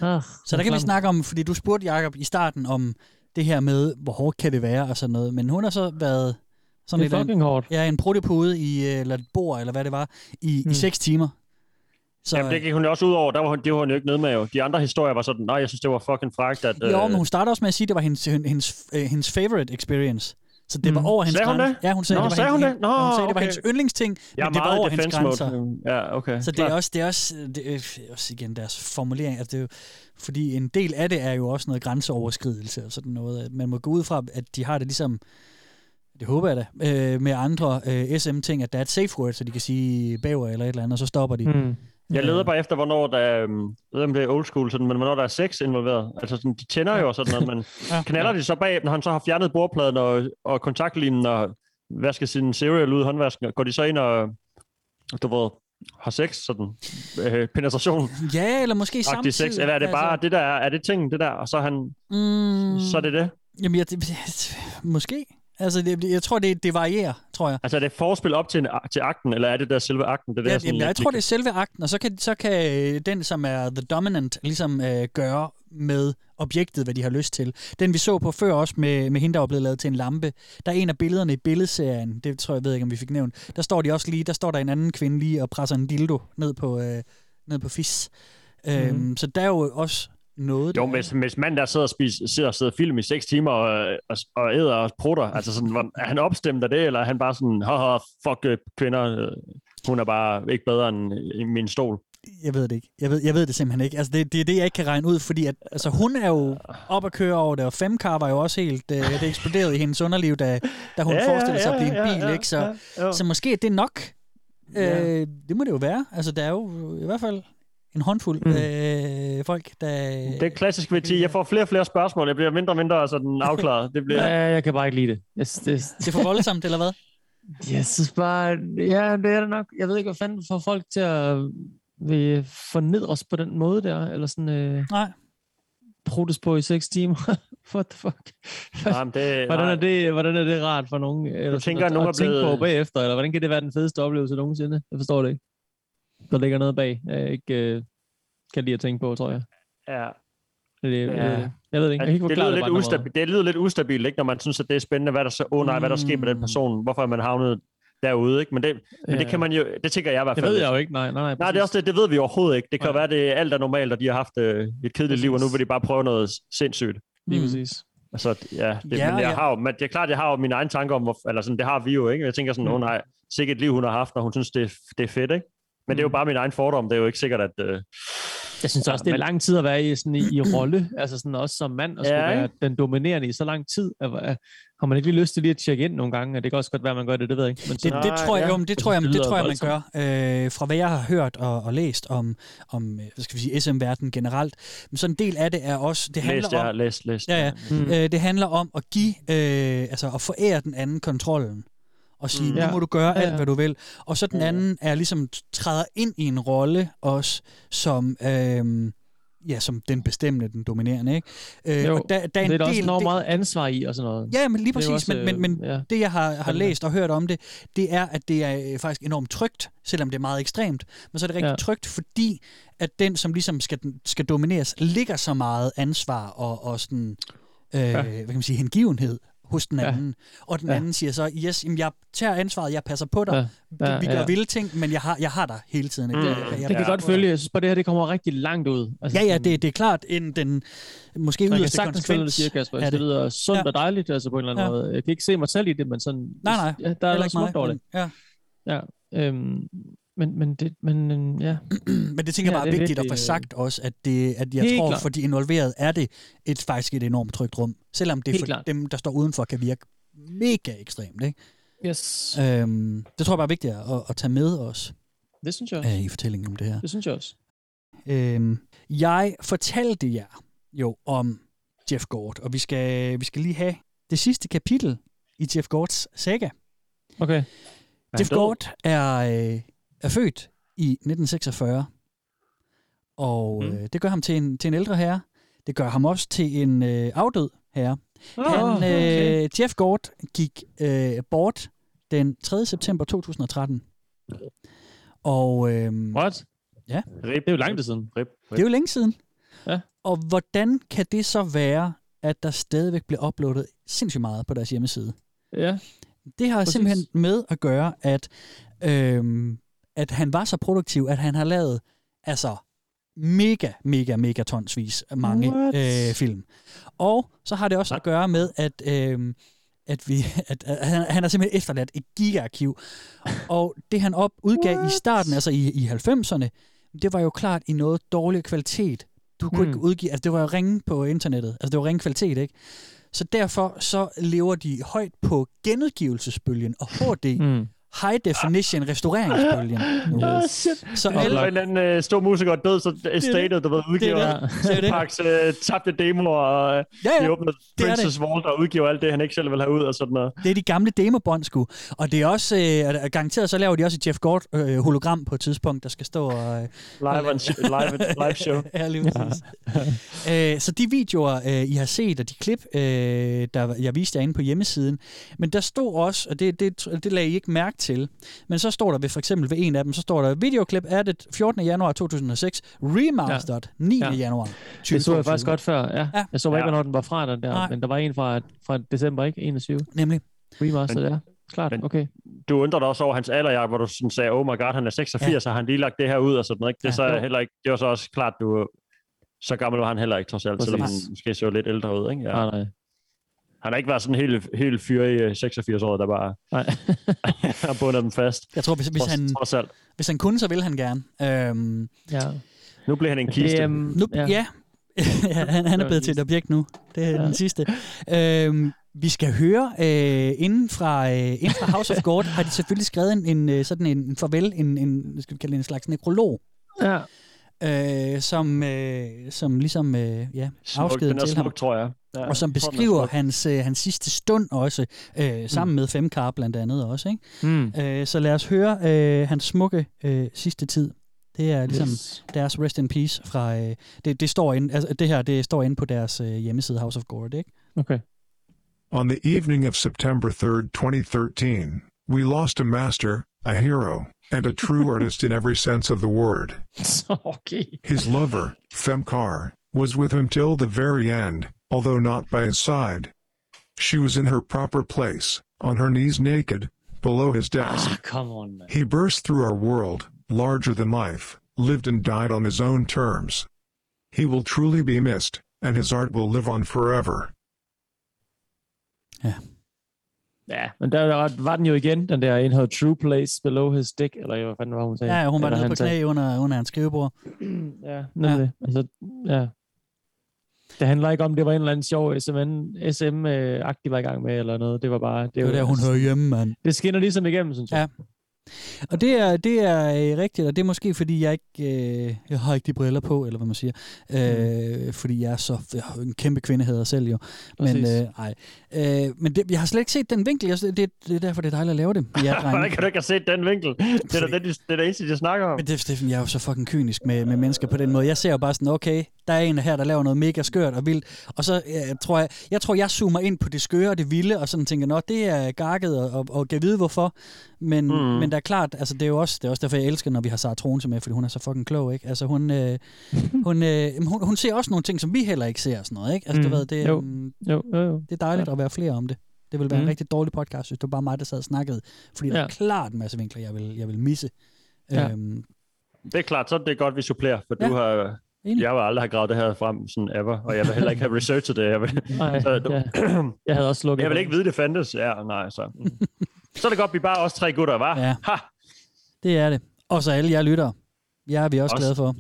S5: Ah,
S3: Så der kan vi snakke om, fordi du spurgte Jacob i starten om det her med, hvor hårdt kan det være og sådan noget. Men hun har så været sådan
S5: Det er
S3: lidt af en,
S5: fucking hårdt.
S3: Ja, en protopode i, øh, eller et bord, eller hvad det var, i,
S5: Hmm.
S3: mm. i seks timer.
S4: Så, Jamen, det gik hun jo også ud over. Der var hun, det var hun jo ikke nede med jo. De andre historier var sådan, nej, jeg synes, det var fucking fragt, at...
S3: Øh. Jo, men hun starter også med at sige, at det var hendes, hendes, øh, hendes favorite experience. Så det var over hendes
S4: Mm. Sagde hun
S3: grænse.
S4: det?
S3: Ja, hun sagde,
S4: Nå,
S3: det var
S4: sagde hun
S3: hendes,
S4: det? Nå,
S3: ja, hun sagde, det var
S4: okay.
S3: hendes yndlingsting,
S4: Jeg er
S3: men det var
S4: meget
S3: over hendes
S4: defense mode. Mm,
S3: grænser.
S4: Ja, okay.
S3: Så det er
S4: Klart.
S3: også, det er også, øh, det er også igen deres formulering, altså det er jo, fordi en del af det er jo også noget grænseoverskridelse og sådan noget. at Man må gå ud fra, at de har det ligesom, det håber jeg da, øh, med andre øh, SM-ting, at der er et safe word, så de kan sige bæver eller et eller andet, og så stopper de.
S5: Mm.
S4: Jeg leder bare efter, hvornår der er, øhm, jeg ved, ikke, om det er old school, sådan, men hvornår der er sex involveret. Altså, sådan, de tænder jo og sådan noget, men
S3: [LAUGHS] Ja.
S4: knaller de så bag, når han så har fjernet bordpladen og, og kontaktlinjen og vasker sin cereal ud i håndvasken, og går de så ind og, du ved, har sex, sådan, øh, penetration.
S3: Ja, eller måske samtidig. altså-
S4: sex, eller er det bare, det der, er er det ting, det der, og så er han,
S3: Mm,
S4: så er det det?
S3: Jamen, jeg, det, [LAUGHS] måske. Altså, det, jeg tror, det, det varierer, tror jeg.
S4: Altså, er det forspil op til, en, til akten, eller er det der selve akten? Det der,
S3: Ja,
S4: sådan,
S3: jamen, jeg
S4: lidt-
S3: tror, det er selve akten, og så kan, så kan øh, den, som er the dominant, ligesom øh, gøre med objektet, hvad de har lyst til. Den, vi så på før også med, med hende, der var blevet lavet til en lampe, der er en af billederne i billedserien, det tror jeg, ved ikke, om vi fik nævnt, der står de også lige, der står der en anden kvinde lige og presser en dildo ned på, øh, ned på fis. Mm.
S4: Mhm.
S5: Mhm.
S3: Øhm, så der er jo også noget,
S4: Jo,
S3: der-
S4: men hvis, hvis manden der sidder og, spiser, sidder og sidder og film i 6 timer og, og, og æder og prutter, altså sådan, hvor- er han opstemt af det, eller er han bare sådan, haha, fuck øh, kvinder, øh, hun er bare ikke bedre end øh, min stol?
S3: Jeg ved det ikke. Jeg ved, jeg ved det simpelthen ikke. Altså, det, det er det, jeg ikke kan regne ud, fordi at, altså, hun er jo op at køre over det, og Femcar var jo også helt... Øh, det eksploderede i hendes underliv, da, da hun
S4: Ja,
S3: ja,
S4: ja,
S3: forestillede sig
S4: ja,
S3: at blive en
S4: ja,
S3: bil,
S4: ja,
S3: ikke? Så,
S4: ja,
S3: ja,
S4: ja.
S3: ja. så måske er det nok.
S4: Ja.
S3: Øh, det må det jo være. Altså, der er jo i hvert fald en håndfuld mm. øh, folk, der...
S4: Det er klassisk ved 10. Jeg får flere og flere spørgsmål. Jeg bliver mindre og mindre sådan afklaret. Det bliver...
S5: Ja, jeg kan bare ikke lide det. Jeg synes, det,
S3: det er for voldsomt, eller hvad?
S5: Jeg synes bare, ja, det er det nok. Jeg ved ikke, hvad fanden får folk til at vil fornedre os på den måde der, eller sådan øh,
S3: Nej.
S5: prutes på i 6 timer. [LAUGHS] What the fuck?
S4: Nej, men det,
S5: Hvordan
S4: nej.
S5: er, det, hvordan er det rart for nogen? Eller sådan
S4: tænker,
S5: at,
S4: at nogen
S5: at
S4: er
S5: tænke
S4: blevet-
S5: på bagefter, eller hvordan kan det være den fedeste oplevelse nogensinde? Jeg forstår det ikke. Der ligger noget bag, jeg ikke øh, kan lide at tænke på, tror jeg.
S4: Ja.
S5: Det,
S4: Ja.
S5: ja. Øh, Jeg ved det ikke. Jeg kan ikke
S4: det,
S5: forklare
S4: lyder
S5: det,
S4: lidt
S5: på andre måder.
S4: ustabil, det lyder lidt ustabilt, ikke? når man synes, at det er spændende, hvad der, så, oh, nej, hvad der sker med den person, hvorfor er man havnet derude. Ikke? Men, det, men
S5: Mm.
S4: det
S5: Ja.
S4: kan man jo, det tænker jeg i hvert
S5: Det
S4: fald.
S5: ved jeg
S4: ikke.
S5: jo ikke, nej. Nej, nej,
S4: Nej, det, er også det, det ved vi overhovedet ikke. Det kan jo være, det er alt er normalt, og de har haft øh, et kedeligt liv, og nu vil de bare prøve noget sindssygt.
S5: Lige præcis.
S4: Altså, ja, det,
S5: Ja,
S4: ja, men jeg
S5: ja.
S4: ja. har jo, men det er klart, jeg har jo mine egne tanker om, hvor, eller sådan, det har vi jo, ikke? Jeg tænker sådan,
S5: Mm.
S4: åh oh, nej, sikkert et liv, hun har haft, og hun synes, det, er- det er fedt, ikke? Men
S5: Mm.
S4: det er jo bare min egen fordom, det er jo ikke sikkert, at... Øh,
S5: Jeg synes også, det er lang tid at være i, sådan, i, i rolle, [CLEARS THROAT] altså sådan også som mand, og skulle
S4: Ja,
S5: ja,
S4: ikke?
S5: være den dominerende i så lang tid. At, at, har man ikke lige lyst til lige at tjekke ind nogle gange? Det kan også godt være, at man gør det, det ved jeg ikke. Men
S3: Det, det tror jeg, jo, men det tror jeg, det tror jeg man
S5: Altså, lyder
S3: gør. Øh, fra hvad jeg har hørt og, og læst om, om øh, hvad skal vi sige, SM-verdenen generelt, men sådan en del af det er også, det handler
S4: læst, jeg
S3: om,
S4: har læst, læst.
S3: Ja, ja.
S4: Mm.
S3: Mm. Øh, det handler om at give, øh, altså at forære den anden kontrollen. Og sige,
S5: Mm.
S3: mm. nu
S5: Ja.
S3: må du gøre
S5: Ja,
S3: alt,
S5: ja. Mm.
S3: hvad du vil. Og så den anden er ligesom træder ind i en rolle også, som øh, ja, som den bestemmende, den dominerende. Ikke? Øh,
S5: Jo,
S3: og der, der er en
S5: det er der også
S3: del-
S5: enormt
S3: det-
S5: meget ansvar i og sådan noget.
S3: Ja, men lige
S5: Det er
S3: præcis.
S5: jo
S3: Også, men men, men
S5: øh,
S3: ja. det, jeg har, har
S5: Spændende.
S3: læst og hørt om det, det er, at det er øh, faktisk enormt trygt, selvom det er meget ekstremt. Men så er det rigtig ja.
S5: Ja.
S3: trygt, fordi at den, som ligesom skal, skal domineres, ligger så meget ansvar og, og sådan, øh,
S5: Ja.
S3: ja. hvad kan man sige, hengivenhed hos den
S5: Ja.
S3: anden. Ja. Og den
S5: Ja.
S3: anden siger så, yes, jamen, jeg tager ansvaret, jeg passer på dig.
S5: Ja.
S3: Ja.
S5: Ja,
S3: Vi gør
S5: ja.
S3: vilde ting, men jeg har, jeg har dig hele tiden.
S5: Mm.
S3: Jeg- jeg-
S5: Det
S3: jeg
S5: kan
S3: passer
S5: vi godt
S3: på dig.
S5: følge. Jeg synes bare, det her det kommer rigtig langt ud.
S3: Altså, ja, ja, det, det er klart, inden den måske
S5: Man kan
S3: yderste
S5: sagtens følge, hvad du
S3: konsekvens
S5: siger, Kasper.
S3: er
S5: Det. det lyder sundt
S3: Ja.
S5: ja. og dejligt, altså på en eller anden
S3: Ja.
S5: ja. måde. Jeg kan ikke se mig selv i det, men sådan...
S3: Nej, nej.
S5: Ja, der er
S3: Heller
S5: noget
S3: ikke mig,
S5: smukt over det.
S3: men- ja.
S5: Ja, øhm, men, men, det, men øhm, ja.
S3: [CLEARS THROAT] men det tænker jeg
S5: Ja,
S3: bare er
S5: det er
S3: vigtigt at få
S5: virkelig, øh,
S3: sagt også, at, det, at jeg
S5: Helt
S3: tror,
S5: klart.
S3: for de involverede er det et, faktisk et enormt trygt rum. Selvom det
S5: Helt
S3: for
S5: klart.
S3: dem, der står udenfor, kan virke mega ekstremt. Ikke?
S5: Yes.
S3: Øhm, det tror jeg bare er vigtigt at, at tage med os
S5: Det synes jeg også.
S3: øh, i fortællingen om det her.
S5: Det synes jeg også.
S3: Øhm, jeg fortalte jer jo om Jeff Gord, og vi skal, vi skal lige have det sidste kapitel i Jeff Gords saga.
S5: Okay.
S3: Er Jeff Gord er, øh, er født i 1946, og mm. øh, det gør ham til en, til en ældre herre. Det gør ham også til en øh, afdød herre.
S5: Åh,
S3: Oh, Han, øh,
S5: Ah, okay.
S3: Jeff Gord gik øh, bort den 3. september 2013. Og, øh,
S5: What?
S3: Ja.
S5: Rip. Det er jo lang tid siden. Rip.
S3: Det er jo længe siden.
S5: Ja.
S3: Og hvordan kan det så være, at der stadigvæk bliver uploadet sindssygt meget på deres hjemmeside?
S5: Ja.
S3: Det har Præcis.
S5: Præcis.
S3: simpelthen med at gøre, at, øhm, at han var så produktiv, at han har lavet altså mega, mega, mega tonsvis af mange
S5: What?
S3: øh, film. Og så har det også at gøre med, at, øhm, at, vi, [LAUGHS] at, at han, han har simpelthen efterladt et gigaarkiv. Og det han op udgav What? i starten, altså i, i 90'erne, det var jo klart i noget dårlig kvalitet. Du kunne
S5: Hmm.
S3: ikke udgive, altså det var jo ringe på internettet, altså det var ringe kvalitet, ikke? Så derfor så lever de højt på genudgivelsesbølgen og HD,
S4: Hmm.
S5: mm.
S3: high definition restaureringsbølgen.
S5: Ah,
S4: Åh,
S3: Ah. shit. Så
S4: Så alle... en
S3: alle,
S4: eller anden øh, stor musiker er død, så Estated, du ved, udgiver [LAUGHS]
S3: det. Det er det.
S4: Parks øh, tabte demoer, og
S3: Ja,
S4: ja,
S3: ja.
S4: ja. de åbner
S3: Det er det.
S4: Princess Vault og udgiver alt det, han ikke selv vil have ud og sådan noget.
S3: det er de gamle demobånd, sgu. Og det er også, øh, og garanteret så laver de også et Jeff Gord øh, hologram på et tidspunkt, der skal stå og... Øh,
S4: Live, on, live, live show.
S3: [LAUGHS] ja, lige præcis. Øh, så de videoer, øh, I har set, og de klip, øh, der jeg viste jer inde på hjemmesiden, men der stod også, og det, det, det lagde I ikke mærke til, men så står der ved, for eksempel ved en af dem, så står der, videoklip er det 14. januar 2006, remastered 9. Ja.
S5: Ja.
S3: januar
S5: Det så jeg faktisk godt før, ja.
S3: Ja.
S5: ja. Jeg så bare ikke,
S3: Ja.
S5: hvornår den var fra, den der.
S3: Nej.
S5: Men der var en fra, fra december, ikke? 21.
S3: Nemlig.
S5: Remastered,
S4: Men-
S5: ja. Klart,
S4: men-
S5: okay.
S4: Du undrer dig også over hans alder, Jacob, hvor du sådan sagde, oh my god, han er 86, ja. og har han lige lagt det her ud og sådan noget. Ikke? Det, er
S5: Ja,
S4: så
S5: jo.
S4: heller ikke, det var så også klart, du øh, så gammel var han heller ikke, trods alt, selvom han
S5: Præcis.
S4: måske så lidt ældre ud. Ikke? Ja.
S5: Nej, nej.
S4: Han har ikke været sådan helt, helt fyr i 86 år, der bare [LAUGHS] har bundet dem fast.
S3: Jeg tror, hvis, hvis,
S4: trods,
S3: han,
S4: Trods alt.
S3: hvis han kunne, så ville han gerne. Øhm,
S5: Ja.
S4: Nu bliver han en kiste.
S5: Det, øhm,
S3: nu, ja. ja. [LAUGHS] han, han er blevet til et objekt nu. Det er ja. den sidste. Øhm, vi skal høre, øh, inden, fra, øh, inden fra House of God har de selvfølgelig skrevet en, en øh, sådan en, en farvel, en, en, hvad skal vi kalde det, en slags nekrolog,
S5: Ja.
S3: øh, som, øh, som ligesom øh, ja,
S4: Smuk,
S3: afskeden
S4: den er
S3: til ham.
S4: smuk, tror jeg. Ja,
S3: Og som
S4: jeg tror, den er
S3: beskriver
S4: smuk.
S3: hans, øh, hans sidste stund også, øh, sammen mm. med Femkar blandt andet også. Ikke?
S5: Mm.
S3: Øh, så lad os høre øh, hans smukke øh, sidste tid. Det er ligesom yes.
S5: Yes.
S3: deres rest in peace fra øh, det, det står inde, altså det her det står inde på deres øh, hjemmeside House of Gourd, ikke?
S5: Okay.
S8: On the evening of September 3, 2013, we lost a master, a hero, and a
S5: [LAUGHS]
S8: true artist in every sense of the word.
S5: okay.
S8: His lover, Femcar, was with him till the very end, although not by his side. She was in her proper place, on her knees naked, below his desk.
S5: Ah, Come on, man.
S8: He burst through our world, larger than life, lived and died on his own terms. He will truly be missed, and his art will live on forever.
S5: Ja, men der var- var den jo igen, den der, in her true place below his dick, eller hvad fanden var hun sagde?
S3: Ja, ja hun var
S5: Eller
S3: nede
S5: han
S3: på
S5: sagde.
S3: knæ under, under hans skrivebord.
S5: Ja, nemlig. Ja. Altså, ja. Det handler ikke om, det var en eller anden sjov SMN, øh, SM-agtig, var i gang med, eller noget. Det var bare...
S3: Det var der, hun hører hjemme, mand.
S5: Det skinner ligesom igennem, synes jeg.
S3: Ja. Og det er, det er øh, rigtigt, og det er måske fordi, jeg ikke øh, jeg har ikke de briller på, eller hvad man siger.
S4: Mm.
S3: Øh, Fordi jeg er så jeg er jo en kæmpe kvindehader selv jo. Men,
S4: Præcis.
S3: øh, ej. Øh, men det, jeg har slet ikke set den vinkel. Jeg, det, det er derfor, det er dejligt at lave
S4: [LAUGHS]
S3: det. med jer, drenge.
S4: Hvordan kan du ikke have set den vinkel? Det er da det, de, det, er det eneste, de snakker om.
S3: Men det, Steffen, jeg er jo så fucking kynisk med, med mennesker på den måde. Jeg ser jo bare sådan, okay, der er en her, der laver noget mega skørt og vildt, og så jeg tror jeg, jeg tror, jeg zoomer ind på det skøre og det vilde, og sådan tænker, nå, det er garket, og, og, og kan vide hvorfor. Men, mm.
S4: Mm.
S3: men der er klart, altså det er jo også, det er også derfor, jeg elsker, når vi har Sara Tronse med, fordi hun er så fucking klog, ikke? Altså hun,
S5: [LAUGHS]
S3: øh, hun, øh, jamen, hun, hun ser også nogle ting, som vi heller ikke ser og sådan noget, ikke? Altså mm.
S5: Mm.
S3: du ved, det,
S5: Jo.
S3: mm,
S5: Jo, jo, jo.
S3: det er dejligt
S5: Ja.
S3: at være flere om det. Det ville være mm. en
S5: Mm.
S3: rigtig dårlig podcast, hvis det var bare mig, der sad og snakkede. Fordi ja. der er
S5: Ja.
S3: klart en masse vinkler, jeg vil, jeg vil misse.
S4: Ja.
S3: Øhm,
S4: Det er klart, så er det godt, vi supplerer, for ja. du har...
S3: Enig.
S4: Jeg vil aldrig have gravet det her frem sådan ever, og jeg vil heller ikke have researchet det. Jeg vil,
S5: [LAUGHS] Nej,
S4: så, du,
S5: ja. Jeg havde også lukket.
S4: jeg vil ikke vide, det fandtes. Ja, nej, så. mm.
S5: [LAUGHS]
S4: så er det godt, vi bare er os tre gutter, var.
S3: Ja.
S4: Ha!
S3: Det er det. Og så alle jer lyttere. Jer er vi også,
S5: Også.
S3: glade for.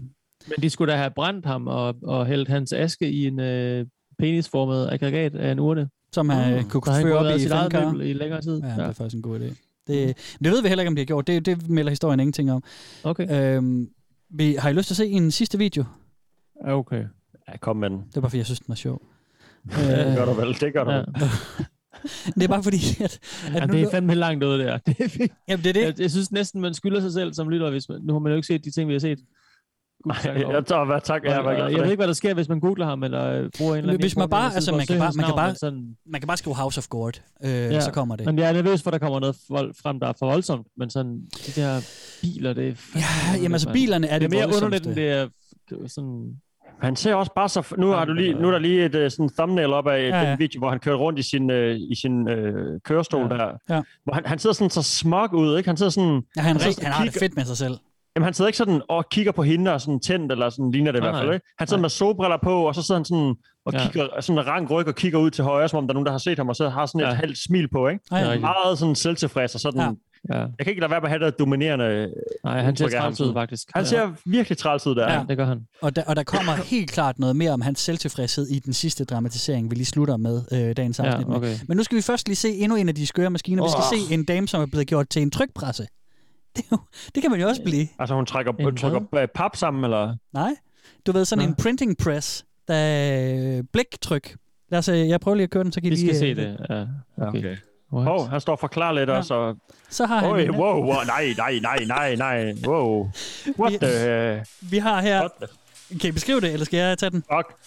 S5: Men de skulle da have brændt ham og, og hældt hans aske i en øh, penisformet aggregat af en urne. Ah.
S3: Som han mm. kunne
S5: Så han
S3: føre op
S5: have
S3: i
S5: sit eget
S3: femkar.
S5: møbel i længere tid.
S3: Ja, det er faktisk en god idé. Det, det ved vi heller ikke, om de har gjort. Det, det melder historien ingenting om.
S5: Okay.
S3: Øhm, vi, har I lyst til at se en sidste video?
S5: Okay.
S4: Ja, kom med den.
S3: Det er bare, fordi jeg synes, den er sjov.
S4: [LAUGHS] Ja, det gør du vel. Det gør du
S5: Ja.
S4: vel.
S3: [LAUGHS] Det er bare fordi, [LAUGHS] at... at
S5: Ja,
S3: nu-
S5: det er fandme langt ud der. Det er fint.
S3: Jamen, [LAUGHS] det er det.
S5: Jeg, jeg, synes næsten, man skylder sig selv som lytter, hvis man, nu har man jo ikke set de ting, vi har set.
S4: Nej, jeg tager, hvad tak. Jeg,
S5: Jeg,
S4: var
S5: jeg,
S4: glad for
S5: jeg ved
S4: det.
S5: ikke, hvad der sker, hvis man googler ham, eller øh, bruger en eller anden...
S3: Hvis man bare, altså, man kan bare, man kan bare,
S5: sådan...
S3: man kan bare skrive House of God, øh, ja. så kommer det.
S5: Men jeg er nervøs for, at der kommer noget vold frem, der er for voldsomt, men sådan, de der biler, det er... fandme underligt,
S3: jamen, altså,
S5: mand.
S3: bilerne er det
S5: Det er mere
S3: voldsomste.
S5: underligt, end det er f- sådan...
S4: Han ser også bare så... f- Nu, har du lige, nu er der lige et øh, sådan thumbnail op af
S3: Ja,
S4: ja,
S3: ja.
S4: ja. den video, hvor han kører rundt i sin, øh, i sin øh, kørestol ja. der.
S3: Ja.
S4: Hvor han, han sidder sådan så smuk ud, ikke? Han sidder sådan...
S3: Ja, han,
S4: sidder
S3: han,
S4: sådan
S3: han
S4: og
S3: har det
S4: kigger-
S3: fedt med sig selv.
S4: Jamen, han sidder ikke sådan og kigger på hende og sådan tændt, eller sådan ligner det i
S5: Nej,
S4: hvert fald,
S5: nej.
S4: ikke? Han sidder med solbriller på, og så sidder han sådan og
S5: Ja.
S4: ja. kigger sådan med rank ryg og kigger ud til højre, som om der er nogen, der har set ham, og så har sådan et
S5: Ja.
S4: ja. halvt smil på, ikke?
S3: Ja, ja.
S5: rigtigt.
S4: Meget sådan selvtilfreds og sådan...
S3: Ja.
S4: Ja.
S5: Ja.
S4: Jeg kan ikke lade være med at have det der dominerende...
S5: Nej, han ser
S4: udtryk af ham
S5: træls ud,
S4: sådan.
S5: faktisk.
S4: Han
S5: Ja.
S4: ser virkelig træls ud der.
S5: Ja, det gør han.
S3: Og der, og der kommer helt klart noget mere om hans selvtilfredshed i den sidste dramatisering, vi lige slutter med øh, dagens
S5: Ja,
S3: afsnit. med.
S5: okay.
S3: Men nu skal vi først lige se endnu en af de skøre maskiner. Vi skal
S4: Åh.
S3: se en dame, som er blevet gjort til en trykpresse. Det, er jo, det kan man jo også blive.
S4: Altså, hun trækker,
S5: En hvad?
S4: trykker øh, pap sammen, eller...
S3: Nej, du ved, sådan en printing press, der er øh, bliktryk. Lad os, øh, jeg prøver lige at køre den, så kan I
S5: Vi
S3: lige...
S5: skal se
S3: øh,
S5: det. Ja, okay.
S4: Åh, oh, han står og forklarer lidt ja. også, og...
S3: Så har han
S4: Oj,
S3: en-
S4: wow, wow, nej, nej, nej, nej, nej, wow. What
S3: Vi-
S4: the... øh,
S3: Vi har her...
S4: What the
S3: Kan I beskrive det, eller skal jeg tage den?
S4: fuck?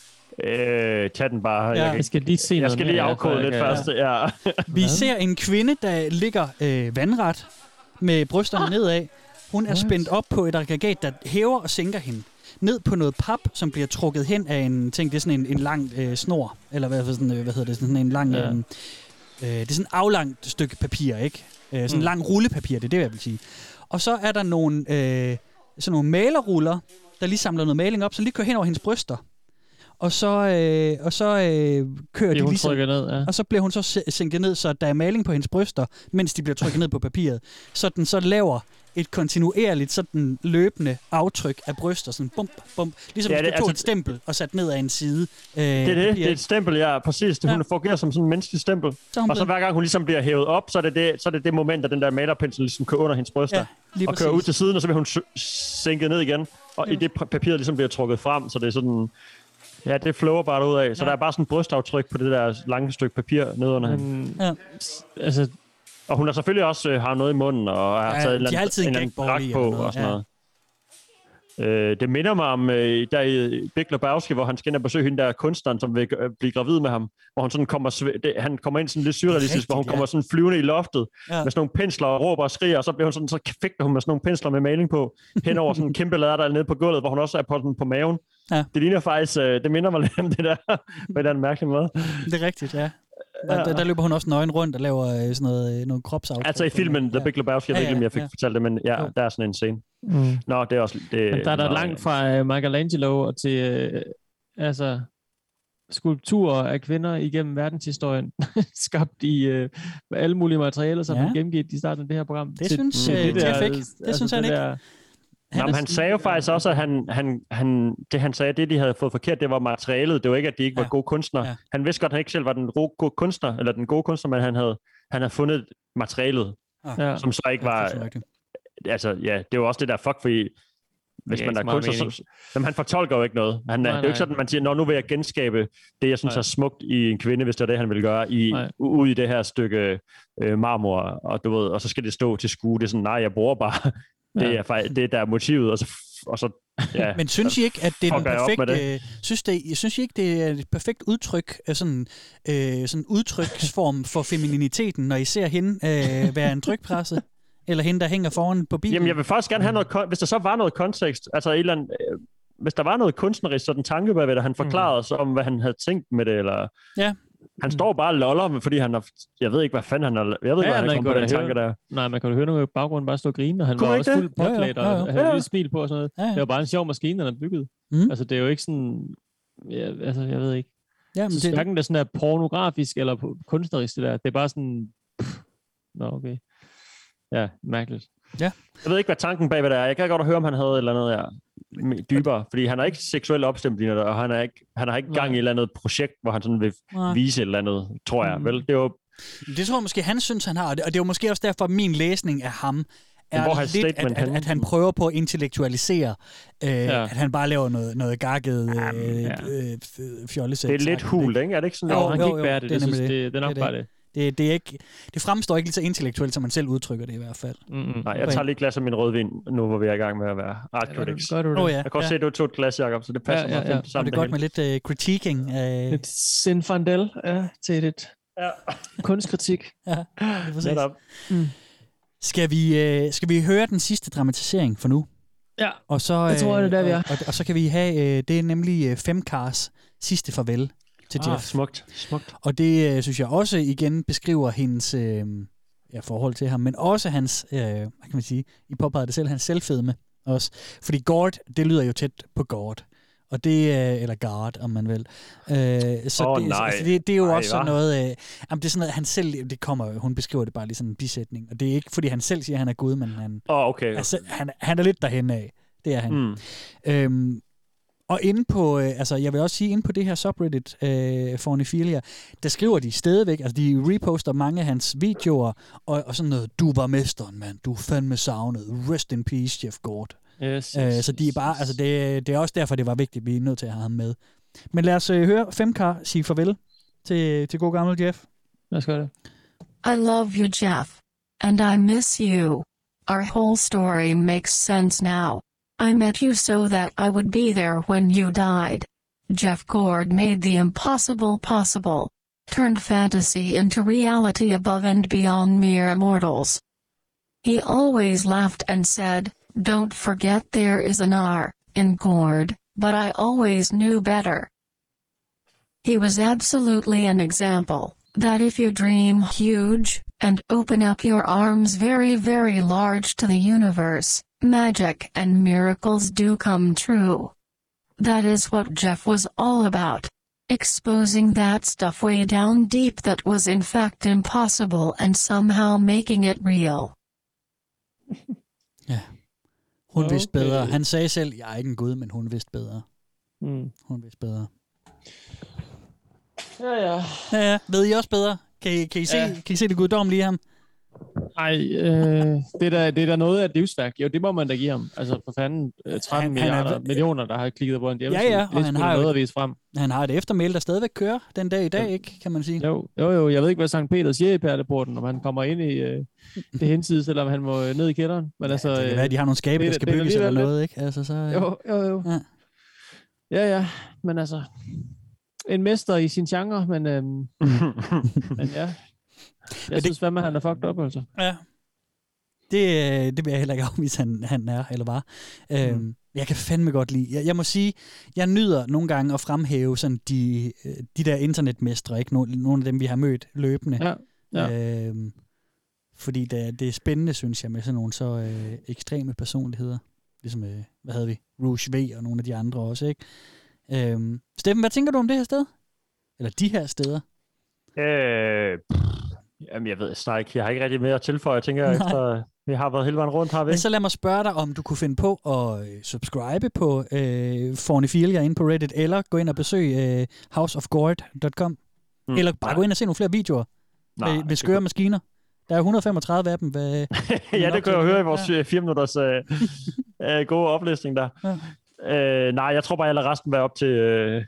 S4: Øh, tag den bare.
S3: Ja.
S4: Jeg, kan
S5: Jeg
S4: ikke-
S5: skal lige se
S4: jeg
S5: noget
S4: skal
S5: mere,
S4: lige
S5: ja,
S4: afkode
S5: for
S4: lidt
S5: jeg kan-
S4: først. Ja.
S3: [LAUGHS] Vi ser en kvinde, der ligger øh, vandret med brysterne ah. nedad. Hun er spændt op på et aggregat, der hæver og sænker hende. Ned på noget pap, som bliver trukket hen af en ting. Det er sådan en, en lang øh, snor, eller hvad, sådan, øh, hvad hedder det, sådan en lang... Ja.
S5: Ja.
S3: Øh, øh, det er sådan et aflangt stykke papir, ikke? Øh, sådan en
S5: Mm.
S3: lang rullepapir, det er det, jeg vil sige. Og så er der nogle, øh, sådan nogle malerruller, der lige samler noget maling op, som lige kører hen over hendes bryster. Og så, øh, og så øh, kører
S5: Fordi
S3: de
S5: hun
S3: ligesom...
S5: trykker ned, ja.
S3: Og så bliver hun så sæ- sænket ned, så der er maling på hendes bryster, mens de bliver trykket ned på papiret. Så den så laver et kontinuerligt sådan løbende aftryk af bryster, sådan bump, bump. Ligesom
S4: Ja,
S3: ja, hvis
S4: det-
S3: du tog
S4: altså-
S3: et stempel og sat ned af en side. Øh,
S4: Det er det. Det er et stempel, ja. Præcis. Det,
S3: Ja.
S4: Hun fungerer som sådan en menneskelig stempel.
S3: Så er hun
S4: og så
S3: blevet-
S4: hver gang hun ligesom bliver hævet op, så er det det, så er det, det moment, at den der malerpensel ligesom kører under hendes bryster.
S3: Ja, lige
S4: og kører
S3: præcis.
S4: ud til siden, og så bliver hun s- sænket ned igen. Og i det pa- papir ligesom bliver trukket frem, så det er sådan... Ja, det flower bare ud af. Så
S3: Ja.
S4: der er bare sådan et brystaftryk på det der lange stykke papir nedenunder hende.
S5: Men,
S3: Ja.
S5: altså,
S4: Og hun har selvfølgelig også øh, har noget i munden, og har
S3: Ja,
S4: taget
S3: de
S4: en eller
S3: har altid
S4: anden,
S3: en
S4: en eller anden
S3: gagball
S4: brak
S3: i
S4: på
S3: eller noget,
S4: og sådan
S3: ja.
S4: noget. Øh, det minder mig om øh, der i Big Lebowski, hvor han skal ind og besøge hende der kunstneren, som vil øh, blive gravid med ham. Hvor hun sådan kommer, sve- det, han kommer ind sådan lidt surrealistisk, hvor hun
S3: Rigtigt, ja.
S4: kommer sådan flyvende i loftet
S3: Ja.
S4: ja. med sådan nogle pensler og råber og skriger, og så, bliver hun sådan, så fægter hun med sådan nogle pensler med maling på, hen over sådan en kæmpe lader, der er nede på gulvet, hvor hun også er på, sådan, på maven.
S3: Ja.
S4: Ja. Det ligner faktisk, øh, det minder mig lidt om det der, [LAUGHS] på en eller anden mærkelig måde.
S3: det er rigtigt, ja. Og
S4: Ja.
S3: der, der løber hun også nøgen rundt og laver øh, sådan noget, øh, nogle kropsaftryk.
S4: Altså i filmen The Big Lebowski, jeg
S3: Ja,
S4: ved ikke, om
S3: ja,
S4: jeg fik
S3: ja.
S4: fortalt det, men ja,
S3: Jo.
S4: der er sådan en scene.
S5: mm.
S4: Nå, det er også... Det,
S5: Men der er da
S4: nå,
S5: langt fra uh, Michelangelo og til uh, altså skulpturer af kvinder igennem verdenshistorien, [LAUGHS] skabt i uh, alle mulige materialer, som
S3: Ja.
S5: ja. han gennemgik i starten af det her program.
S3: Det synes, øh,
S5: det
S3: Jeff
S5: der, altså,
S3: ikke. Det synes han
S5: det
S3: ikke.
S5: Der,
S4: Nå, men han sagde jo faktisk også, at han, han, han, det han sagde, det de havde fået forkert, det var materialet. Det var ikke, at de ikke var
S3: Ja.
S4: gode kunstnere.
S3: Ja.
S4: Han vidste godt, at han ikke selv var den ro- gode kunstner, eller den gode kunstner, men han havde, han havde fundet materialet,
S5: ja.
S4: som så ikke
S3: Ah. Ja, det
S4: var
S3: er så rigtigt.
S4: altså, ja, det er jo også det der fuck, fordi hvis
S5: giver
S4: man
S5: ikke
S4: er
S5: så meget
S4: kunstner, så,
S5: mening.
S4: jamen, han fortolker jo ikke noget. Han,
S5: Nej,
S4: nej, det er jo
S5: nej.
S4: ikke sådan, man siger, Nå, nu vil jeg genskabe det, jeg synes
S5: Nej.
S4: er smukt i en kvinde, hvis det er det, han vil gøre, i,
S5: Nej.
S4: ud i det her stykke øh, marmor, og, du ved, og så skal det stå til skue. Det er sådan, nej, jeg bruger bare det,
S3: Ja.
S4: er, fej- det, der er motivet, og så, og så ja,
S3: [LAUGHS] Men synes I ikke, at det er den
S4: fucker jeg op med
S3: perfekte,
S4: det.
S3: øh, synes, det, synes I ikke, det er et perfekt udtryk, øh, sådan, øh, sådan udtryksform for femininiteten, når I ser hende øh, være en trykpresse? Eller hende, der hænger foran på bilen?
S4: Jamen, jeg vil faktisk gerne have noget, kon- hvis der så var noget kontekst, altså et eller andet, øh, hvis der var noget kunstnerisk, sådan tanke bag ved det, han forklarede mm. så om, hvad han havde tænkt med det, eller...
S3: Mhm. Ja.
S4: Han står bare og loller, fordi han har... Jeg ved ikke, hvad fanden han har... Jeg ved ikke, ja, hvad han kom på den tanke der.
S5: Nej, man kan jo høre nogle i baggrunden bare stå og grine, og han
S4: Kunne
S5: var
S4: man
S5: også
S4: ikke
S5: fuldt
S4: det? Jo, jo,
S5: påklædt, og
S4: jo, jo.
S5: havde et
S4: Ja.
S5: lille smil på og sådan noget.
S3: Ja, ja.
S5: Det var bare en sjov maskine, han har bygget.
S3: Mm.
S5: Altså, det er jo ikke sådan... Ja, altså, jeg ved ikke.
S3: Ja, men
S5: så
S3: det-
S5: det... hverken det sådan er pornografisk eller på- kunstnerisk, det der. Det er bare sådan... Pff. Nå, okay. Ja, mærkeligt.
S3: Ja.
S4: Jeg ved ikke, hvad tanken bag ved det er. Jeg kan godt høre, om han havde et eller andet der m- dybere, fordi han er ikke seksuelt opstemt, ligner det, og han, er ikke, han har ikke gang i et eller andet projekt, hvor han sådan vil
S3: Nej. Mm.
S4: vise et eller andet, tror jeg. Vel, det er jo
S3: Det tror jeg måske, han synes, han har, og det og det er jo måske også derfor, at min læsning af ham er
S4: Hvor er hans
S3: lidt, at,
S4: statement
S3: at,
S4: henne?
S3: at han prøver på at intellektualisere, øh, ja.
S4: Ja.
S3: at han bare laver noget, noget gakket øh,
S4: ja.
S3: øh, f- fjollesæt.
S4: Det er
S3: sagt,
S4: lidt hult, ikke? Er det ikke sådan,
S3: Jo,
S4: at han
S3: jo,
S4: kan ikke
S3: jo,
S4: bære det? Det
S3: nemlig
S4: synes- det- det er nok bare det.
S3: Det, det, er ikke, det fremstår ikke lige så intellektuelt, som man selv udtrykker det i hvert fald.
S5: Mm-hmm.
S4: Mm. Nej, jeg tager lige et glas af min rødvin, nu hvor vi er i gang med at være art critics.
S3: gør du det. Åh, ja.
S4: Jeg kan også
S3: Ja.
S4: se, at du tog et glas, Jacob, så det passer
S5: Ja, ja,
S4: meget
S5: ja.
S4: fint
S3: Og
S4: sammen.
S3: det er godt med lidt øh, critiquing. Øh,
S5: Lidt Sinfandel ja, til et
S4: ja.
S5: kunstkritik.
S3: [LAUGHS] Ja, lige præcis.
S5: Netop.
S3: Mm. Skal, vi, øh, skal vi høre den sidste dramatisering for nu?
S5: Ja,
S3: og så, øh,
S5: jeg tror, det er der, vi er.
S3: Og, og, og så kan vi have, øh, det er nemlig øh, Femcars sidste farvel til
S4: Ah,
S3: Jeff.
S4: smukt, smukt.
S3: Og det øh, synes jeg også igen beskriver hendes øh, ja, forhold til ham, men også hans, øh, hvad kan man sige, I påpegede det selv, hans selvfedme også. Fordi Gord, det lyder jo tæt på Gord. Og det, øh, eller guard, om man vil. Øh, så
S4: Åh,
S3: det,
S4: nej.
S3: Altså, det, det er jo
S4: Nej,
S3: også sådan
S4: hva?
S3: noget, øh, jamen, det er sådan noget, han selv, det kommer, hun beskriver det bare lige sådan en bisætning. Og det er ikke, fordi han selv siger, at han er Gud, men han,
S4: Åh, oh, okay.
S3: Altså, han, han er lidt derhen af. Det er han.
S4: Mm.
S3: Øhm, og inde på, øh, altså jeg vil også sige, inde på det her subreddit, øh, Fornifilia, der skriver de stadigvæk, altså de reposter mange af hans videoer, og, og sådan noget, du var mesteren, mand, du er fandme savnet, rest in peace, Jeff Gord.
S5: Yes,
S3: øh,
S5: yes,
S3: så de er bare, altså det, det er også derfor, det var vigtigt, vi er nødt til at have ham med. Men lad os øh, høre Femkar sige farvel til, til god gammel Jeff.
S5: Lad os gøre det.
S9: I love you, Jeff. And I miss you. Our whole story makes sense now. I met you so that I would be there when you died. Jeff Gord made the impossible possible. Turned fantasy into reality above and beyond mere mortals. He always laughed and said, Don't forget there is an R in Gord, but I always knew better. He was absolutely an example that if you dream huge and open up your arms very, very large to the universe, magic and miracles do come true. That is what Jeff was all about. Exposing that stuff way down deep that was in fact impossible and somehow making it real.
S3: Hun okay. vidste bedre. Han sagde selv, jeg er ikke en gud, men hun vidste bedre.
S5: Mm.
S3: Hun vidste bedre.
S5: Ja, ja.
S3: Ja, ja. Ved I også bedre? Kan I, kan I, se, ja.
S5: Ja.
S3: kan I se det guddommelige i ham?
S5: Ej, øh, det, er da, det er da noget af et livsværk. Jo, det må man da give ham. Altså, for fanden, øh, 13
S3: Han-
S5: han,
S3: han er-
S5: milliarder, han er, millioner, der har klikket på en
S3: Ja,
S5: hjemmeside.
S3: ja,
S5: Det
S3: og
S5: er
S3: han
S5: sgu da
S3: har jo
S5: noget
S3: et-
S5: at vise frem.
S3: Han har et eftermæl, der stadigvæk kører den dag i dag, ikke? Kan man sige.
S5: Jo, jo, jo, jeg ved ikke, hvad Sankt Peter siger i perleporten, om han kommer ind i øh, det hensides, eller om han må øh, ned i kælderen. Men ja, altså,
S3: Det
S5: øh,
S3: kan være, at de har nogle skabe,
S5: det
S3: der
S5: er-
S3: skal
S5: det er
S3: bygges eller
S5: alligevel
S3: noget, ikke? Altså, så, øh,
S5: Jo, jo, jo.
S3: Ja.
S5: Ja, ja, men altså, en mester i sin genre, men,
S3: [LAUGHS]
S5: øhm, men ja. Jeg
S3: det-
S5: men synes, hvad med, han er fucked up, altså.
S3: Ja. Det, øh, det vil jeg heller ikke afvise, han, han er eller var. Øhm, mm. Jeg kan fandme godt lide. Jeg, jeg må sige, jeg nyder nogle gange at fremhæve sådan de, øh, de der internetmestre, ikke? Nogle, nogle af dem, vi har mødt løbende.
S5: Ja, ja.
S3: Øhm, fordi det, det er spændende, synes jeg, med sådan nogle så øh, ekstreme personligheder. Ligesom, øh, hvad havde vi? Rouge V og nogle af de andre også, ikke? Øhm, Steffen, hvad tænker du om det her sted? Eller de her steder?
S4: Øh, pff, jamen, jeg ved snart ikke. Jeg har ikke rigtig mere at tilføje, tænker jeg,
S3: Nej.
S4: efter vi har været hele vejen rundt, har vi
S3: Men
S4: ikke?
S3: så lad mig spørge dig, om du kunne finde på at øh, subscribe på øh, Fornifilia inde på Reddit, eller gå ind og besøge øh, houseofgord.com, mm,
S4: Mm,
S3: eller bare nej. gå ind og se nogle flere videoer øh,
S4: Nej,
S3: med, med
S4: det
S3: skøre
S4: kunne-
S3: maskiner. Der er 135 af dem. Hvad,
S4: [LAUGHS] ja, det kunne jeg høre i vores ja. 4 minutters [LAUGHS] øh, øh, gode oplæsning der. Ja. Øh, nej, jeg tror bare, jeg lader resten være op til, øh,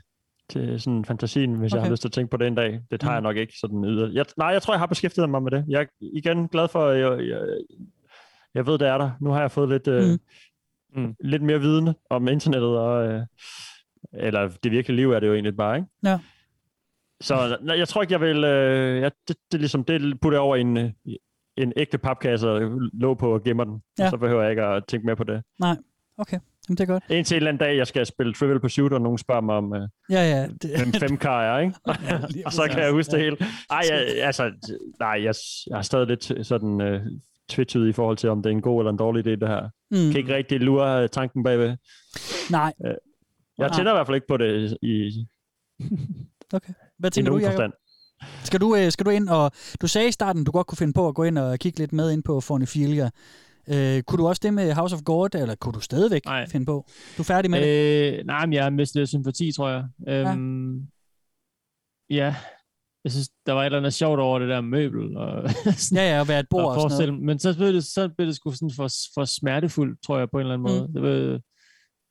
S4: til sådan fantasien, hvis okay. jeg
S3: Okay.
S4: har lyst til at tænke på det en dag. Det tager mm. jeg nok ikke sådan yder. Jeg, nej, jeg tror, jeg har beskæftiget mig med det. Jeg er igen glad for, at jeg, jeg, jeg ved, det er der. Nu har jeg fået lidt, øh, mm. lidt mere viden om internettet, og, øh, eller det virkelige liv er det jo egentlig bare, ikke?
S3: Ja.
S4: Så nej, jeg tror ikke, jeg vil... Øh, jeg, det, det, er ligesom, det putter jeg over i en, øh, en ægte papkasse og lå på og gemmer den.
S3: Ja.
S4: Ja. Så behøver jeg ikke at tænke mere på det.
S3: Nej, okay. Jamen, det er godt.
S4: Indtil en eller anden dag, jeg skal spille Trivial Pursuit, og nogen spørger mig om, øh,
S3: Ja, ja. Det,
S4: hvem
S3: [LAUGHS]
S4: fem kar er, ikke?
S3: lige
S4: [LAUGHS] og så kan
S3: præcis,
S4: jeg huske det
S3: ja.
S4: hele. Ej, jeg, altså, nej, jeg, jeg er stadig lidt sådan øh, tvetydig i forhold til, om det er en god eller en dårlig idé, det her.
S3: Mm.
S4: Mm. Kan ikke rigtig lure øh, tanken bagved.
S3: nej.
S4: Jeg
S3: Nej.
S4: tænder i hvert fald ikke på det i, i
S3: Hvad
S4: i
S3: tænker du,
S4: nogen
S3: Jacob?
S4: forstand.
S3: Skal du, øh, skal du ind og... Du sagde i starten, du godt kunne finde på at gå ind og kigge lidt med ind på Fornephilia. Øh, kunne du også det med House of God, eller kunne du stadigvæk Nej. finde på? Du er færdig med øh, det?
S5: Øh, nej, men jeg har mistet lidt sympati, tror jeg. Øhm, ja. ja. Jeg synes, der var et eller andet sjovt over det der møbel. Og [LAUGHS] sådan,
S3: ja, ja, at være et bord og sådan
S5: forestille- Men så blev det, så blev det sgu sådan for, for smertefuldt, tror jeg, på en eller anden måde. Mm. Det blev,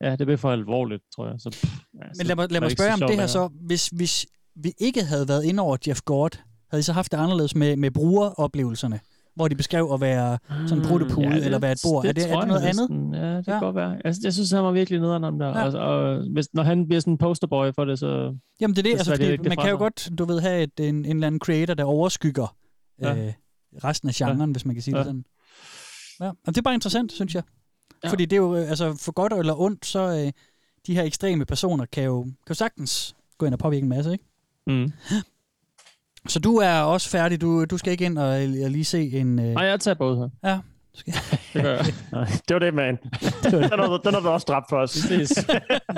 S5: ja, det blev for alvorligt, tror jeg. Så, pff, ja,
S3: Men
S5: så
S3: lad
S5: var
S3: mig, lad mig
S5: ikke så
S3: spørge om
S5: sjovt
S3: det her så. Hvis, hvis vi ikke havde været ind over Jeff Gord, havde I så haft det anderledes med, med brugeroplevelserne? Hvor de beskrev at være sådan en pruttepude,
S5: Mm, Ja,
S3: ja, eller være et bord. er, det,
S5: tror
S3: er det
S5: jeg
S3: noget andet?
S5: næsten. Ja, det kan godt være. Altså, Jeg, jeg synes, han var virkelig nederen om der. Ja. Og, og hvis, når han bliver sådan en posterboy for det, så...
S3: Jamen det er det,
S5: så
S3: altså,
S5: svært
S3: fordi
S5: jeg ikke
S3: man
S5: fra
S3: kan jo
S5: mig.
S3: godt, du ved, have et, en, en eller anden creator, der overskygger
S5: Ja.
S3: ja. øh, resten af genren, ja. hvis man kan sige ja.
S5: Ja.
S3: det sådan. Ja. Og det er bare interessant, synes jeg. Ja. Fordi det er jo, øh, altså for godt eller ondt, så øh, de her ekstreme personer kan jo, kan jo sagtens gå ind og påvirke en masse, ikke?
S5: Mm.
S3: Så du er også færdig, du, du skal ikke ind og, og lige se en... Øh...
S5: Nej, jeg tager både her.
S3: Ja.
S5: Det gør jeg.
S4: det var
S3: [LAUGHS]
S4: det, man. den, har, du- den har du også dræbt for os.
S5: [LAUGHS]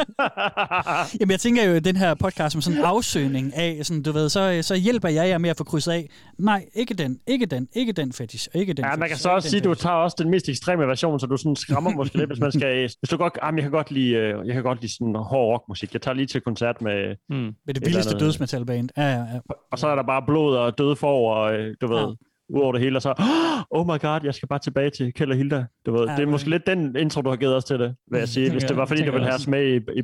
S3: Jamen, jeg tænker jo, at den her podcast som sådan en afsøgning af, sådan, du ved, så, øh, så hjælper jeg jer med at få krydset af. Nej, ikke den, ikke den, ikke den fetish, og ikke den
S4: Ja, man
S3: fetish,
S4: kan så
S3: ikke
S4: også
S3: den
S4: sige, at du
S3: fetish.
S4: tager også den mest ekstreme version, så du sådan skræmmer måske lidt, hvis man skal... Hvis du godt, ah, men jeg kan godt lide, øh, jeg kan godt lide sådan hård rockmusik. Jeg tager lige til koncert med...
S5: Mm.
S3: Med det vildeste dødsmetalband. Ja, ja, ja.
S4: Og så er der bare blod og døde for, og øh, du ved, ja. ud over det hele, og så, oh my god, jeg skal bare tilbage til Kjeld og Hilda. Du ved,
S3: Ja,
S4: ja, det er
S3: okay. Mm,
S4: måske lidt den intro, du har givet os til det, vil jeg sige, hvis
S5: Tænker
S4: det var
S5: jeg-
S4: fordi, det
S5: tænker
S4: ville
S5: jeg
S4: have os med i, i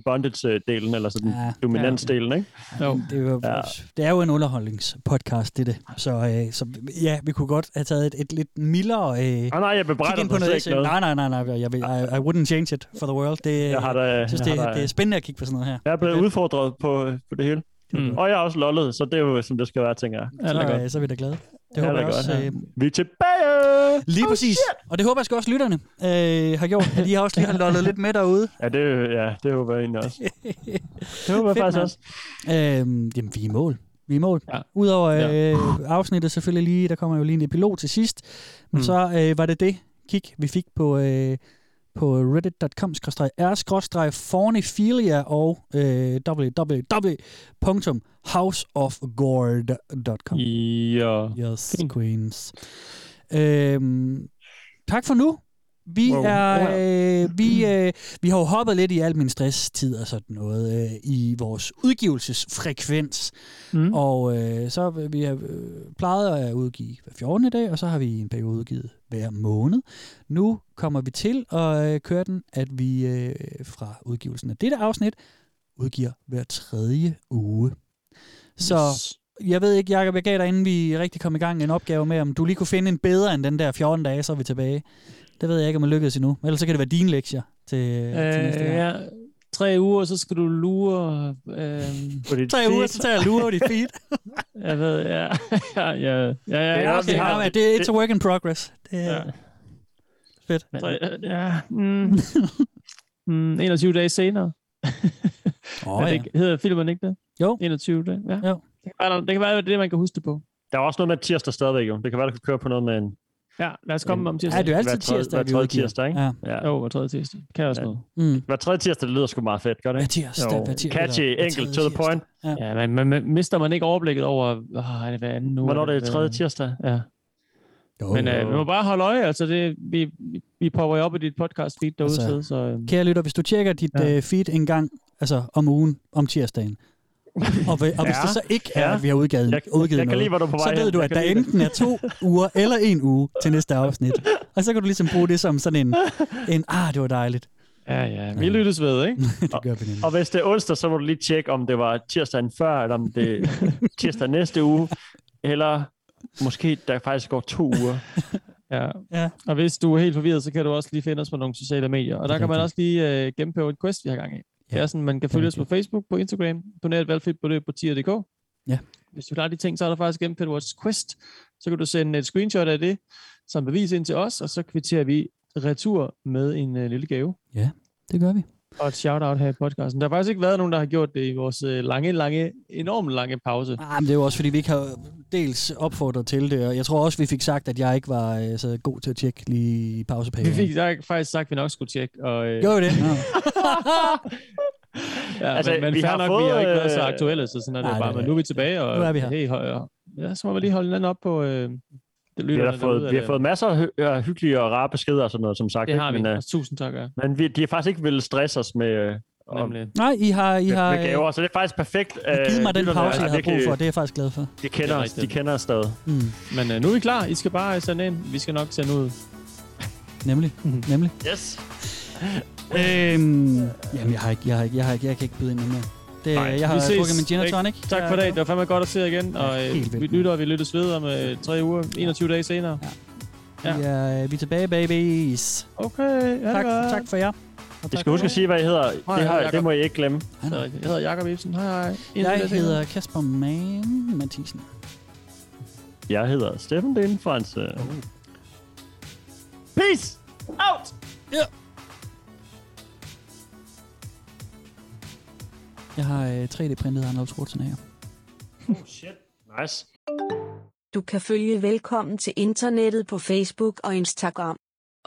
S4: bondage-delen, eller sådan
S3: Ja.
S4: ja, dominansdelen, ikke?
S5: Jo.
S3: Det, er jo, ja. det er jo en underholdningspodcast, det det. Så, øh, så ja, vi kunne godt have taget et, et lidt mildere... Øh,
S4: Ah, nej, jeg bebrejder dig slet ikke
S3: ekstremt.
S4: noget.
S3: Nej, nej, nej, nej. Jeg vil, I, I wouldn't change it for the world. Det,
S4: Jeg har da-
S3: jeg synes,
S4: jeg
S3: det,
S4: har da-
S3: det er spændende at kigge på sådan noget her.
S4: Jeg er blevet udfordret på, på det hele.
S5: Mm.
S4: Og jeg er også lollet, så det er jo, som det skal være, tænker jeg.
S5: Ja, det er
S3: Så,
S5: godt.
S3: øh, så er vi da glade. Det
S4: Ja,
S3: håber
S4: det er
S3: jeg også.
S4: godt, ja.
S3: Øh,
S4: Vi er tilbage!
S3: lige
S4: Oh,
S3: præcis. Og det håber jeg sgu også, lytterne øh, har
S4: [LAUGHS]
S3: gjort, at I har også lige har lollet lidt med derude.
S4: Ja, det, ja, det håber jeg egentlig
S3: [LAUGHS]
S4: også. Det håber jeg
S3: Fedt,
S4: faktisk
S3: mand.
S4: også.
S3: Øhm, jamen, vi er i mål. Vi er i mål. Ja.
S5: Ja.
S3: Udover
S5: Ja.
S3: øh, afsnittet selvfølgelig lige, der kommer jo lige en epilog til sidst, men mm.
S5: Mm.
S3: så øh, var det det kig, vi fik på, øh, på reddit.com r fornephilia og øh, www.houseofgord.com.
S5: Ja.
S3: Yes, queens. Øhm, tak for nu. Vi wow.
S5: Wow.
S3: er
S5: Wow.
S3: øh, vi øh, vi har jo hoppet lidt i al min stresstid og sådan noget øh, i vores udgivelsesfrekvens. Mm.
S5: Mm.
S3: Og øh, så har vi har øh, plejet at udgive hver 14. dag, og så har vi i en periode udgivet hver måned. Nu kommer vi til at øh, køre den, at vi øh, fra udgivelsen af dette afsnit udgiver hver tredje uge. Så jeg ved ikke, Jacob, jeg gav dig, inden vi rigtig kom i gang, en opgave med, om du lige kunne finde en bedre end den der 14 dage, så er vi tilbage. Det ved jeg ikke, om jeg lykkedes endnu. Ellers så kan det være dine lektier til, øh, til næste
S5: Øh,
S3: gang.
S5: ja. Tre uger, så skal du lure... Øh,
S3: Tre uger, så tager jeg lure på dit [LAUGHS] feed.
S5: jeg ved, ja. [LAUGHS] ja, ja, ja, ja,
S4: er
S5: ja,
S4: også- vi
S5: okay.
S4: har-
S3: Ja, men det er it's a work in progress. Det er ja. fedt.
S5: Tre- ja. Mm. Mm, 21 dage senere. [LAUGHS]
S3: Åh,
S5: er det
S3: ja.
S5: ikke, hedder filmen ikke det?
S3: Jo.
S5: 21 dage, ja.
S3: Jo.
S5: Det kan være, der- det kan være det, er det, man kan huske det på.
S4: Der er også noget med tirsdag stadigvæk, jo. Det kan være, du kan køre på noget med en...
S5: Ja, lad os komme
S4: En-
S5: om
S3: Ja,
S5: tirsdag.
S3: det er jo altid
S4: hver tredje-
S3: tirsdag,
S4: hver
S3: vi
S4: tredje
S3: udgiver.
S4: tirsdag, ikke?
S3: Ja.
S4: Ja.
S5: Jo, hver tredje tirsdag. Kan jeg også noget.
S3: Mm.
S4: Hver tredje tirsdag, det lyder sgu meget fedt, gør det
S3: Hver
S4: ikke?
S3: tirsdag,
S4: Jo.
S3: hver tirsdag.
S4: Catchy,
S3: Hver
S4: enkelt, to
S3: tredje
S4: the point.
S5: Ja, men man, man, mister man ikke overblikket over, åh, er det hver anden uge?
S4: Hvornår det er
S5: hver-
S4: tredje tirsdag?
S5: Ja.
S3: Jo,
S5: Men
S3: jo.
S5: øh, vi må bare holde øje, altså det, vi, vi- vi popper jo op i dit podcast feed derude,
S3: Altså,
S4: øhm.
S5: altså, så øh,
S3: Kære lytter, hvis du tjekker dit ja.
S5: Ja.
S3: øh, feed en gang, altså om ugen, om tirsdagen, Og, hvi- og hvis
S4: Ja.
S3: det så ikke er,
S4: Ja.
S3: at vi har udgivet,
S4: Jeg-
S3: udgivet
S4: jeg kan
S3: noget,
S4: lide, hvor du er på vej
S3: så ved
S4: hen.
S3: du,
S4: Jeg
S3: at
S4: kan
S3: der
S4: lide det.
S3: enten er
S4: [LAUGHS]
S3: to uger eller en uge til næste afsnit. Og så kan du ligesom bruge det som sådan en, en ah, det var dejligt.
S5: Ja, ja. Vi lyttes ved, ikke?
S3: [LAUGHS] det gør vi nemlig.
S4: Og hvis det er onsdag, så må du lige tjekke, om det var tirsdagen før, eller om det
S3: [LAUGHS]
S4: er tirsdag næste uge, eller måske der faktisk går to uger.
S3: [LAUGHS]
S5: Ja.
S3: ja.
S5: [LAUGHS] Og hvis du er helt forvirret, så kan du også lige finde os på nogle sociale medier. Og der kan man også lige øh, gennemføre et quest, vi har gang i. Ja. Det er sådan, man kan følge os på Facebook, på Instagram, donere et valgfrit beløb på tier.dk.
S3: Ja.
S5: Hvis du klarer de ting, så er der faktisk gennemført vores quest. Så kan du sende et screenshot af det som bevis ind til os, og så kvitterer vi retur med en øh, lille gave.
S3: Ja, det gør vi.
S5: Og et shout-out her i podcasten. Der har faktisk ikke været nogen, der har gjort det i vores øh, lange, lange, enormt lange pause.
S3: Ah, men det er jo også, fordi vi ikke har dels opfordret til det, og jeg tror også, vi fik sagt, at jeg ikke var øh, så god til at tjekke lige i
S5: Vi
S3: pauseperioden.
S5: fik sagt- faktisk sagt, at vi nok skulle tjekke. Og, øh,
S3: Gjorde vi
S5: [LAUGHS]
S3: det? Nå.
S5: ja,
S4: Altså,
S5: altså, men, men
S4: vi
S5: vi fair
S4: har
S5: nok,
S4: fået,
S5: vi har ikke været så
S4: øh,
S5: aktuelle, så sådan er det
S4: nej,
S5: jo bare.
S4: det er
S5: Men
S4: det.
S5: nu er vi tilbage, og
S4: Nu er vi her.
S5: Hey, høj, og, ja, så må vi lige holde hinanden op på øh, det
S4: Vi
S5: lytter.
S4: har, fået, vi har fået masser af hø- af hyggelige og rare beskeder og sådan noget, som sagt.
S5: Det
S4: ikke?
S5: har vi.
S4: Men, øh,
S5: Og tusind tak, ja.
S4: men vi, de har faktisk ikke ville stresse os med, øh, om,
S5: med,
S3: Nej, I har... I har
S4: med gaver, så det er faktisk perfekt.
S3: øh, givet mig den
S4: lytterne
S3: pause,
S4: er
S3: jeg havde brug
S4: virkelig-
S3: for, og det er jeg faktisk glad for.
S4: De kender os, de kender os stadig.
S3: Mm.
S5: Men øh, nu er vi klar. I skal bare øh, sende ind. Vi skal nok sende ud. Mhm.
S3: Nemlig, nemlig.
S4: Yes.
S3: Øhm, jamen, jeg har ikke, jeg har ikke, jeg har ikke, jeg kan ikke byde ind med mere. Det,
S5: Nej,
S3: jeg har
S5: vi ses.
S3: drukket min gin og
S5: Ikke?
S3: tonic.
S5: Tak for i dag. Det var fandme godt at se jer igen. Og
S3: helt
S5: øh,
S3: vildt.
S5: vi lytter, og vi lyttes ved om øh, tre uger. 21 dage senere.
S3: Ja. Vi, er, vi er tilbage, babies.
S5: Okay,
S3: tak, tak for jer.
S4: I skal huske at sige, hvad I hedder.
S3: Hej,
S4: Det, her,
S3: Jacob.
S4: det må I ikke glemme.
S5: Jeg hedder Jakob Ibsen. Hej, hej.
S3: Jeg hedder Kasper Mann Mathisen.
S4: Jeg hedder Steffen Dane Franse. Peace! Out!
S3: Ja. Jeg har øh, 3D-printet Arnold Schwarzenegger.
S4: Oh shit. Nice.
S2: Du kan følge Velkommen til Internettet på Facebook og Instagram.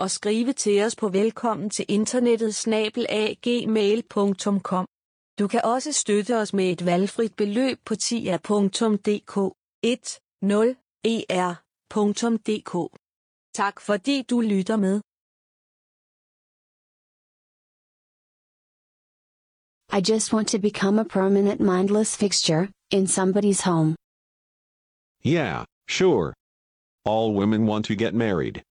S2: Og skrive til os på velkommen til internettet snabelagmail.com. Du kan også støtte os med et valgfrit beløb på tia.dk E 10er.dk. Tak fordi du lytter med.
S13: I just want to become a permanent mindless fixture in somebody's home.
S14: Yeah, sure. All women want to get married.